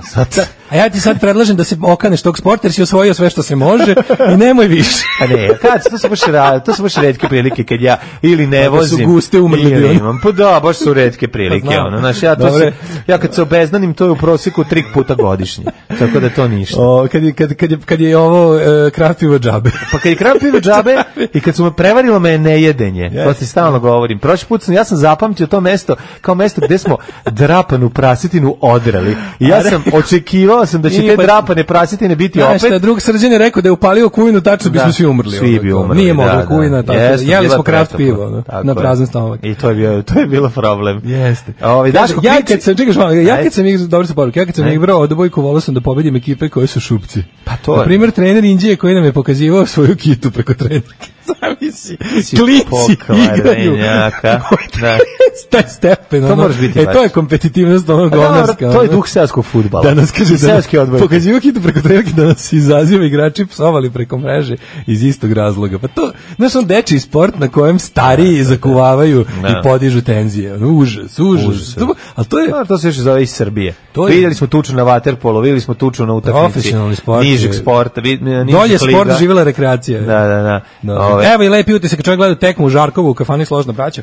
S5: Šta sad?
S6: A ja ti sad predlažem da se okaneš tog sporta jer si osvojio sve što se može i nemoj više.
S5: Pa ne, kad to su baš ra- to su baš retke prilike kad ja ili ne
S6: Pa da su
S5: vozim.
S6: guste umrli
S5: ili
S6: bi ono.
S5: imam. Pa da, baš su retke prilike
S6: znam.
S5: ono. Znaš, ja to
S6: Dobre.
S5: se, ja kad se obeznanim to je u prosjeku tri puta godišnje. Tako da to ništa.
S6: O, kad, je, kad, kad, je, kad je ovo e, krapivo džabe.
S5: Pa kad je kram pivo džabe i kad su me prevarilo me je nejedenje, to ti stalno govorim. Prošli put sam, ja sam zapamtio to mesto kao mesto gde smo drapanu prasitinu odrali. I ja sam očekivao sam da će
S6: I
S5: te
S6: pa-
S5: drapane prasitine biti
S6: Znaš šta,
S5: opet.
S6: drug srđan je rekao da je upalio kujinu, tačno bismo
S5: Da,
S6: svi umrli.
S5: Svi
S6: ono,
S5: bi
S6: to.
S5: umrli.
S6: Nije mogla
S5: da, da.
S6: kujina, tako,
S5: Jeste,
S6: jeli
S5: bila
S6: smo kraft
S5: pretopla.
S6: pivo, ono,
S5: Tako
S6: na
S5: je.
S6: prazan stomak.
S5: I to je bio, to je bilo problem.
S6: Jeste.
S5: Ovaj Daško
S6: ja
S5: Klici-
S6: kad sam čekaš malo, ja
S5: Ajde.
S6: kad sam igrao dobro se poruke, ja kad sam igrao odbojku volao sam da pobedim ekipe koje su šupci.
S5: Pa to je.
S6: Na primer trener Indije koji nam je pokazivao svoju kitu preko trenerke. Zamisli.
S5: Si
S6: Klinci
S5: pokvarenjaka.
S6: igraju.
S5: Da.
S6: Taj stepen.
S5: To
S6: ono,
S5: moraš biti
S6: E,
S5: baš.
S6: to je kompetitivnost onog
S5: Pa dobro,
S6: govnarska.
S5: to je
S6: ono.
S5: duh seoskog fudbala.
S6: Danas kaže da
S5: seoski odboj.
S6: Pokazivao kitu preko trenerke da nas izaziva igrači psovali preko mreže iz istog razloga. Pa to, znaš, on dečiji sport na kojem stariji zakuvavaju
S5: Da.
S6: i podižu tenzije. Ono, Užas, užas.
S5: Užas.
S6: To- Ali to je
S5: Pa, to se još zove iz Srbije.
S6: To je-
S5: Vidjeli smo tuču na vaterpolu, vidjeli smo tuču na utakmici.
S6: Profesionalni sport
S5: Nižeg
S6: je-
S5: sporta. Vid, nižeg
S6: Dolje
S5: liga.
S6: sport, živela rekreacija.
S5: Da, da, Ovaj, da.
S6: Da. E-
S5: Ove,
S6: Evo i lepi utisak, čovjek gleda tekmu u Žarkovu u kafani Složna braća.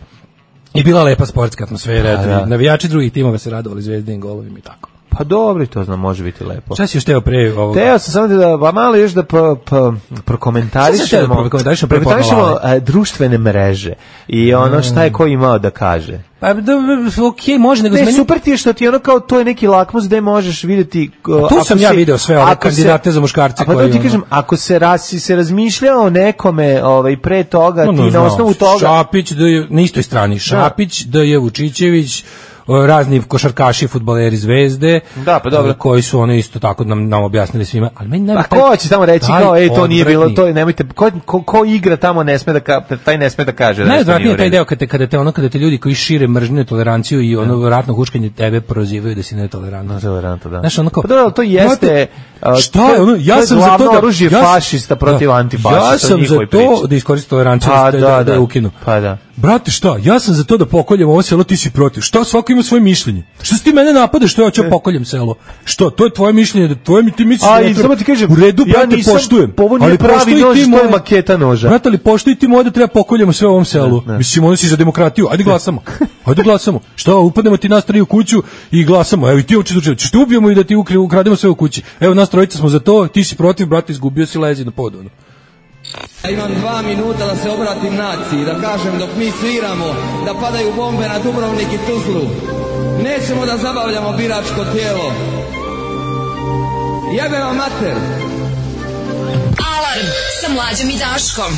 S6: I bila lepa sportska atmosfera, eto,
S5: da.
S6: navijači drugih timova se radovali zvezdinim golovima i tako.
S5: pa dobro, i to znam, može biti lepo.
S6: Šta si još teo pre ovoga?
S5: Teo sam samo da pa malo još da pa, pa, prokomentarišemo.
S6: Šta si teo da prokomentarišemo pre
S5: Prokomentarišemo
S6: podnavale?
S5: e, društvene mreže i ono šta
S6: Mm.
S5: je ko imao da kaže.
S6: Pa, da, da, okej, može, nego
S5: Ne,
S6: zmeni-
S5: super ti je što ti je ono kao to je neki lakmus gde možeš vidjeti uh,
S6: Pa tu
S5: ako
S6: sam ja
S5: si-
S6: video sve ove
S5: ako se-
S6: kandidate za muškarce
S5: A pa to
S6: koji,
S5: ti
S6: ono-
S5: kažem, ako se rasi se razmišljao o nekome, ovaj pre toga
S6: Ono,
S5: ti na
S6: znao,
S5: osnovu toga
S6: Šapić da je na istoj strani Šapić, da je Vučićević o, razni košarkaši, fudbaleri Zvezde.
S5: Da, pa dobro.
S6: o, Koji su ono isto tako nam nam objasnili svima, ali meni ne
S5: Pa ko će tamo reći kao ej to nije bilo, to je nemojte ko, ko, ko igra tamo ne sme da ka, taj ne sme da kaže da nešto
S6: Najodvratniji
S5: nije
S6: je
S5: u
S6: taj
S5: redu.
S6: deo kada te, kada te ono kada te ljudi koji šire mržnju, netoleranciju i ono ratno huškanje tebe prozivaju da si netolerantan.
S5: Netolerantan, da.
S6: Znaš, ono kao,
S5: Pa dobro, ali to jeste,
S6: Znate,
S5: a,
S6: Šta je
S5: to-
S6: ono?
S5: to
S6: Ja
S5: je
S6: sam za to
S5: glavno
S6: da
S5: oružje
S6: ja sam-
S5: fašista protiv antifašista
S6: Ja
S5: u
S6: sam za
S5: njihovoj
S6: to
S5: priči.
S6: da iskoristim toleranciju
S5: Pa
S6: da, da,
S5: da,
S6: da, ono je
S5: da.
S6: ukinu.
S5: Pa da.
S6: Brate, šta? Ja sam za to da pokoljem ovo selo, ti si protiv. Šta? Svako ima svoje mišljenje. Šta si ti mene napadaš što ja ću pokoljem selo? Što? To je tvoje mišljenje, da tvoje mi ti misliš.
S5: E. A,
S6: da
S5: i
S6: treba-
S5: samo ti kažem,
S6: u redu,
S5: ja
S6: brate,
S5: nisam-
S6: poštujem.
S5: ovo nije
S6: ali
S5: pravi
S6: poštuj
S5: nož,
S6: ti
S5: to je
S6: moje-
S5: maketa noža.
S6: Brate, ali poštuj ti moje da treba pokoljemo sve u ovom selu.
S5: Ne, ne.
S6: Mislim, onda si za demokratiju. Ajde glasamo. Ajde glasamo. Šta, upadnemo ti nas tri u kuću i glasamo. Evo i ti hoćeš da učiniš. Što te ubijemo i da ti ukri, ukrademo sve u kući. Evo nas trojica smo za to, ti si protiv, brate, izgubio si lezi na podu. ono.
S11: Ja imam dva minuta da se obratim naciji, da kažem dok mi sviramo, da padaju bombe na Dubrovnik i Tuzlu. Nećemo da zabavljamo biračko tijelo. Jebe vam mater!
S8: Alarm sa mlađom i Daškom.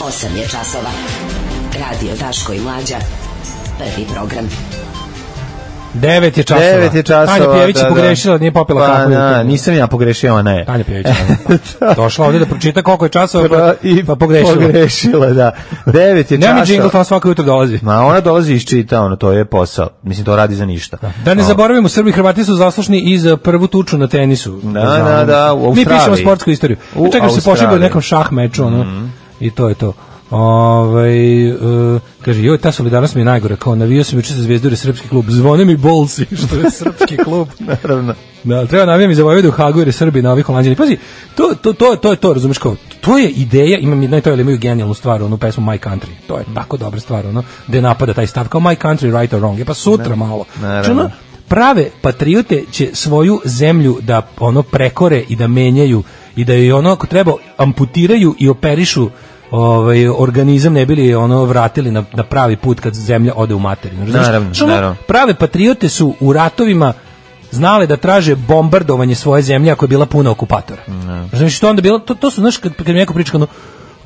S9: 8 je časova. Radio Daško i Mlađa. Prvi program.
S6: 9 je časova.
S5: 9 je časova.
S6: Tanja Pjević je
S5: da, da.
S6: pogrešila, nije popila
S5: pa,
S6: kafu.
S5: Da, nisam ja pogrešio, ona je.
S6: Tanja Pjević. ono. Došla ovdje da pročita koliko je časova, pa,
S5: I
S6: pa pogrešila.
S5: Pogrešila, da. 9 je
S6: Nema mi jingle,
S5: časa.
S6: tamo svako jutro dolazi.
S5: Ma ona dolazi iz čita, ono, to je posao. Mislim, to radi za ništa.
S6: Da ne
S5: O,
S6: zaboravimo, Srbi i Hrvati su zaslušni i za prvu tuču na tenisu.
S5: Da,
S6: Znamo.
S5: da, da, u
S6: Mi
S5: Australiji.
S6: pišemo sportsku istoriju.
S5: U
S6: Ja čekam se pošibio u
S5: Australiji. Mhm.
S6: nekom šah meču, ono, i to je to. Ovaj e, kaže, joj, ta solidarnost mi je najgore, kao navio sam juče za zvijezdure srpski klub, zvone mi bolci, što je srpski klub.
S5: Naravno.
S6: Da, treba navijam i za Vojvodu u Hagu jer je Srbi na ovih holanđani. Pazi, to, to, to, to je to, razumeš kao, to je ideja, imam jedna i to, ali imaju genijalnu stvar, onu pesmu My Country, to je tako dobra stvar, ono, gde napada taj stav, kao My Country, right or wrong, je pa sutra malo.
S5: naravno.
S6: Znači, ono, prave patriote će svoju zemlju da ono prekore i da menjaju i da je ono ako treba amputiraju i operišu ovaj organizam ne bili ono vratili na, na pravi put kad zemlja ode u materinu. Razumeš?
S5: Naravno,
S6: Znači, ono,
S5: naravno.
S6: Prave patriote su u ratovima znale da traže bombardovanje svoje zemlje ako je bila puna okupatora. Znači što je onda bilo to, to su znaš kad kad mi neko priča kao ono,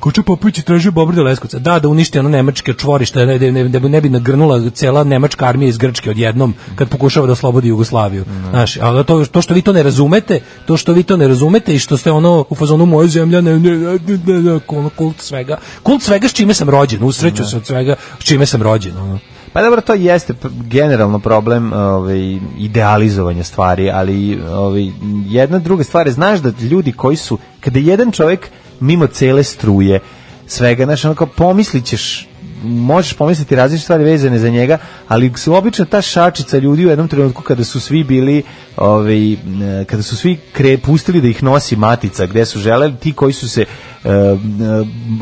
S6: Koče Popović je tražio bombardovanje Leskovca. Da, da uništi ono nemačke čvorište, da, da, da, da bi- ne bi nagrnula cela nemačka armija iz Grčke odjednom kad pokušava da oslobodi Jugoslaviju. Znaš, ali to, to što vi to ne razumete, to što vi to ne razumete i što ste ono u fazonu moja zemlja, ne, ne, ne, ne, ne, ono, kult svega. Kult svega s čime sam rođen, usreću se od svega s čime sam rođen. Ono.
S5: Pa dobro, to jeste p- generalno problem ovaj, idealizovanja stvari, ali ovaj, jedna druga stvar je, znaš da ljudi koji su, kada je jedan čovjek mimo cele struje, svega, znaš, onako pomislit ćeš možeš pomisliti različite stvari vezane za njega, ali su obično ta šačica ljudi u jednom trenutku kada su svi bili Ove, e, kada su svi kre, pustili da ih nosi matica gde su želeli, ti koji su se e, e,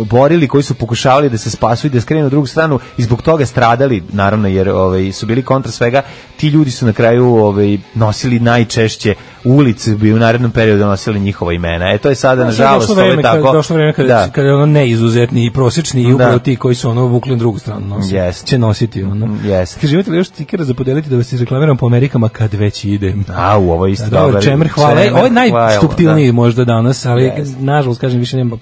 S5: borili, koji su pokušavali da se spasu i da skrenu na drugu stranu i zbog toga stradali, naravno, jer ove, su bili kontra svega, ti ljudi su na kraju ove, nosili najčešće ulice, bi u narednom periodu nosili njihova imena. E, to je sada,
S7: Znaš,
S5: nažalost,
S7: došlo
S5: ovo je
S7: vreme kad-
S5: tako.
S7: došlo vreme kada,
S5: Da.
S7: kada je ono neizuzetni i prosječni i upravo
S5: Da.
S7: ti koji su ono vukli na drugu stranu nosi,
S5: Yes.
S7: će nositi ono.
S5: Yes.
S7: Kaže, imate li još tikera za podeliti da vas izreklamiram po Amerikama kad već idem?
S5: A, u, ovo je isto
S7: Da, dobro,
S5: dobar.
S7: Čemer, hvala. E,
S5: Čemer,
S7: Ovo je
S5: hvala,
S7: najstuptilniji
S5: da.
S7: možda danas, ali
S5: Yes.
S7: nažalost, kažem, više nema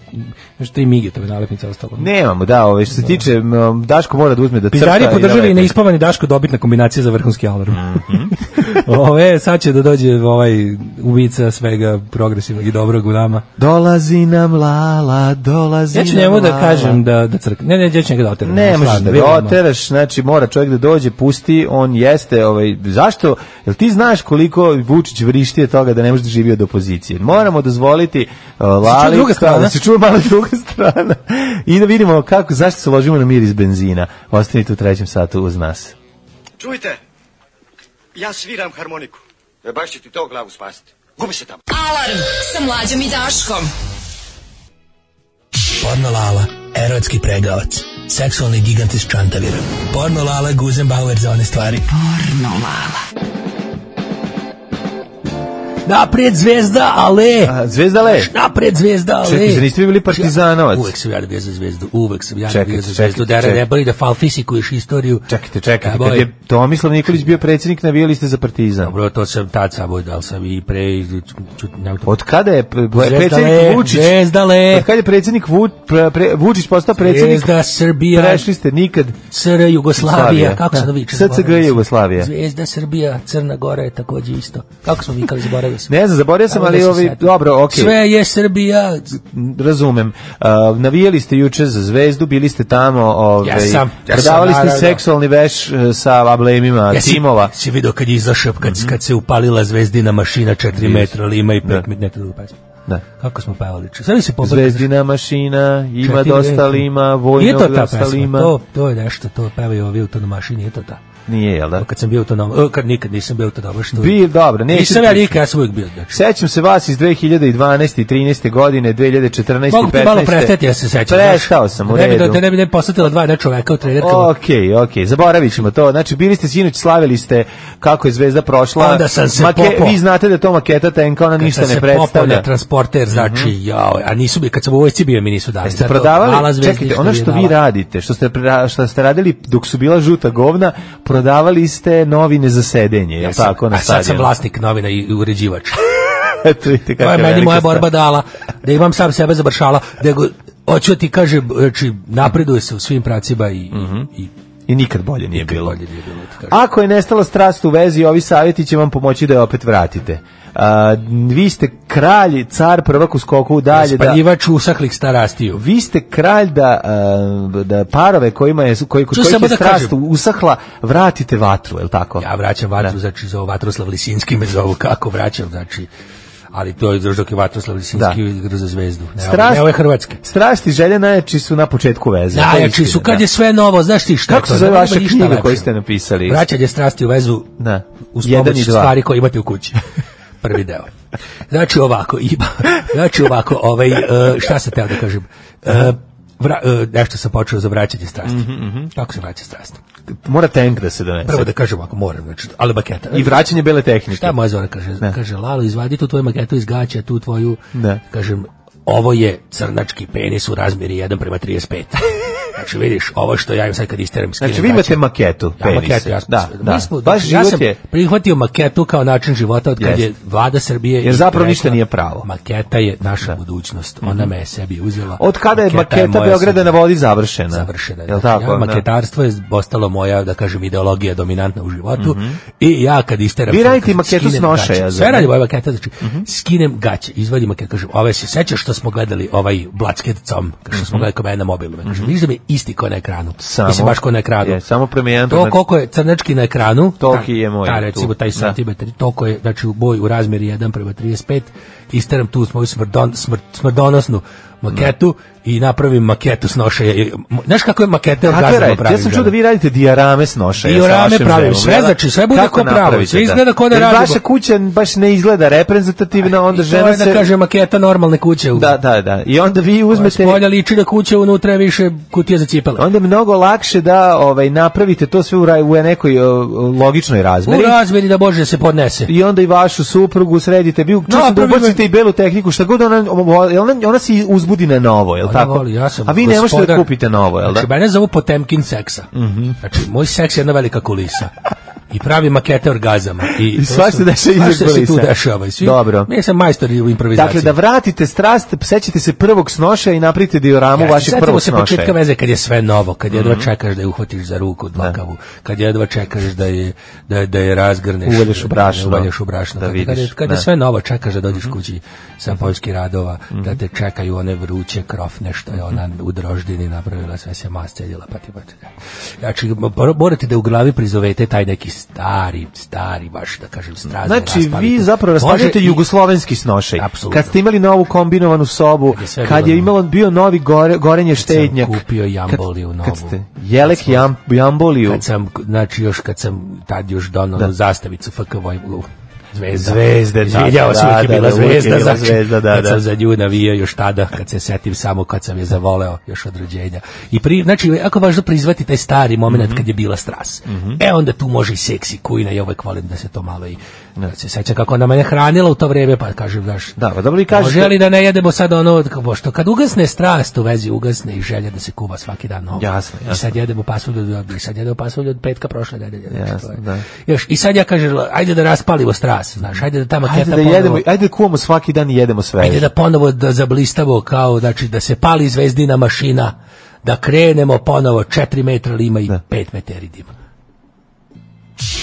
S7: još tri mige, to je nalepnica ostalo.
S5: Nemamo, da, ove, što se tiče, m, Daško mora da uzme da crta.
S7: Pizari
S5: i da
S7: podržali i
S5: leti.
S7: neispavani Daško dobitna kombinacija za vrhunski alarm.
S5: Mhm.
S7: Ove, sad će da dođe ovaj ubica svega progresivnog i dobrog u nama.
S5: Dolazi nam lala, dolazi
S7: Ja ću
S5: nam
S7: njemu da
S5: lala.
S7: kažem da, da crkne. Ne, ne, ja ću njega da oteram.
S5: Ne
S7: Stvarno,
S5: možeš da ga
S7: vidimo.
S5: oteraš, znači mora čovjek da dođe, pusti, on jeste, ovaj, zašto? Jel ti znaš koliko Vučić vrišti od toga da ne može da živi od opozicije? Moramo dozvoliti uh, Lali,
S7: druga strana?
S5: da se čuje malo druga strana i da vidimo kako, zašto se ložimo na mir iz benzina. Ostanite u trećem satu uz nas.
S12: Čujte, ja sviram harmoniku. E baš će ti to glavu spasiti. Gubi se tamo.
S8: Alarm sa mlađom i Daškom.
S6: Porno Lala, erotski pregavac, seksualni gigant iz Čantavira. Porno Lala, Guzenbauer za one stvari. Porno Lala. Napred zvezda, ale!
S5: zvezda, ale!
S6: Napred zvezda, ale!
S5: Čekaj, zar niste vi bili partizanovac?
S6: Uvek sam ja bio za zvezdu, uvek sam ja
S5: Čekajte,
S6: bio za zvezdu.
S5: čekajte,
S6: Da
S5: čekajte.
S6: rebali da falfisikuješ istoriju. Čekajte,
S5: Čekajte, kad je Tomislav Nikolić bio predsjednik, navijali ste za partizan.
S7: Dobro, to sam tad saboj, da li sam i pre... čut- nemojte-
S5: Od kada je pre-
S7: Zvezdale,
S5: predsjednik Vučić?
S7: zvezdale.
S5: Od kada je predsjednik Vu, pre, pre, Vučić postao predsjednik?
S7: Zvezda Srbija.
S5: Prešli ste nikad.
S7: SR Jugoslavija,
S5: Slavija.
S7: kako se
S5: Da.
S7: to viče?
S5: SCG Jugoslavija.
S6: Zvezda Srbija, Crna Gora je takođe isto. Kako smo vikali, zaboravio sam.
S5: Ne znam, zaboravio sam,
S6: Evo
S5: ali
S6: da se
S5: ovi,
S6: setim.
S5: dobro, okej.
S6: Sve je Srbija.
S5: Razumem. Uh, navijali ste juče za zvezdu, bili ste tamo, ovaj,
S6: Jesam, jesam,
S5: prodavali ste
S6: naravno.
S5: seksualni veš eh, sa ablemima timova. Mhm.
S6: Si vidio kad je izašao, kad, kad se upalila zvezdina mašina 4 metra, ali ima i 5 metra ne, to je druga pesma.
S5: Da.
S6: Kako smo pevali? Sada li se pobrkaš?
S5: Zvezdina mašina, ima
S6: Četiri
S5: dosta
S6: metra.
S5: lima,
S6: Nije
S5: vojnog
S6: to ta
S5: dosta
S6: pesma,
S5: lima.
S6: To, to je nešto, to pevaju ovi autonomaši, nije to ta.
S5: Nije, jel da?
S6: Kad sam bio autonom, e, kad nikad nisam bio autonomaš. to je-
S5: Bi, dobro, Pa- neću
S6: Nisam ja
S5: ti-
S6: nikad, ja sam uvijek bio. Znači.
S5: Sećam se vas iz 2012. i 13. godine, 2014. i 15.
S6: Mogu ti malo prestati, ja se sećam. znaš.
S5: Prestao sam, u
S6: Da ne bi-
S5: redu.
S6: Da ne bi ne bi posetila dva jedna čoveka u trenerkama.
S5: Okej, okej, zaboravit ćemo to. Znači, bili ste sinoć, slavili ste kako je zvezda prošla.
S6: Onda sam se popao.
S5: Vi znate da je to maketa tenka, ona ništa
S6: Kad sam
S5: ne
S6: se popao
S5: predstavlja. Mhm.
S6: na transporter, znači, jao, a nisu bi, kad sam u vojci bio, mi nisu dali.
S5: Jeste
S6: Zato mala
S5: prodavali,
S6: zvezda
S5: čekajte,
S6: ništa
S5: ono
S6: nije
S5: što vi
S6: dala.
S5: radite, što ste, pra- što ste radili dok su bila žuta govna, prodavali ste novine za sedenje, je
S6: Ja
S5: li
S6: sam-
S5: tako, na
S6: A sad sam
S5: stadionu?
S6: vlasnik novina i uređivač.
S5: Eto, vidite
S6: To je
S5: kakva
S6: meni
S5: velika
S6: moja
S5: stvar.
S6: borba dala, da imam sam sebe zabršala, da go, hoću ti kaže, znači, napreduje se u svim pracima i, i,
S5: I nikad bolje nije
S6: nikad
S5: Mhm. bilo.
S6: bolje nije bilo, ti kažem.
S5: Ako je nestala strast u vezi, ovi savjeti će vam pomoći da je opet vratite. A, vi ste kralj, car, prvak u skoku dalje. Da,
S6: Spaljivač usahlih starastiju.
S5: vi ste kralj da, a, da parove kojima je, koji, kod
S6: Ču
S5: kojih
S6: samo
S5: je
S6: da
S5: strast
S6: kažem.
S5: usahla, vratite vatru, je li tako?
S6: Ja vraćam vatru, znači zove Vatroslav Lisinski me zovu, kako vraćam, znači, ali to je još dok je Vatroslav Lisinski igra za zvezdu. Ne,
S5: Strast-
S6: ne, ovo je hrvatski.
S5: Strast i želje najjači su na početku veze. To je
S6: Najjači su,
S5: istina,
S6: kad
S5: da.
S6: je sve novo, znaš ti šta je
S5: Kako
S6: to?
S5: se zove
S6: Nema
S5: vaša
S6: ništa znači.
S5: knjiga
S6: lepše.
S5: koju ste napisali?
S6: Vraćanje strasti u vezu
S5: Da.
S6: uz
S5: Jedan
S6: pomoć
S5: i dva.
S6: stvari koje imate u kući. Prvi deo. Znači ovako, ima. Znači ovako, ovaj, e, šta sam teo da kažem? E, vra- e, nešto sam počeo za vraćanje strasti. Kako se vraća strast?
S5: Mora tank da se donese.
S6: Prvo da kažem ako moram, znači, ali maketa.
S5: I vraćanje bele tehnike.
S6: Šta moja zora kaže? Kaže, Lalo, izvadi tu tvoju maketu iz gaća, tu tvoju,
S5: Da.
S6: kažem, ovo je crnački penis u razmjeri 1 prema 35. Znači, vidiš, ovo što ja im sad kad isteram skinem
S5: Znači, vi imate
S6: gaće.
S5: maketu
S6: Ja,
S5: penisa.
S6: maketu, ja sam,
S5: Da,
S6: mi
S5: da.
S6: smo- znači,
S5: Vaš
S6: ja
S5: život
S6: sam
S5: je-
S6: prihvatio maketu kao način života od kad
S5: Jeste.
S6: je vlada Srbije...
S5: Jer
S6: i
S5: zapravo
S6: rekla,
S5: ništa nije pravo. Mhm.
S6: Maketa je naša budućnost, ona me je sebi uzela.
S5: Od kada je
S6: je
S5: maketa
S6: moja
S5: Beograda na
S6: sudbina.
S5: vodi završena?
S6: Završena je.
S5: Jel
S6: Znači,
S5: tako?
S6: ja,
S5: Da.
S6: maketarstvo je postalo moja, da kažem, ideologija dominantna u životu i ja kad isteram...
S5: Vi
S6: sad,
S5: radite
S6: kažem,
S5: Mhm. maketu s
S6: skinem
S5: noše,
S6: gaće.
S5: ja znam.
S6: Sve radi moja maketa, znači,
S5: Mhm.
S6: skinem gaće, izvadim maketu, kažem, ove se sećaš što smo gledali ovaj Blackhead com, kao što smo gledali kod mene na mobilu, kažem, vidiš da mi je isti ko na ekranu.
S5: Mhm. Samo-
S6: Mislim, baš ko na ekranu.
S5: Je, samo promijenjeno
S6: To
S5: na-
S6: koliko je crnački na ekranu,
S5: Toliki
S6: ta-
S5: je moj
S6: Ta,
S5: tu.
S6: recimo, taj
S5: Da.
S6: centimetar, toliko je, znači, u boju u razmeri 1 prema 35, isteram tu moju smrdon, smrt, smrdonosnu maketu i napravim maketu s nošaja. Znaš kako je makete orgazama
S5: radite?
S6: pravim?
S5: Ja sam čuo
S6: žena?
S5: da vi radite dijarame s nošaja.
S6: Diorame
S5: sa vašim
S6: pravim,
S5: ženom,
S6: sve,
S5: jel da?
S6: znači, sve bude
S5: Kako
S6: ko pravo,
S5: napravite,
S6: sve izgleda ko da
S5: Jer
S6: radi
S5: Vaša
S6: go-
S5: kuća baš ne izgleda reprezentativna, onda
S6: To
S5: žena
S6: je da
S5: se...
S6: kaže maketa normalne kuće.
S5: Da, da, da. I onda vi uzmete...
S6: Spolja liči na kuće, unutra je više kutija za cipele.
S5: Onda je mnogo lakše da ovaj napravite to sve u, ra- u nekoj o, o, logičnoj razmeri.
S6: U razmeri da Bože se podnese.
S5: I onda i vašu suprugu sredite. Vi čuo sam da
S6: Napravimo-
S5: ubacite i belu tehniku, šta god ona, ona, ona se uzbudi na novo, je
S6: Ona
S5: tako?
S6: voli, ja sam
S5: A vi ne možete da
S6: gospodar.
S5: kupite novo, je da? Mhm.
S6: Znači, mene zovu Potemkin seksa. Znači, moj seks je jedna velika kulisa. I pravi makete orgazama. I,
S5: I
S6: to
S5: svašta
S6: su-
S5: da se iza
S6: svašta se tu
S5: kulisa.
S6: dešava. I svi,
S5: Dobro.
S6: Mi sam majstor u improvizaciji.
S5: Dakle, da vratite strast, sećate se prvog snoša i napravite dioramu
S6: Jeste,
S5: Pa vašeg
S6: setimo
S5: prvog
S6: se
S5: snoša.
S6: početka veze kad je sve novo, kad jedva
S5: Mhm.
S6: čekaš da je uhvatiš za ruku dlakavu, kad jedva čekaš da je, da, da je razgrneš.
S5: Uvalješ u brašno.
S6: Da je uvalješ u brašno.
S5: Da
S6: kad,
S5: vidiš,
S6: kad, je, kad je
S5: da. Mhm.
S6: sve novo, čekaš da dođeš kući sa poljskih radova, da te čekaju one vruće krofne što je ona u droždini napravila, sve se mascedila, pa ti bače. Znači, mor- morate da u glavi prizovete taj neki stari, stari, baš da kažem, strazni
S5: Znači, vi
S6: raspalite.
S5: zapravo
S6: Može
S5: raspavljate
S6: i-
S5: jugoslovenski snošaj.
S6: Apsolutno.
S5: Kad ste imali novu kombinovanu sobu,
S6: sve
S5: kad
S6: bilo
S5: je imalo bio novi gore, gorenje
S6: sam
S5: štednjak.
S6: kupio jamboliju
S5: kad,
S6: novu.
S5: Kad ste jelek jam, jamboliju.
S6: Kad sam, znači još kad sam tad još donao
S5: Da.
S6: zastavicu FK Vojvlu. Zvezda.
S5: Zvezde, da,
S6: Izvinjavam se,
S5: da,
S6: uvijek je
S5: da,
S6: bila
S5: da, uvijek je
S6: zvezda.
S5: bila
S6: znači,
S5: zvezda, da,
S6: kad
S5: da.
S6: sam za nju navijao još tada, kad se setim samo kad sam je zavoleo još od rođenja. I pri, znači, jako je važno prizvati taj stari moment kad je bila stras.
S5: Mhm.
S6: E onda tu može i seksi kujna, ja uvek volim da se to malo i... Da se sećam kako ona mene hranila u to vreme, pa kažem, znaš,
S5: Da, pa dobro vi kažete...
S6: Može li da ne jedemo sad ono, od- kao što kad ugasne strast u vezi, ugasne i želja da se kuva svaki dan novo.
S5: Jasno,
S6: I
S5: jasno.
S6: sad jedemo pasulj od, i sad jedemo pasulj od petka prošle nedelje. znači,
S5: Jasno,
S6: to je.
S5: da.
S6: Još, I sad ja kažem, ajde da raspalimo strast, znaš, ajde da ta maketa
S5: Ajde da
S6: ponovo-
S5: jedemo, ajde da kuvamo svaki dan i jedemo sve.
S6: Ajde da ponovo da zablistavo kao, znači da se pali zvezdina mašina, da krenemo ponovo 4 metra lima i 5 meteri dima.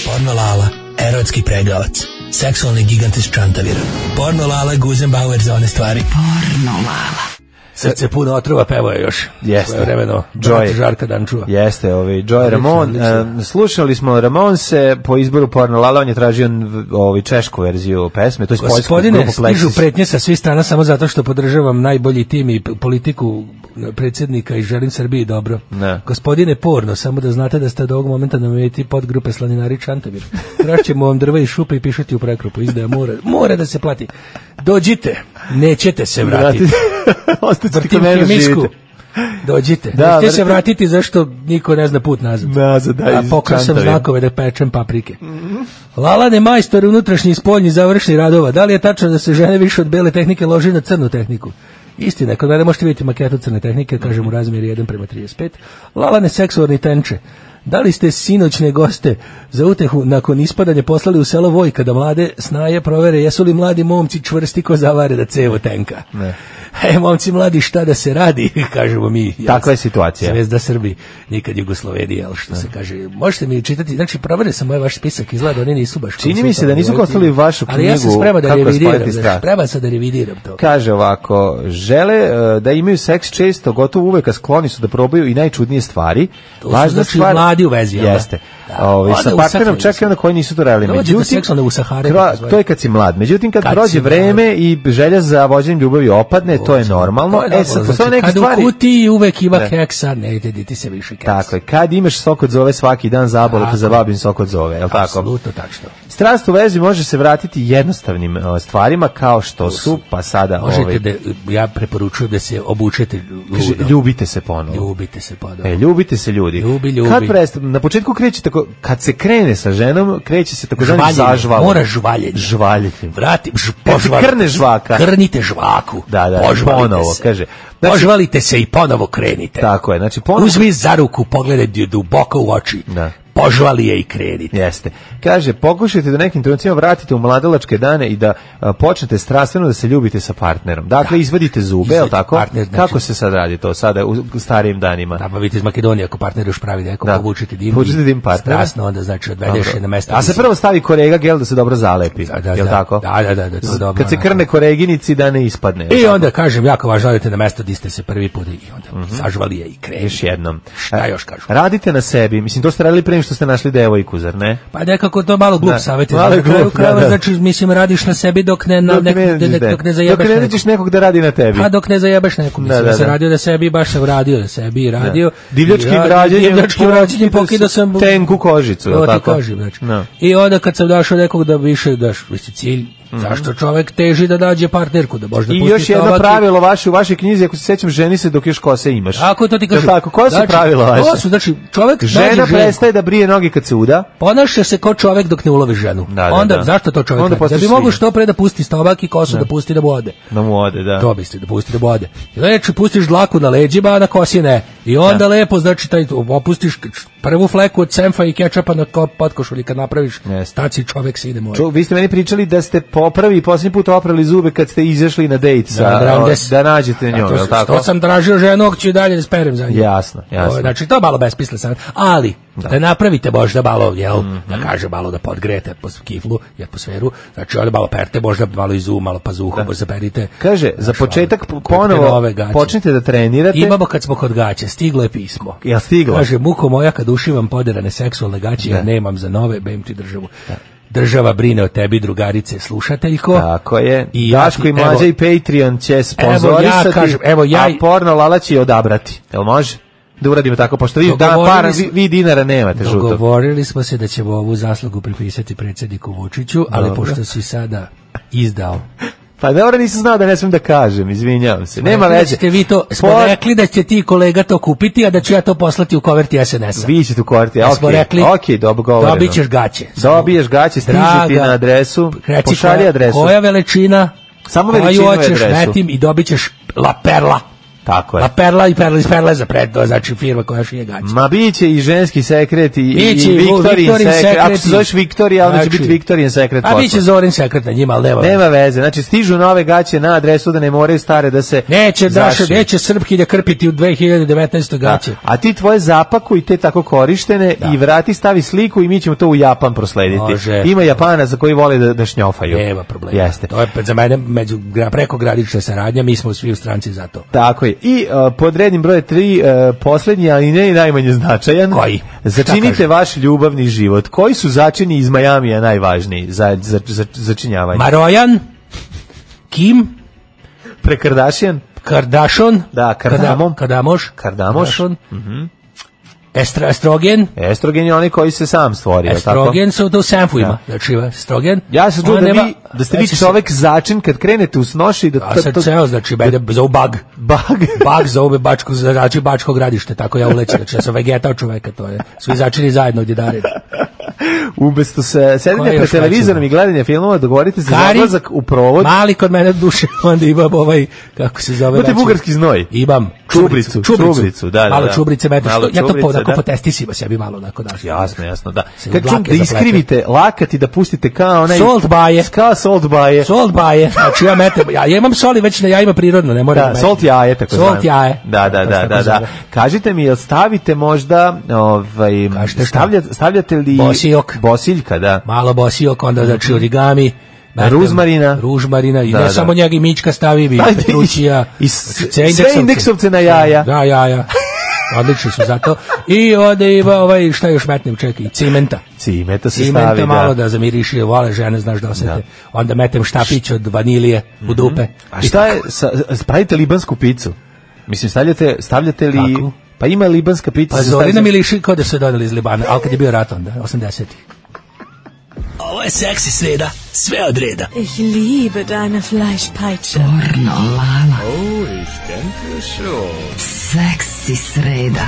S6: Porno Lala, erotski pregavac, seksualni gigant iz Čantavira. Porno Lala, Guzenbauer za one stvari. Porno Lala. Srce puno otrova pevao je još.
S5: Jeste.
S6: Svoje vremeno, brat
S5: Joy.
S6: Žarka Dančuva.
S5: Jeste, ovaj Joy Ramon.
S6: odlično.
S5: e, slušali smo Ramon se po izboru porno Lala, on je tražio n- ovaj češku verziju pesme, to je poljsku
S6: Pa Gospodine,
S5: grupu
S6: stižu
S5: Plexis.
S6: pretnje sa svih strana samo zato što podržavam najbolji tim i p- politiku predsjednika i želim Srbiji dobro.
S5: Ne.
S6: Gospodine Porno, samo da znate da ste od ovog momenta na meti podgrupe Slaninari Čantavir. Krašćemo vam drva i šupe i pišati u prekrupu. Izdaja mora, mora da se plati. Dođite, nećete se vratiti.
S5: Ostaćete
S6: Vrtim
S5: kod mene da
S6: Himisku.
S5: živite.
S6: Dođite.
S5: Da,
S6: Da, se
S5: vrti-
S6: vratiti zašto niko ne zna put nazad.
S5: Nazad, da,
S6: A
S5: iz
S6: pokrao sam
S5: Čantavira.
S6: znakove da pečem paprike. Lalane majstor unutrašnji i spoljni završni radova. Da li je tačno da se žene više od bele tehnike loži na crnu tehniku? Istina, kod mene možete vidjeti maketu crne tehnike, kažem u razmjeri 1 prema 35. Lalane seksualni tenče. Da li ste sinoćne goste za utehu nakon ispadanja poslali u selo Vojka da mlade snaje provere jesu li mladi momci čvrsti ko zavare da cevo tenka?
S5: Ne.
S6: E, momci mladi, šta da se radi, kažemo mi. jel,
S5: Takva je situacija.
S6: Zvezda Srbi, nikad Jugoslovenija, jel, što se kaže. Možete mi čitati, znači, provere sam ovaj vaš spisak, izgleda da oni nisu baš...
S5: Čini mi se da
S6: konsultovani
S5: nisu
S6: ovaj tim.
S5: poslali vašu
S6: Ali ja sam
S5: knjigu
S6: spreman da
S5: Kako
S6: revidiram,
S5: raspaliti
S6: znaš,
S5: strah.
S6: spreman sam da revidiram to.
S5: Kaže ovako, žele e, da imaju seks često, gotovo uvek, a skloni su da probaju i najčudnije stvari.
S6: To su znači mladi u vezi, jel da?
S5: Jeste.
S6: Da.
S5: Ovaj,
S6: Onda
S5: sa
S6: u
S5: partnerom
S6: seksu
S5: čak i onda koji nisu to radili.
S6: Dođe do
S5: Međutim,
S6: seksualne usahare,
S5: kra-
S6: kako se
S5: to je kad si mlad. Međutim, kad,
S6: Kad si
S5: prođe
S6: mlad.
S5: vreme i želja za vođenjem ljubavi opadne, to je normalno.
S6: To je
S5: e, sad,
S6: normalno,
S5: postoje
S6: znači,
S5: neke
S6: kad u
S5: stvari...
S6: kutiji uvek ima
S5: Da.
S6: keksa, ne ide diti se više keksa.
S5: Tako je, kad imaš sok od zove svaki dan zabole,
S6: Tako.
S5: te zabavim sok od zove, je li tako?
S6: Apsolutno tačno.
S5: Strast u vezi može se vratiti jednostavnim e, stvarima kao što su, pa sada... ovaj,
S6: Možete da, ja preporučujem da se obučete
S5: Kaže,
S6: ludo.
S5: ljubite se ponovo.
S6: Ljubite se, pa da.
S5: E, ljubite se ljudi.
S6: Ljubi, ljubi.
S5: Kad presta- na početku kreće tako, kad se krene sa ženom, kreće se tako žvalim
S6: Žvaljenje,
S5: zažvalom.
S6: mora žvaljenje.
S5: Žvaljenje.
S6: Vrati, ž,
S5: Kad se
S6: požvalite.
S5: krne žvaka.
S6: Krnite žvaku.
S5: Da, da,
S6: Požvalite
S5: ponovo,
S6: se.
S5: kaže. Znači-
S6: Požvalite se i ponovo krenite.
S5: Tako je, znači ponovo...
S6: Uzmi za ruku, pogledaj ju duboko u oči.
S5: Da.
S6: Požvali je i krenite.
S5: Jeste. Kaže, pokušajte da nekim trenucima vratite u mladalačke dane i da a, počnete strastveno da se ljubite sa partnerom. Dakle, izvadite zube, je li
S6: Izvadite
S5: tako?
S6: partner, znači-
S5: Kako se sad radi to sada u u starijim danima?
S6: Nabavite iz Makedonije ako partner još pravi neko,
S5: Da.
S6: povučite dim. i
S5: Povučite dim partnera.
S6: Strasno onda, znači, odvedeš
S5: Dobro.
S6: je na mesto.
S5: A se
S6: gdje
S5: prvo stavi korega gel da se dobro zalepi.
S6: Da, da,
S5: je li
S6: da.
S5: tako?
S6: Da, da, da, da, to je dobro,
S5: Kad se
S6: onako.
S5: krne koreginici da ne ispadne. je li
S6: I onda kažem, jako važno, odete na mesto gdje ste se prvi put i onda sažvali je i krenite.
S5: Mhm. Još jednom.
S6: Šta još kažu?
S5: Radite na sebi. Mislim, to ste radili pre nego što ste našli devojku, zar ne?
S6: Pa nekako to malo glup
S5: Da,
S6: savjet.
S5: malo
S6: Na kraju
S5: glup, da,
S6: krajeva,
S5: da.
S6: znači, mislim, radiš na sebi dok ne, na,
S5: Dok
S6: nek,
S5: ne
S6: ne,
S5: vidiš
S6: dok ne
S5: nekog.
S6: zajebaš
S5: Dok ne
S6: nekog.
S5: vidiš nekog da radi na tebi.
S6: Pa dok ne zajebaš nekom, mislim,
S5: Da,
S6: da,
S5: da,
S6: se
S5: da.
S6: radio da sebi, baš sam radio da sebi i radio.
S5: Divljačkim
S6: I radio-
S5: rađenjem-
S6: Divljačkim rađenjem pokidao sam...
S5: Tenku kožicu, je li
S6: Ovo ti
S5: tako?
S6: kožim, znači.
S5: Da.
S6: I onda kad sam došao nekog da više daš, mislim, cilj, zašto čovek teži da nađe partnerku, da možda
S5: Mhm. I
S6: pusti
S5: još jedno
S6: stomaki.
S5: pravilo vaše u vašoj knjizi, ako se sećam, ženi se dok još kose imaš.
S6: Ako to ti kažem.
S5: Je li Tako, koja su
S6: Znači,
S5: pravila vaše?
S6: To su, znači, čovek nađe
S5: Žena
S6: ženu.
S5: prestaje da brije noge kad se uda.
S6: Ponaša se kao čovek dok ne ulovi ženu.
S5: da,
S6: onda
S5: da.
S6: zašto to čovek
S5: Onda
S6: radi? Da
S5: postaje
S6: bi mogao
S5: svinja.
S6: što pre da pusti stomak i kosu
S5: Da.
S6: da pusti da bode.
S5: Da mu ode, da.
S6: To biste, da pusti da bode. I znači, pustiš dlaku na leđima, a na kosi ne. I onda
S5: Da.
S6: lepo, znači, taj, opustiš k- č- prvu fleku od semfa i kečapa na ko- potkošulji kad napraviš, staci čovek se ide mora.
S5: Ču, vi ste meni pričali da ste popravi i posljednji put oprali zube kad ste izašli na dejt sa,
S6: Da, Brown
S5: o,
S6: Des.
S5: da nađete njom, je li tako?
S6: To sam tražio ženu, ako ću i dalje da sperem za njim.
S5: Jasno, jasno.
S6: O, Znači, to je malo bespisle sam. Ali, da. napravite možda malo, jel,
S5: Mhm.
S6: da kaže malo da podgrete atmos- kiflu i atmosferu, znači onda malo perte, možda malo iz uma, malo pazuha, možda perite.
S5: Kaže, za početak
S6: kupite
S5: ponovo
S6: nove gaće.
S5: počnite da trenirate.
S6: Imamo kad smo kod gaće, stiglo je pismo.
S5: Jel stiglo?
S6: Kaže, muko moja kad ušivam poderane seksualne gaće, ja
S5: Da.
S6: nemam za nove, bem ti državu. Država brine o tebi, drugarice, slušateljko.
S5: Tako je.
S6: I
S5: I
S6: ja
S5: Daško
S6: ti-
S5: i Mlađa
S6: evo-
S5: i Patreon će sponzorisati,
S6: Evo ja kažem, evo ja
S5: a
S6: i-
S5: porno lala će je odabrati. Jel može? Da uradimo tako, pošto vi, da,
S6: Dogovorili
S5: para,
S6: smo-
S5: vi, vi dinara nemate žutog.
S6: Dogovorili smo se da ćemo ovu zaslugu pripisati predsjedniku Vučiću, ali
S5: Dobro.
S6: pošto si sada izdao.
S5: Pa dobro, nisam znao da ne smem da kažem, izvinjavam se. Nema
S6: Rekli da
S5: veze.
S6: Ste vi to, smo
S5: Por-
S6: rekli da će ti kolega to kupiti, a da ću ja to poslati u koverti SNS-a.
S5: Vi ćete u korti,
S6: Da
S5: ok,
S6: smo rekli,
S5: ok, dogovoreno.
S6: dobit ćeš gaće.
S5: Dobiješ gaće, stiže ti
S6: Draga,
S5: na adresu,
S6: Reci
S5: pošalji
S6: koja-
S5: adresu.
S6: Koja veličina,
S5: Samo
S6: koju
S5: veličinu i
S6: hoćeš
S5: adresu.
S6: metim i dobit ćeš La Perla.
S5: Tako je.
S6: La Perla i Perla iz Perle za pred, to je znači firma koja šije gaće.
S5: Ma biće i ženski sekret i, i,
S6: Biće i
S5: Viktorin
S6: Viktorin
S5: sekret.
S6: sekret
S5: Ako se
S6: i-
S5: zoveš Viktorija, onda će
S6: Znači-
S5: biti Viktorin sekret.
S6: A
S5: posla.
S6: bit će Zorin sekret na njima, ali nema veze.
S5: Nema veze, znači stižu nove gaće na adresu da ne moraju stare da se
S6: Neće Daša,
S5: zašiju.
S6: neće Srpkinja krpiti u 2019. gaće.
S5: A ti tvoje zapakuj te tako korištene i vrati, stavi sliku i mi ćemo to u Japan proslediti.
S6: Može.
S5: Ima Japana za koji vole da, da šnjofaju.
S6: Nema problema.
S5: Jeste.
S6: To je za mene među prekogranična saradnja, mi smo svi u stranci za to.
S5: Tako je. I uh, pod rednim brojem 3, uh, poslednji, ali ne i najmanje značajan.
S6: Koji? Šta
S5: Začinite
S6: kaže?
S5: vaš ljubavni život. Koji su začini iz Majamija najvažniji za, za, za, začinjavanje?
S6: Marojan, Kim,
S5: Prekardašijan?
S6: Kardashon,
S5: Da, kardamom.
S6: Kardamoš,
S5: Kardamoš. Mhm.
S6: Kardashon, estra, Estrogen,
S5: Estrogen je onaj koji se sam stvorio. tako?
S6: Estrogen su to u Sanfu ima.
S5: Da.
S6: Znači, ima Estrogen.
S5: Ja se čuo
S6: Ona
S5: da,
S6: nema-
S5: vi, da ste vi
S6: Znači,
S5: čovek začin kad krenete u snoši da
S6: A
S5: to-
S6: sad
S5: to-
S6: ceo, znači, mene zovu bug.
S5: Bug?
S6: bug zovu me bačko, znači bačko gradište, tako ja ulećem. Znači, ja sam vegeta od čoveka, to je. Svi začini zajedno od jedare.
S5: Umesto se
S6: Koji
S5: sedenja
S6: još
S5: pred televizorom
S6: hoćemo?
S5: i gledanja filmova, dogovorite se za
S6: Kari,
S5: odlazak u provod.
S6: Mali kod mene duše, onda imam ovaj, kako se zove?
S5: Imate
S6: znači-
S5: bugarski znoj.
S6: Imam.
S5: Čubricu,
S6: Čubricu.
S5: čubricu, da, da,
S6: Malo
S5: da.
S6: čubrice meteš.
S5: Malo
S6: ja to po,
S5: čubrice,
S6: onako
S5: da.
S6: po testisima sebi malo onako daš.
S5: Jasno, jasno, da.
S6: Se
S5: Kad
S6: u
S5: čum
S6: dlake
S5: da
S6: zaplete.
S5: iskrivite lakat i da pustite kao onaj...
S6: Salt baje.
S5: Kao salt baje.
S6: Salt baje, znači ja metem, ja, ja imam soli već na jajima prirodno, ne moram
S5: Da,
S6: da metem.
S5: salt jaje, tako znam.
S6: Salt jaje.
S5: Da, da,
S6: To se
S5: da,
S6: tako
S5: da, da.
S6: zove.
S5: Kažite mi, jel stavite možda, ovaj,
S6: Kažete šta?
S5: stavljate, stavljate li...
S6: Bosiljok.
S5: Bosiljka, da.
S6: Malo bosijok, onda znači origami. metem
S5: Ruzmarina.
S6: Ružmarina, i
S5: Mhm. Da,
S6: ne
S5: da.
S6: samo njega i Mička stavi, i
S5: Ajde,
S6: Petrućija.
S5: i- i s- sve indeksovce na jaja.
S6: Da, jaja. Odlični su zato. I onda ima ovaj, šta još metnem, čekaj, cimenta.
S5: Cime, to se
S6: Cimenta
S5: stavi,
S6: malo
S5: da.
S6: da zamiriši, vole žene, znaš da osete. Onda metem štapić od vanilije u dupe.
S5: Mhm. A šta je, sa, pravite libansku picu? Mislim, stavljate, stavljate li...
S6: Kakvu?
S5: Pa ima libanska pica.
S6: Pa
S5: se
S6: Zorina
S5: stavlja-
S6: Miliši kao da su je doneli iz Libana, ali kad je bio rat onda, 80.
S13: Ovo je seksi sreda, sve od reda.
S2: Ich liebe deine Fleischpeitsche.
S8: Lala.
S13: Oh, ich denke schon.
S8: Seksi sreda.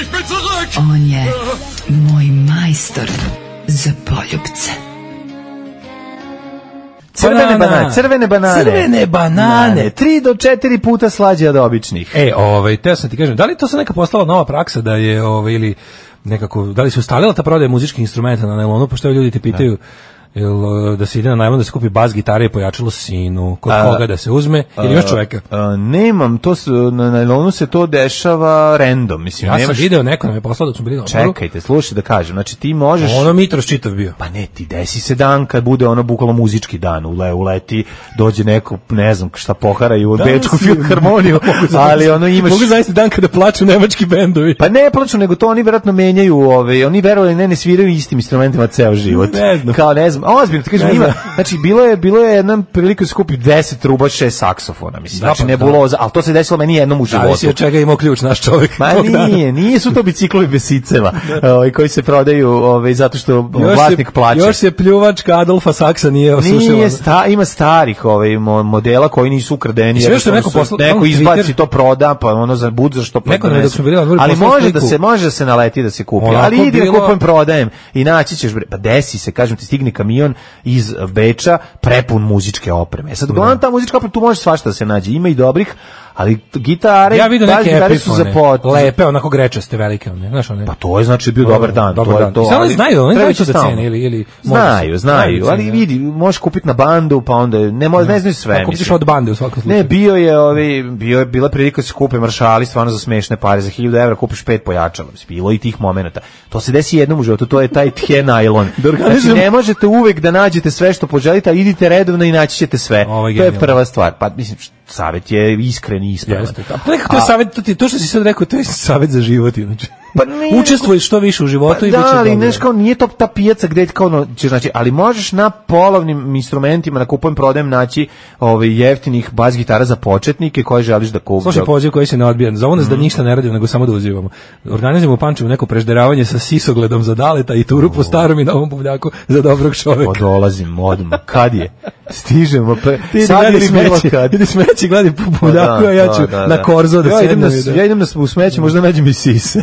S13: Ich bin zurück!
S8: On je moj majstor za poljubce.
S5: Crvene
S6: Banana.
S5: banane, crvene banane.
S6: Crvene banane.
S5: Tri do četiri puta slađe od običnih.
S14: E, ovaj, te sam ti kažem, da li to se neka postala nova praksa da je, ovaj, ili nekako, da li se ustalila ta prodaja muzičkih instrumenta na nelonu, pošto evo ljudi te pitaju,
S6: jel, da se ide na najmon da se kupi bas gitara i pojačalo sinu, kod
S5: A,
S6: koga da se uzme, ili još čoveka.
S5: A, E, nemam, to se, na najlonu se to dešava random, mislim.
S6: Ja sam
S5: nemaš-
S6: video, neko nam je poslao dok smo bili na odmoru.
S5: Čekajte, slušaj da kažem, znači ti možeš...
S6: Ono Mitros čitav bio.
S5: Pa ne, ti desi se dan kad bude ono bukvalno muzički dan, ule, uleti, dođe neko, ne znam šta pohara i u
S6: Da,
S5: Bečku
S6: mislim,
S5: filharmoniju,
S6: mogu zamisliti-
S5: ali ono imaš...
S6: Mogu zamisliti dan kada plaču nemački bendovi.
S5: Pa ne plaču, nego to oni verovatno menjaju, ove, oni verovali ne, ne sviraju istim instrumentima ceo život.
S6: Ne znam.
S5: Kao ne znam, a ozbiljno, ti kažem,
S6: Ne
S5: ima,
S6: znam.
S5: znači bilo je, bilo je jednom priliku da se kupi 10 truba, 6 saksofona, mislim,
S6: Da,
S5: znači
S6: pa da.
S5: nebuloza, ali to se desilo meni jednom u
S6: Da,
S5: životu.
S6: si od čega je imao ključ naš čovjek.
S5: Ma
S6: tog dana.
S5: nije, nisu to biciklovi bez siceva, ovaj, koji se prodaju ovaj, zato što vlasnik
S6: se,
S5: plaća.
S6: Još se pljuvačka Adolfa Saksa nije osušila. Ono.
S5: Nije, sta, ima starih ovaj, mo- modela koji nisu ukradeni.
S6: Sve što je
S5: jednostavno
S6: neko
S5: su-
S6: posla-
S5: neko
S6: ono,
S5: izbaci
S6: Twitter-
S5: to proda, pa ono za bud za što pa
S6: Neko nam je dok
S5: donese.
S6: smo bili na odmoru
S5: Ali
S6: poslao
S5: može da
S6: sliku.
S5: se može da se naleti da se kupi.
S6: Onako
S5: ali idi
S6: bilo-
S5: da kupujem prodajem i naći ćeš bre. Pa desi se, kažem ti stigne kamion iz Beča prepun muzičke opreme. E Sad uglavnom ta muzička oprema tu može svašta da se nađe. Ima i dobrih, ali t- gitare,
S6: Ja vidim
S5: baš
S6: neke
S5: gitare su za
S6: epifone.
S5: pot.
S6: Lepe, onako grečaste velike one, znaš one.
S5: Pa to je znači bio dobar dan,
S6: Dobar
S5: to je
S6: dan.
S5: to.
S6: Samo
S5: ali
S6: znaju, oni
S5: treba
S6: znaju
S5: ići
S6: to da
S5: stalno.
S6: cene ili- ili možda se-
S5: znaju, znaju,
S6: znaju
S5: ali
S6: cene,
S5: vidi, možeš kupiti na bandu, pa onda ne mo, ne znaju sve.
S6: Pa kupiš
S5: mislim.
S6: od bande u svakom slučaju.
S5: Ne, bio je, ovi, bio je bila prilika da se kupe maršali stvarno za smešne pare, za 1000 evra kupiš pet pojačala, mislim, bilo je i tih momenata. To se desi jednom u životu, to je taj tje najlon.
S6: organizujemo-
S5: znači, ne možete uvek da nađete sve što poželite, a idite redovno i naći ćete sve.
S6: Ovo je
S5: to je
S6: genijalno.
S5: prva stvar. Pa, mislim, savjet je iskren i ispravan.
S6: Jeste. Pa to je nekako savjet, to, ti, to što si sad rekao, to je savjet za život, inače.
S5: Pa nije-
S6: Učestvuj što više u životu
S5: Pa
S6: i
S5: da,
S6: bit će
S5: ali
S6: dobro.
S5: znaš kao nije to ta pijaca gde kao ono, ćeš znači, ali možeš na polovnim instrumentima na kupujem prodajem naći ovaj jeftinih bas gitara za početnike koje želiš da kupiš.
S6: Slušaj poziv koji se ne odbija. Zovu nas da
S5: Mhm.
S6: ništa ne radimo, nego samo da uzivamo. Organizujemo u Pančevu neko prežderavanje sa sisogledom za daleta i turu po starom i novom buvljaku za dobrog čoveka.
S5: Odolazim odmah. Kad je? Stižemo. Pre...
S6: Ti
S5: Sad
S6: gledi
S5: ili bilo
S6: smeće,
S5: kad? Pa
S6: idi smeće, gledi po buvljaku, a ja ću na korzo da
S5: ja idem
S6: sednem.
S5: na,
S6: i da- Mm.
S5: ja idem na s- u smeće, možda nađem i sise.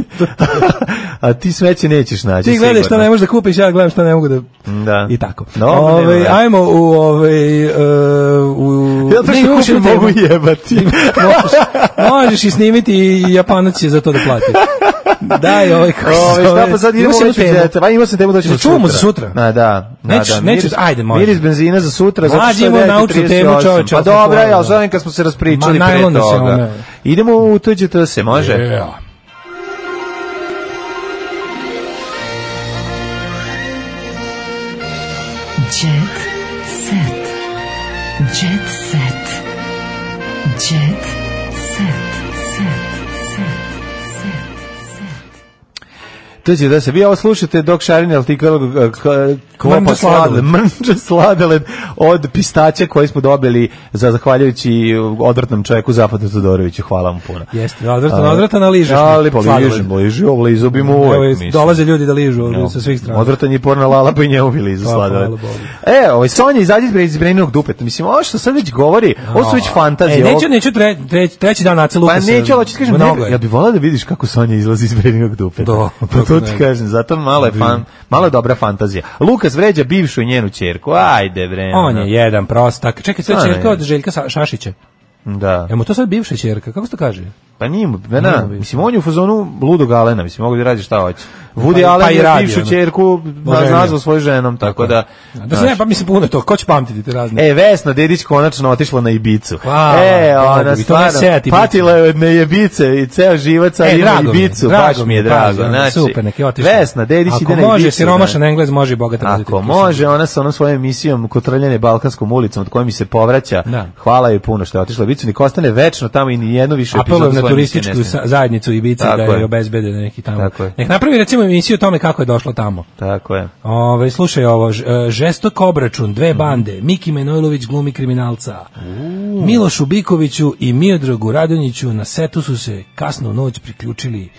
S5: a ti smeće nećeš naći.
S6: Ti gledaš šta
S5: sigurno.
S6: ne možeš da kupiš, ja gledam šta ne mogu da...
S5: Da.
S6: I tako.
S5: Dobro, nema
S6: Ovaj,
S5: veze.
S6: ajmo u... Ovaj, e, u...
S5: Ja to
S6: Ne,
S5: što
S6: imaš
S5: kupim
S6: jednu temu.
S5: mogu jebati.
S6: možeš, možeš i snimiti i Japanac će za to da plati. Daj, ovaj kako se
S5: Ove, šta
S6: zove.
S5: pa sad idemo
S6: Imaš
S5: već
S6: jednu
S5: u džet. Pa imao sam temu da ćemo
S6: Jel čuvamo za sutra?
S5: Na, da. Na,
S6: Nećeš-
S5: da.
S6: nećeš-
S5: Miris-
S6: ajde, može.
S5: Miris benzina za sutra. zato
S6: Mlađi,
S5: što je
S6: imamo
S5: 9 i
S6: naučnu temu,
S5: 38.
S6: čoveče,
S5: Pa
S6: opet
S5: dobra,
S6: ponavljam.
S5: ja želim kad smo se raspričali
S6: Ma,
S5: pre
S6: najlon da se
S5: toga.
S6: one-
S5: Idemo u tuđe to se, može?
S6: Yeah.
S8: Jet set. Jet set. Jet set. Set. Set.
S5: Tuđe da se. Vi ovo slušate dok Šarin Altikalog klopa
S6: Mrnđa
S5: sladoled.
S6: sladoled.
S5: Mrnđa sladoled od pistaća koji smo dobili za zahvaljujući odvratnom čovjeku Zapadu Todoroviću. Hvala mu puno.
S6: Jeste, odvratan, odvratan, ali ližeš. mi
S5: Ali pa
S6: sladoled.
S5: ližem, ližem, ovo lizu bi mu
S6: Evo,
S5: uvek,
S6: iz-
S5: mislim.
S6: dolaze ljudi da ližu ovdje
S5: No.
S6: sa svih strana.
S5: Odvratan je porna lala pa i njemu bili za
S6: Pa,
S5: sladoled.
S6: hvala Bogu.
S5: E, ovaj Sonja izađi iz bre- iz Breninog dupeta. Mislim, ovo što sad već govori, ovo su već fantazije.
S6: E,
S5: ovo-
S6: neću, neću tre, tre, treći dan Aca
S5: Pa
S6: Lukasa.
S5: neću, ali ću kažem, ne,
S6: Mnogo je.
S5: ja bih volao da vidiš kako Sonja izlazi iz Breninog dupeta.
S6: Da,
S5: pa to
S6: kako
S5: ti
S6: ne.
S5: kažem, zato malo je, fan, malo je dobra fantazija. Lukas vređa bivšu i njenu čerku, ajde bre.
S6: On
S5: ono.
S6: je jedan prostak. Čekaj, sve
S5: A,
S6: čerka
S5: ne.
S6: od Željka Sa- Šašića.
S5: Da.
S6: Jel mu to sad bivša čerka? Kako se to kaže?
S5: Pa nije mu, ne, ne,
S6: Nije mu
S5: mislim, on je u fazonu ludog Alena, mislim, mogu da radi šta hoće. Woody
S6: Pa-
S5: Allen
S6: pa i
S5: je
S6: radi,
S5: bivšu
S6: ono.
S5: čerku
S6: Oženio.
S5: nazvao svoju ženom, tako da...
S6: Da se ne, pa mislim puno je to. Ko će pamtiti te razne?
S5: E, Vesna Dedić konačno otišla na Ibicu.
S6: Hvala,
S5: e,
S6: drago mi,
S5: ona
S6: to ne
S5: stvarno,
S6: seti Ibicu.
S5: patila je od nejebice i ceo život sad
S6: E,
S5: ima
S6: drago mi je,
S5: Ibicu,
S6: drago
S5: baš mi je
S6: mi je, pa,
S5: drago.
S6: da,
S5: Znači,
S6: super, nek je otišla.
S5: Vesna Dedić
S6: Ako
S5: ide na Ibicu.
S6: može
S5: da.
S6: siromašan Englez, može i bogat Englez.
S5: Ako može, ona sa onom svojom emisijom kotrljane Balkanskom ulicom od koje mi se povraća,
S6: Da.
S5: hvala joj puno što je otišla u Ibicu, nek ostane večno tamo i ni jednu više epizodu.
S6: Apelujem na
S5: svoje emisije
S6: turističku
S5: ne snima.
S6: sa- zajednicu Ibici
S5: Tako
S6: da
S5: je.
S6: je obezbede neki tamo.
S5: Tako je.
S6: Nek napravi recimo emisiju o tome kako je došla tamo.
S5: Tako je.
S6: Ove, slušaj ovo, ž- e, žestok obračun, dve
S5: Mhm.
S6: bande, Miki Menojlović glumi kriminalca, Milošu Bikoviću i Miodragu Radonjiću na setu su se kasno u noć priključili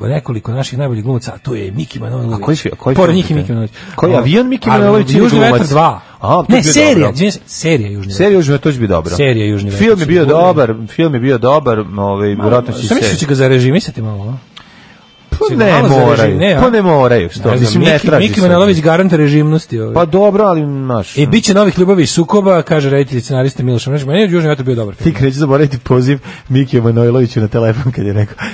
S6: nekoliko naših najboljih glumaca, a to je Miki Manojlović.
S5: A koji fi- koji
S6: Pored
S5: film
S6: njih
S5: ti
S6: je
S5: to?
S6: Miki Manojlović.
S5: Koji
S6: Ovo,
S5: avion Miki
S6: ali
S5: Manojlović ili
S6: Južni
S5: glumac?
S6: vetar 2.
S5: Aha, to bi
S6: ne,
S5: bio
S6: serija,
S5: dobro.
S6: izvinjam se, serija Južni vetar.
S5: Serija Južni vetar, to će biti dobro.
S6: Serija Južni vetar
S5: Film je
S6: su
S5: bio
S6: govorili.
S5: dobar, film je bio dobar, ovaj verovatno će
S6: Sam misliš da
S5: se.
S6: će ga zarežimisati malo, a?
S5: Pa
S6: će ga
S5: ne
S6: malo zareži-
S5: moraju,
S6: ne, a?
S5: pa ne moraju, što
S6: Ne znam,
S5: mislim ne
S6: Miki-
S5: traži.
S6: Miki
S5: se od
S6: Manojlović
S5: njih.
S6: garant režimnosti. Ovaj.
S5: Pa dobro, ali ono. naš.
S6: E, bit će novih ljubavi i sukoba, kaže reditelj i scenarista Miloš Mrnjić. Meni je Južni vetar bio dobar film.
S5: Ti kreći zaboraviti poziv Mikiju Manojloviću na telefon kad je rekao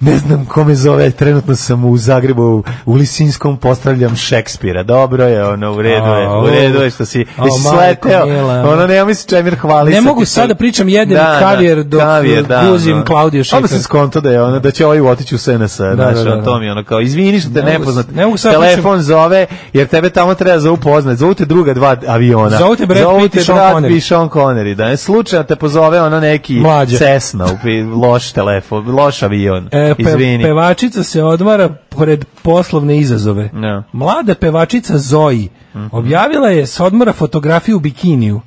S5: ne znam kome zove, trenutno sam u Zagrebu, u Lisinskom postavljam Šekspira. Dobro je, ono, u redu je,
S6: A,
S5: u redu je što si,
S6: a,
S5: jesi
S6: majko
S5: sleteo,
S6: mila.
S5: ono, nema mi se čemir hvalisati.
S6: Ne mogu sad da pričam, jedem kavijer dok, uh, guzim Klaudiju Schiffer.
S5: Onda sam skonto da je, ono, da će ovaj otići u SNS, da,
S6: da,
S5: znaš,
S6: da,
S5: ono,
S6: da.
S5: to mi je ono kao, izvini što te
S6: Ne mogu-
S5: nepoznat,
S6: ne mogu sad da
S5: telefon
S6: pričam.
S5: zove, jer tebe tamo treba za upoznat, zovu te druga dva aviona.
S6: Zovu te Brad Pitt i Sean
S5: Brad
S6: Connery.
S5: Pitt i Sean Connery, da ne slučajno te pozove ono neki
S6: Mlađe.
S5: Cessna, u pi- loš telefon, loš avion.
S6: E, pe-
S5: Izvini.
S6: pevačica se odmara pored poslovne izazove.
S5: No.
S6: Mlada pevačica Zoji
S5: Mhm.
S6: objavila je s odmora fotografiju u bikiniju.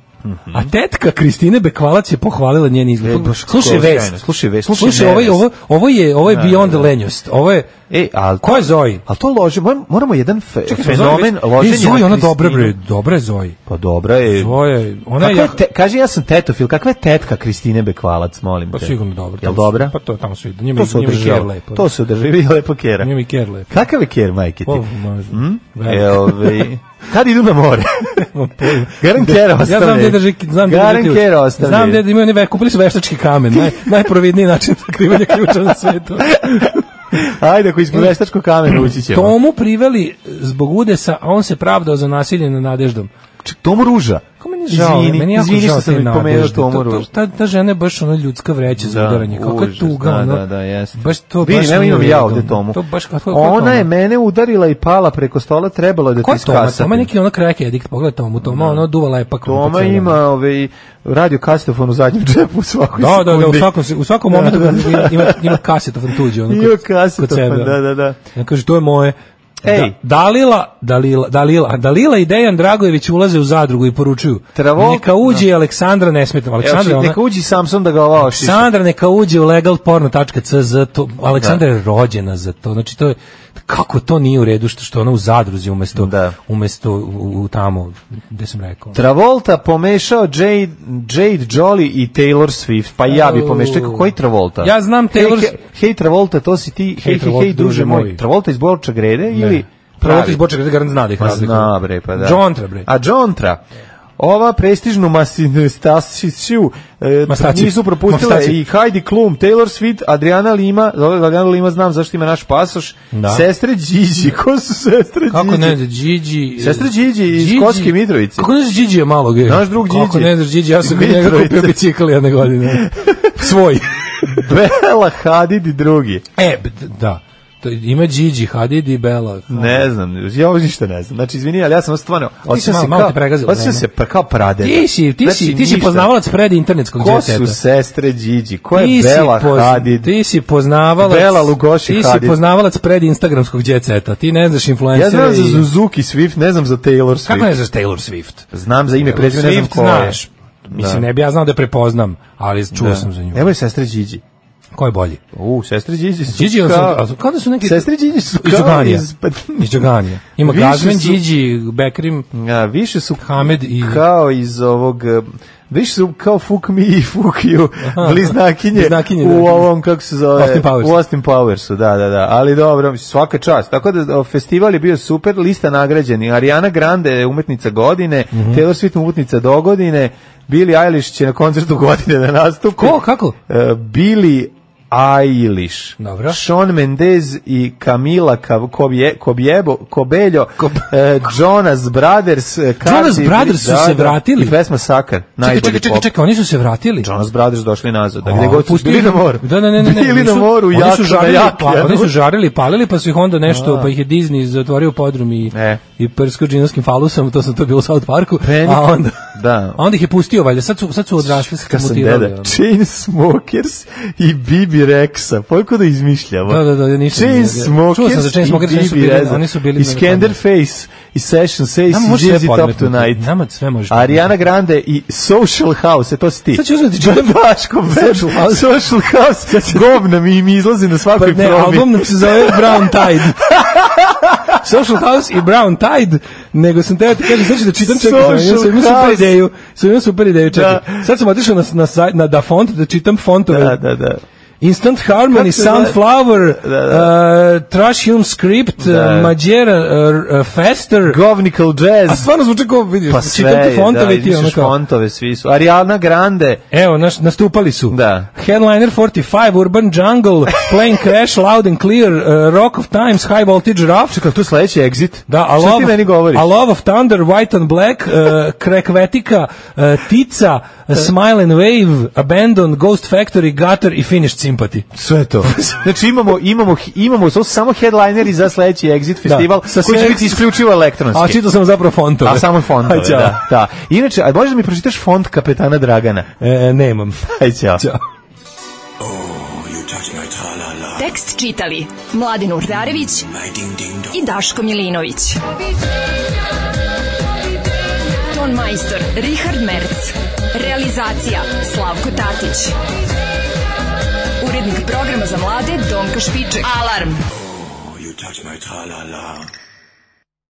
S6: A tetka Kristine Bekvalac je pohvalila njen izgled.
S5: Mhm. E, baš
S6: slušaj
S5: kako
S6: vest.
S5: sjajno, slušaj vest, slušaj
S6: Slušaj, ovo, je-
S5: nevest.
S6: ovo, ovo je, ovo je
S5: Da,
S6: beyond
S5: da, da.
S6: lenjost. Ovo je...
S5: E, ali
S6: Ko je Zoji?
S5: Ali to lože, moram- moramo jedan fe,
S6: Čekaj, smo Zoji
S5: fenomen
S6: već-
S5: loženja.
S6: E, Zoji,
S5: na
S6: ona dobra,
S5: Kristinu.
S6: bre, dobra je Zoji.
S5: Pa dobra je.
S6: Zoja, ona
S5: Kakva
S6: je...
S5: je te, kaže, ja sam tetofil, kakva je tetka Kristine Bekvalac, molim te?
S6: Pa sigurno dobro.
S5: Jel dobra?
S6: Pa to tamo su ide. Njima,
S5: to se
S6: njima je
S5: održava.
S6: ker lepo.
S5: To se održava, vidi lepo kera.
S6: Njima je ker lepo.
S5: Kakav je ker, majke ti?
S6: O, može.
S5: Hm?
S6: Veliki.
S5: E, ovaj, kad idu na more? Garan kera ostavljaju.
S6: Ja znam gde drži, znam gde drži
S5: Garan
S6: ključ.
S5: kera ostavljaju.
S6: Znam gde imaju oni ve, kupili su veštački kamen, naj, najprovidniji način sakrivanja ključa na svetu.
S5: Ajde, ako ispod veštačkog kamena ući ćemo.
S6: Tomu priveli zbog udesa, a on se pravdao za nasilje nad nadeždom.
S5: Tomu ruža.
S6: Kako meni je žao,
S5: Izvini,
S6: meni je jako
S5: izvini
S6: žao
S5: što sam
S6: te
S5: pomenuo
S6: Nadežde.
S5: Tomu
S6: To- to-
S5: Ružu.
S6: Ta, ta žena je baš ona ljudska vreća za
S5: Da,
S6: udaranje. Kako je
S5: užas,
S6: tuga,
S5: da,
S6: ono.
S5: da, da, jeste.
S6: Baš to
S5: Vidi,
S6: baš
S5: nema
S6: nije
S5: imam ja
S6: redom.
S5: ovde Tomu.
S6: To baš kako kako je
S5: Ona
S6: to
S5: je
S6: ono?
S5: mene udarila i pala preko stola, trebalo je da
S6: Ko
S5: ti
S6: je Toma? Toma je
S5: iskasapim.
S6: neki ono crack edikt, pogledaj Tomu. Toma ono duva lepak.
S5: Toma ima ovaj, radio kasetofon u zadnjem džepu u svakoj
S6: Da, da,
S5: sekundi.
S6: da, u svakom, se- u svakom momentu
S5: Da, da, da.
S6: ima, ima kasetofon tuđi. Ono,
S5: Ima
S6: kod- kod
S5: kasetofon,
S6: sebe.
S5: da, da, da.
S6: Ja kaže, to je moje.
S5: Ej.
S6: Da, Dalila, Dalila, Dalila, Dalila i Dejan Dragojević ulaze u zadrugu i poručuju.
S5: Travo-
S6: neka uđe i Aleksandra nesmetno.
S5: Evo,
S6: Aleksandra,
S5: čekaj,
S6: ona,
S5: neka uđi Samson da ga ova ošiša.
S6: Aleksandra neka uđe u legalporno.cz. To, Aleksandra je rođena za to. Znači, to je, kako to nije u redu što što ona u zadruzi umesto, umesto u, u tamo, gde sam rekao.
S5: Travolta pomešao Jade, Jade Jolly i Taylor Swift. Pa ja bi
S6: Au.
S5: pomešao. Čekaj, koji Travolta?
S6: Ja znam Taylor-
S5: Hej, hej, hej, Travolta, to si ti. Hej, hej, hej,
S6: Travolta,
S5: druže moj. Travolta iz Borča Grede ili...
S6: Travolta
S5: pravi?
S6: iz Borča Grede garant zna da ih
S5: Pa
S6: razlikuje.
S5: zna, bre, pa da.
S6: Džontra, bre.
S5: A Džontra. Ova prestižnu Mastasiciju e,
S6: Mastaci-
S5: nisu propustile
S6: Mastaci.
S5: i Heidi Klum, Taylor Swift, Adriana Lima, dobro, Adriana Lima znam zašto ima naš pasoš,
S6: Da.
S5: sestre Điđi, ko su sestre Điđi?
S6: Kako ne znaš, Điđi...
S5: Sestra Điđi iz Kosovske Mitrovice.
S6: Kako ne znaš Điđi je malo gej?
S5: Naš drug
S6: Kako
S5: Điđi.
S6: ne znaš Điđi, ja sam kod njega
S5: Mitrovice.
S6: kupio bicikl jedne godine. Svoj.
S5: Bela Hadid i drugi.
S6: E, b- da. To ima Điđi, Hadid i Bela.
S5: Ne znam, ja ovo ništa ne znam. Znači, izvini, ali ja sam stvarno... Osjećam
S6: malo-
S5: se
S6: malo
S5: kao,
S6: te pregazilo
S5: osjećam
S6: vreme.
S5: se pa kao prade.
S6: Ti si, ti si, ti si poznavalac pred internetskog
S5: Znači, Ko
S6: djeteta.
S5: su sestre é Điđi? Ko
S6: Ti
S5: je
S6: si
S5: Bela
S6: poz-
S5: Hadid?
S6: Ti si poznavalac...
S5: Bela Lugoši
S6: Ti si
S5: Hadid.
S6: poznavalac pred instagramskog djeceta. Ti ne znaš
S5: Ja
S6: influencera
S5: znam za
S6: i-
S5: Suzuki Swift, né? ne znam za Taylor Swift.
S6: Kako ne znaš Taylor Swift?
S5: Znam za ime, prezime, ne znam
S6: É, Swift
S5: ko je.
S6: znaš. Mislim,
S5: Da.
S6: ne bi ja znao da je prepoznam, ali čuo sam za nju.
S5: Evo je É, sestre Điđi.
S6: Ko je bolji?
S5: U, sestre Điđi su
S6: Điđi, on
S5: kao-
S6: su, kao da su neki...
S5: Sestre é Điđi su
S6: Iz
S5: kao
S6: Uganije.
S5: iz...
S6: Iz Đuganije. Ima
S5: Više
S6: Gazmen,
S5: su-
S6: Điđi, Bekrim,
S5: A, više su
S6: Hamed i...
S5: kao iz ovog... eh, Više su kao fuck me i fuck you
S6: Aha.
S5: bliznakinje,
S6: Bliznakinje, da.
S5: u ovom, kako se zove,
S6: Austin Powersu.
S5: u Austin Powersu, da, da, da, ali dobro, mislim, svaka čast, tako da o, festival je bio super, lista nagrađeni, Ariana Grande je umetnica godine,
S6: Mhm.
S5: Taylor Swift umetnica dogodine, Billie Eilish će na koncertu godine da nastupi.
S6: Ko, kako?
S5: E, Billie Eilish,
S6: Dobro.
S5: Sean Mendez i Camila Kav- Kobje, Kobjebo, Kobeljo, e, Jonas Brothers, e, Kati,
S6: Jonas Brothers su
S5: da,
S6: se
S5: da,
S6: vratili?
S5: I pesma Sakar,
S6: Čekaj,
S5: najbolji
S6: čekaj, čekaj,
S5: pop.
S6: čekaj, oni su se vratili.
S5: Jonas Brothers došli nazad, da
S6: A,
S5: gde god su
S6: pustili
S5: bili na
S6: su-
S5: moru.
S6: Da, ne, ne, ne, ne.
S5: Bili
S6: oni
S5: na
S6: su-
S5: moru,
S6: oni su
S5: jako, na
S6: žarili,
S5: jaki.
S6: pa, oni su žarili, i palili, pa su ih onda nešto,
S5: A.
S6: pa ih je Disney zatvorio podrum i,
S5: E.
S6: i prskao džinovskim falusom, to sam to bilo u South Parku,
S5: Panic.
S6: a onda,
S5: Da.
S6: a onda ih je pustio, valjda, sad su, sad su odrasli,
S5: Kad
S6: sad su
S5: sam
S6: mutirali.
S5: deda,
S6: ono.
S5: Chainsmokers i Bibi Rexa, poliko da izmišljamo.
S6: Da, da, da, ništa nije- Čuo sam za
S5: Chainsmokers i
S6: Chainsmokers, oni su
S5: Bibi
S6: bili-
S5: Rexa.
S6: oni su bili
S5: I
S6: na-
S5: Skanderface, i Session Says,
S6: Nama
S5: i
S6: može sve
S5: Jizzy Top
S6: podmetnuti.
S5: Tonight.
S6: Nama sve može
S5: Ariana Grande i Social House, e, to si ti.
S6: Sad ću uzmeti čitav-
S5: Daško,
S6: Social House. Pa
S5: Social House, govna mi im izlazi na svakoj
S6: Ne,
S5: probi.
S6: album nam se zove Brown Tide. Social House i Brown Tide, nego sam teo ti kažem, sad ću da čitam čekaj,
S5: Social
S6: sam imao sam imao super
S5: House.
S6: ideju, sam imao super ideju, čekaj. Sad sam otišao na, na, saj- na da font, da čitam fontove.
S5: Da, da, da.
S6: Instant Harmony,
S5: se zove?
S6: Sunflower,
S5: Da,
S6: Uh, Trashium Script,
S5: Da.
S6: uh, Mađera, uh, uh, Fester.
S5: Govnical Jazz.
S6: A stvarno zvuče kao, vidiš,
S5: Pa sve
S6: čitam te
S5: je,
S6: fontove
S5: da,
S6: i ti ono
S5: izmišljaš
S6: kao.
S5: fontove, svi su. Ariana Grande.
S6: Evo, naš, nastupali su.
S5: Da.
S6: Headliner 45, Urban Jungle, Plane Crash, Loud and Clear, uh, Rock of Times, High Voltage Rough.
S5: Čekaj, tu je sledeći exit.
S6: Da, a
S5: Šta
S6: love,
S5: ti meni govoriš?
S6: A Love of Thunder, White on Black, uh, Krekvetika, uh, Tica, uh, Smile and Wave, Abandon, Ghost Factory, Gutter i Finished Sympathy.
S5: Sve to. Znači imamo, imamo, imamo, to su samo headlineri za sledeći exit festival,
S6: sa
S5: koji će
S6: sve-
S5: biti isključivo elektronski.
S6: A čitao sam zapravo fontove.
S5: A samo fontove,
S6: Aj, ćao.
S5: da, da. Inače, a možeš da mi pročitaš font kapetana Dragana?
S6: E, nemam.
S5: Aj, ćao.
S6: Ćao.
S8: Tekst čitali Mladin Urdarević i Daško Milinović. Ton majstor Richard Merc. Realizacija Slavko Tatić. Urednik programa za mlade Donka Špiček. Alarm!
S1: You touch my tra-la-la.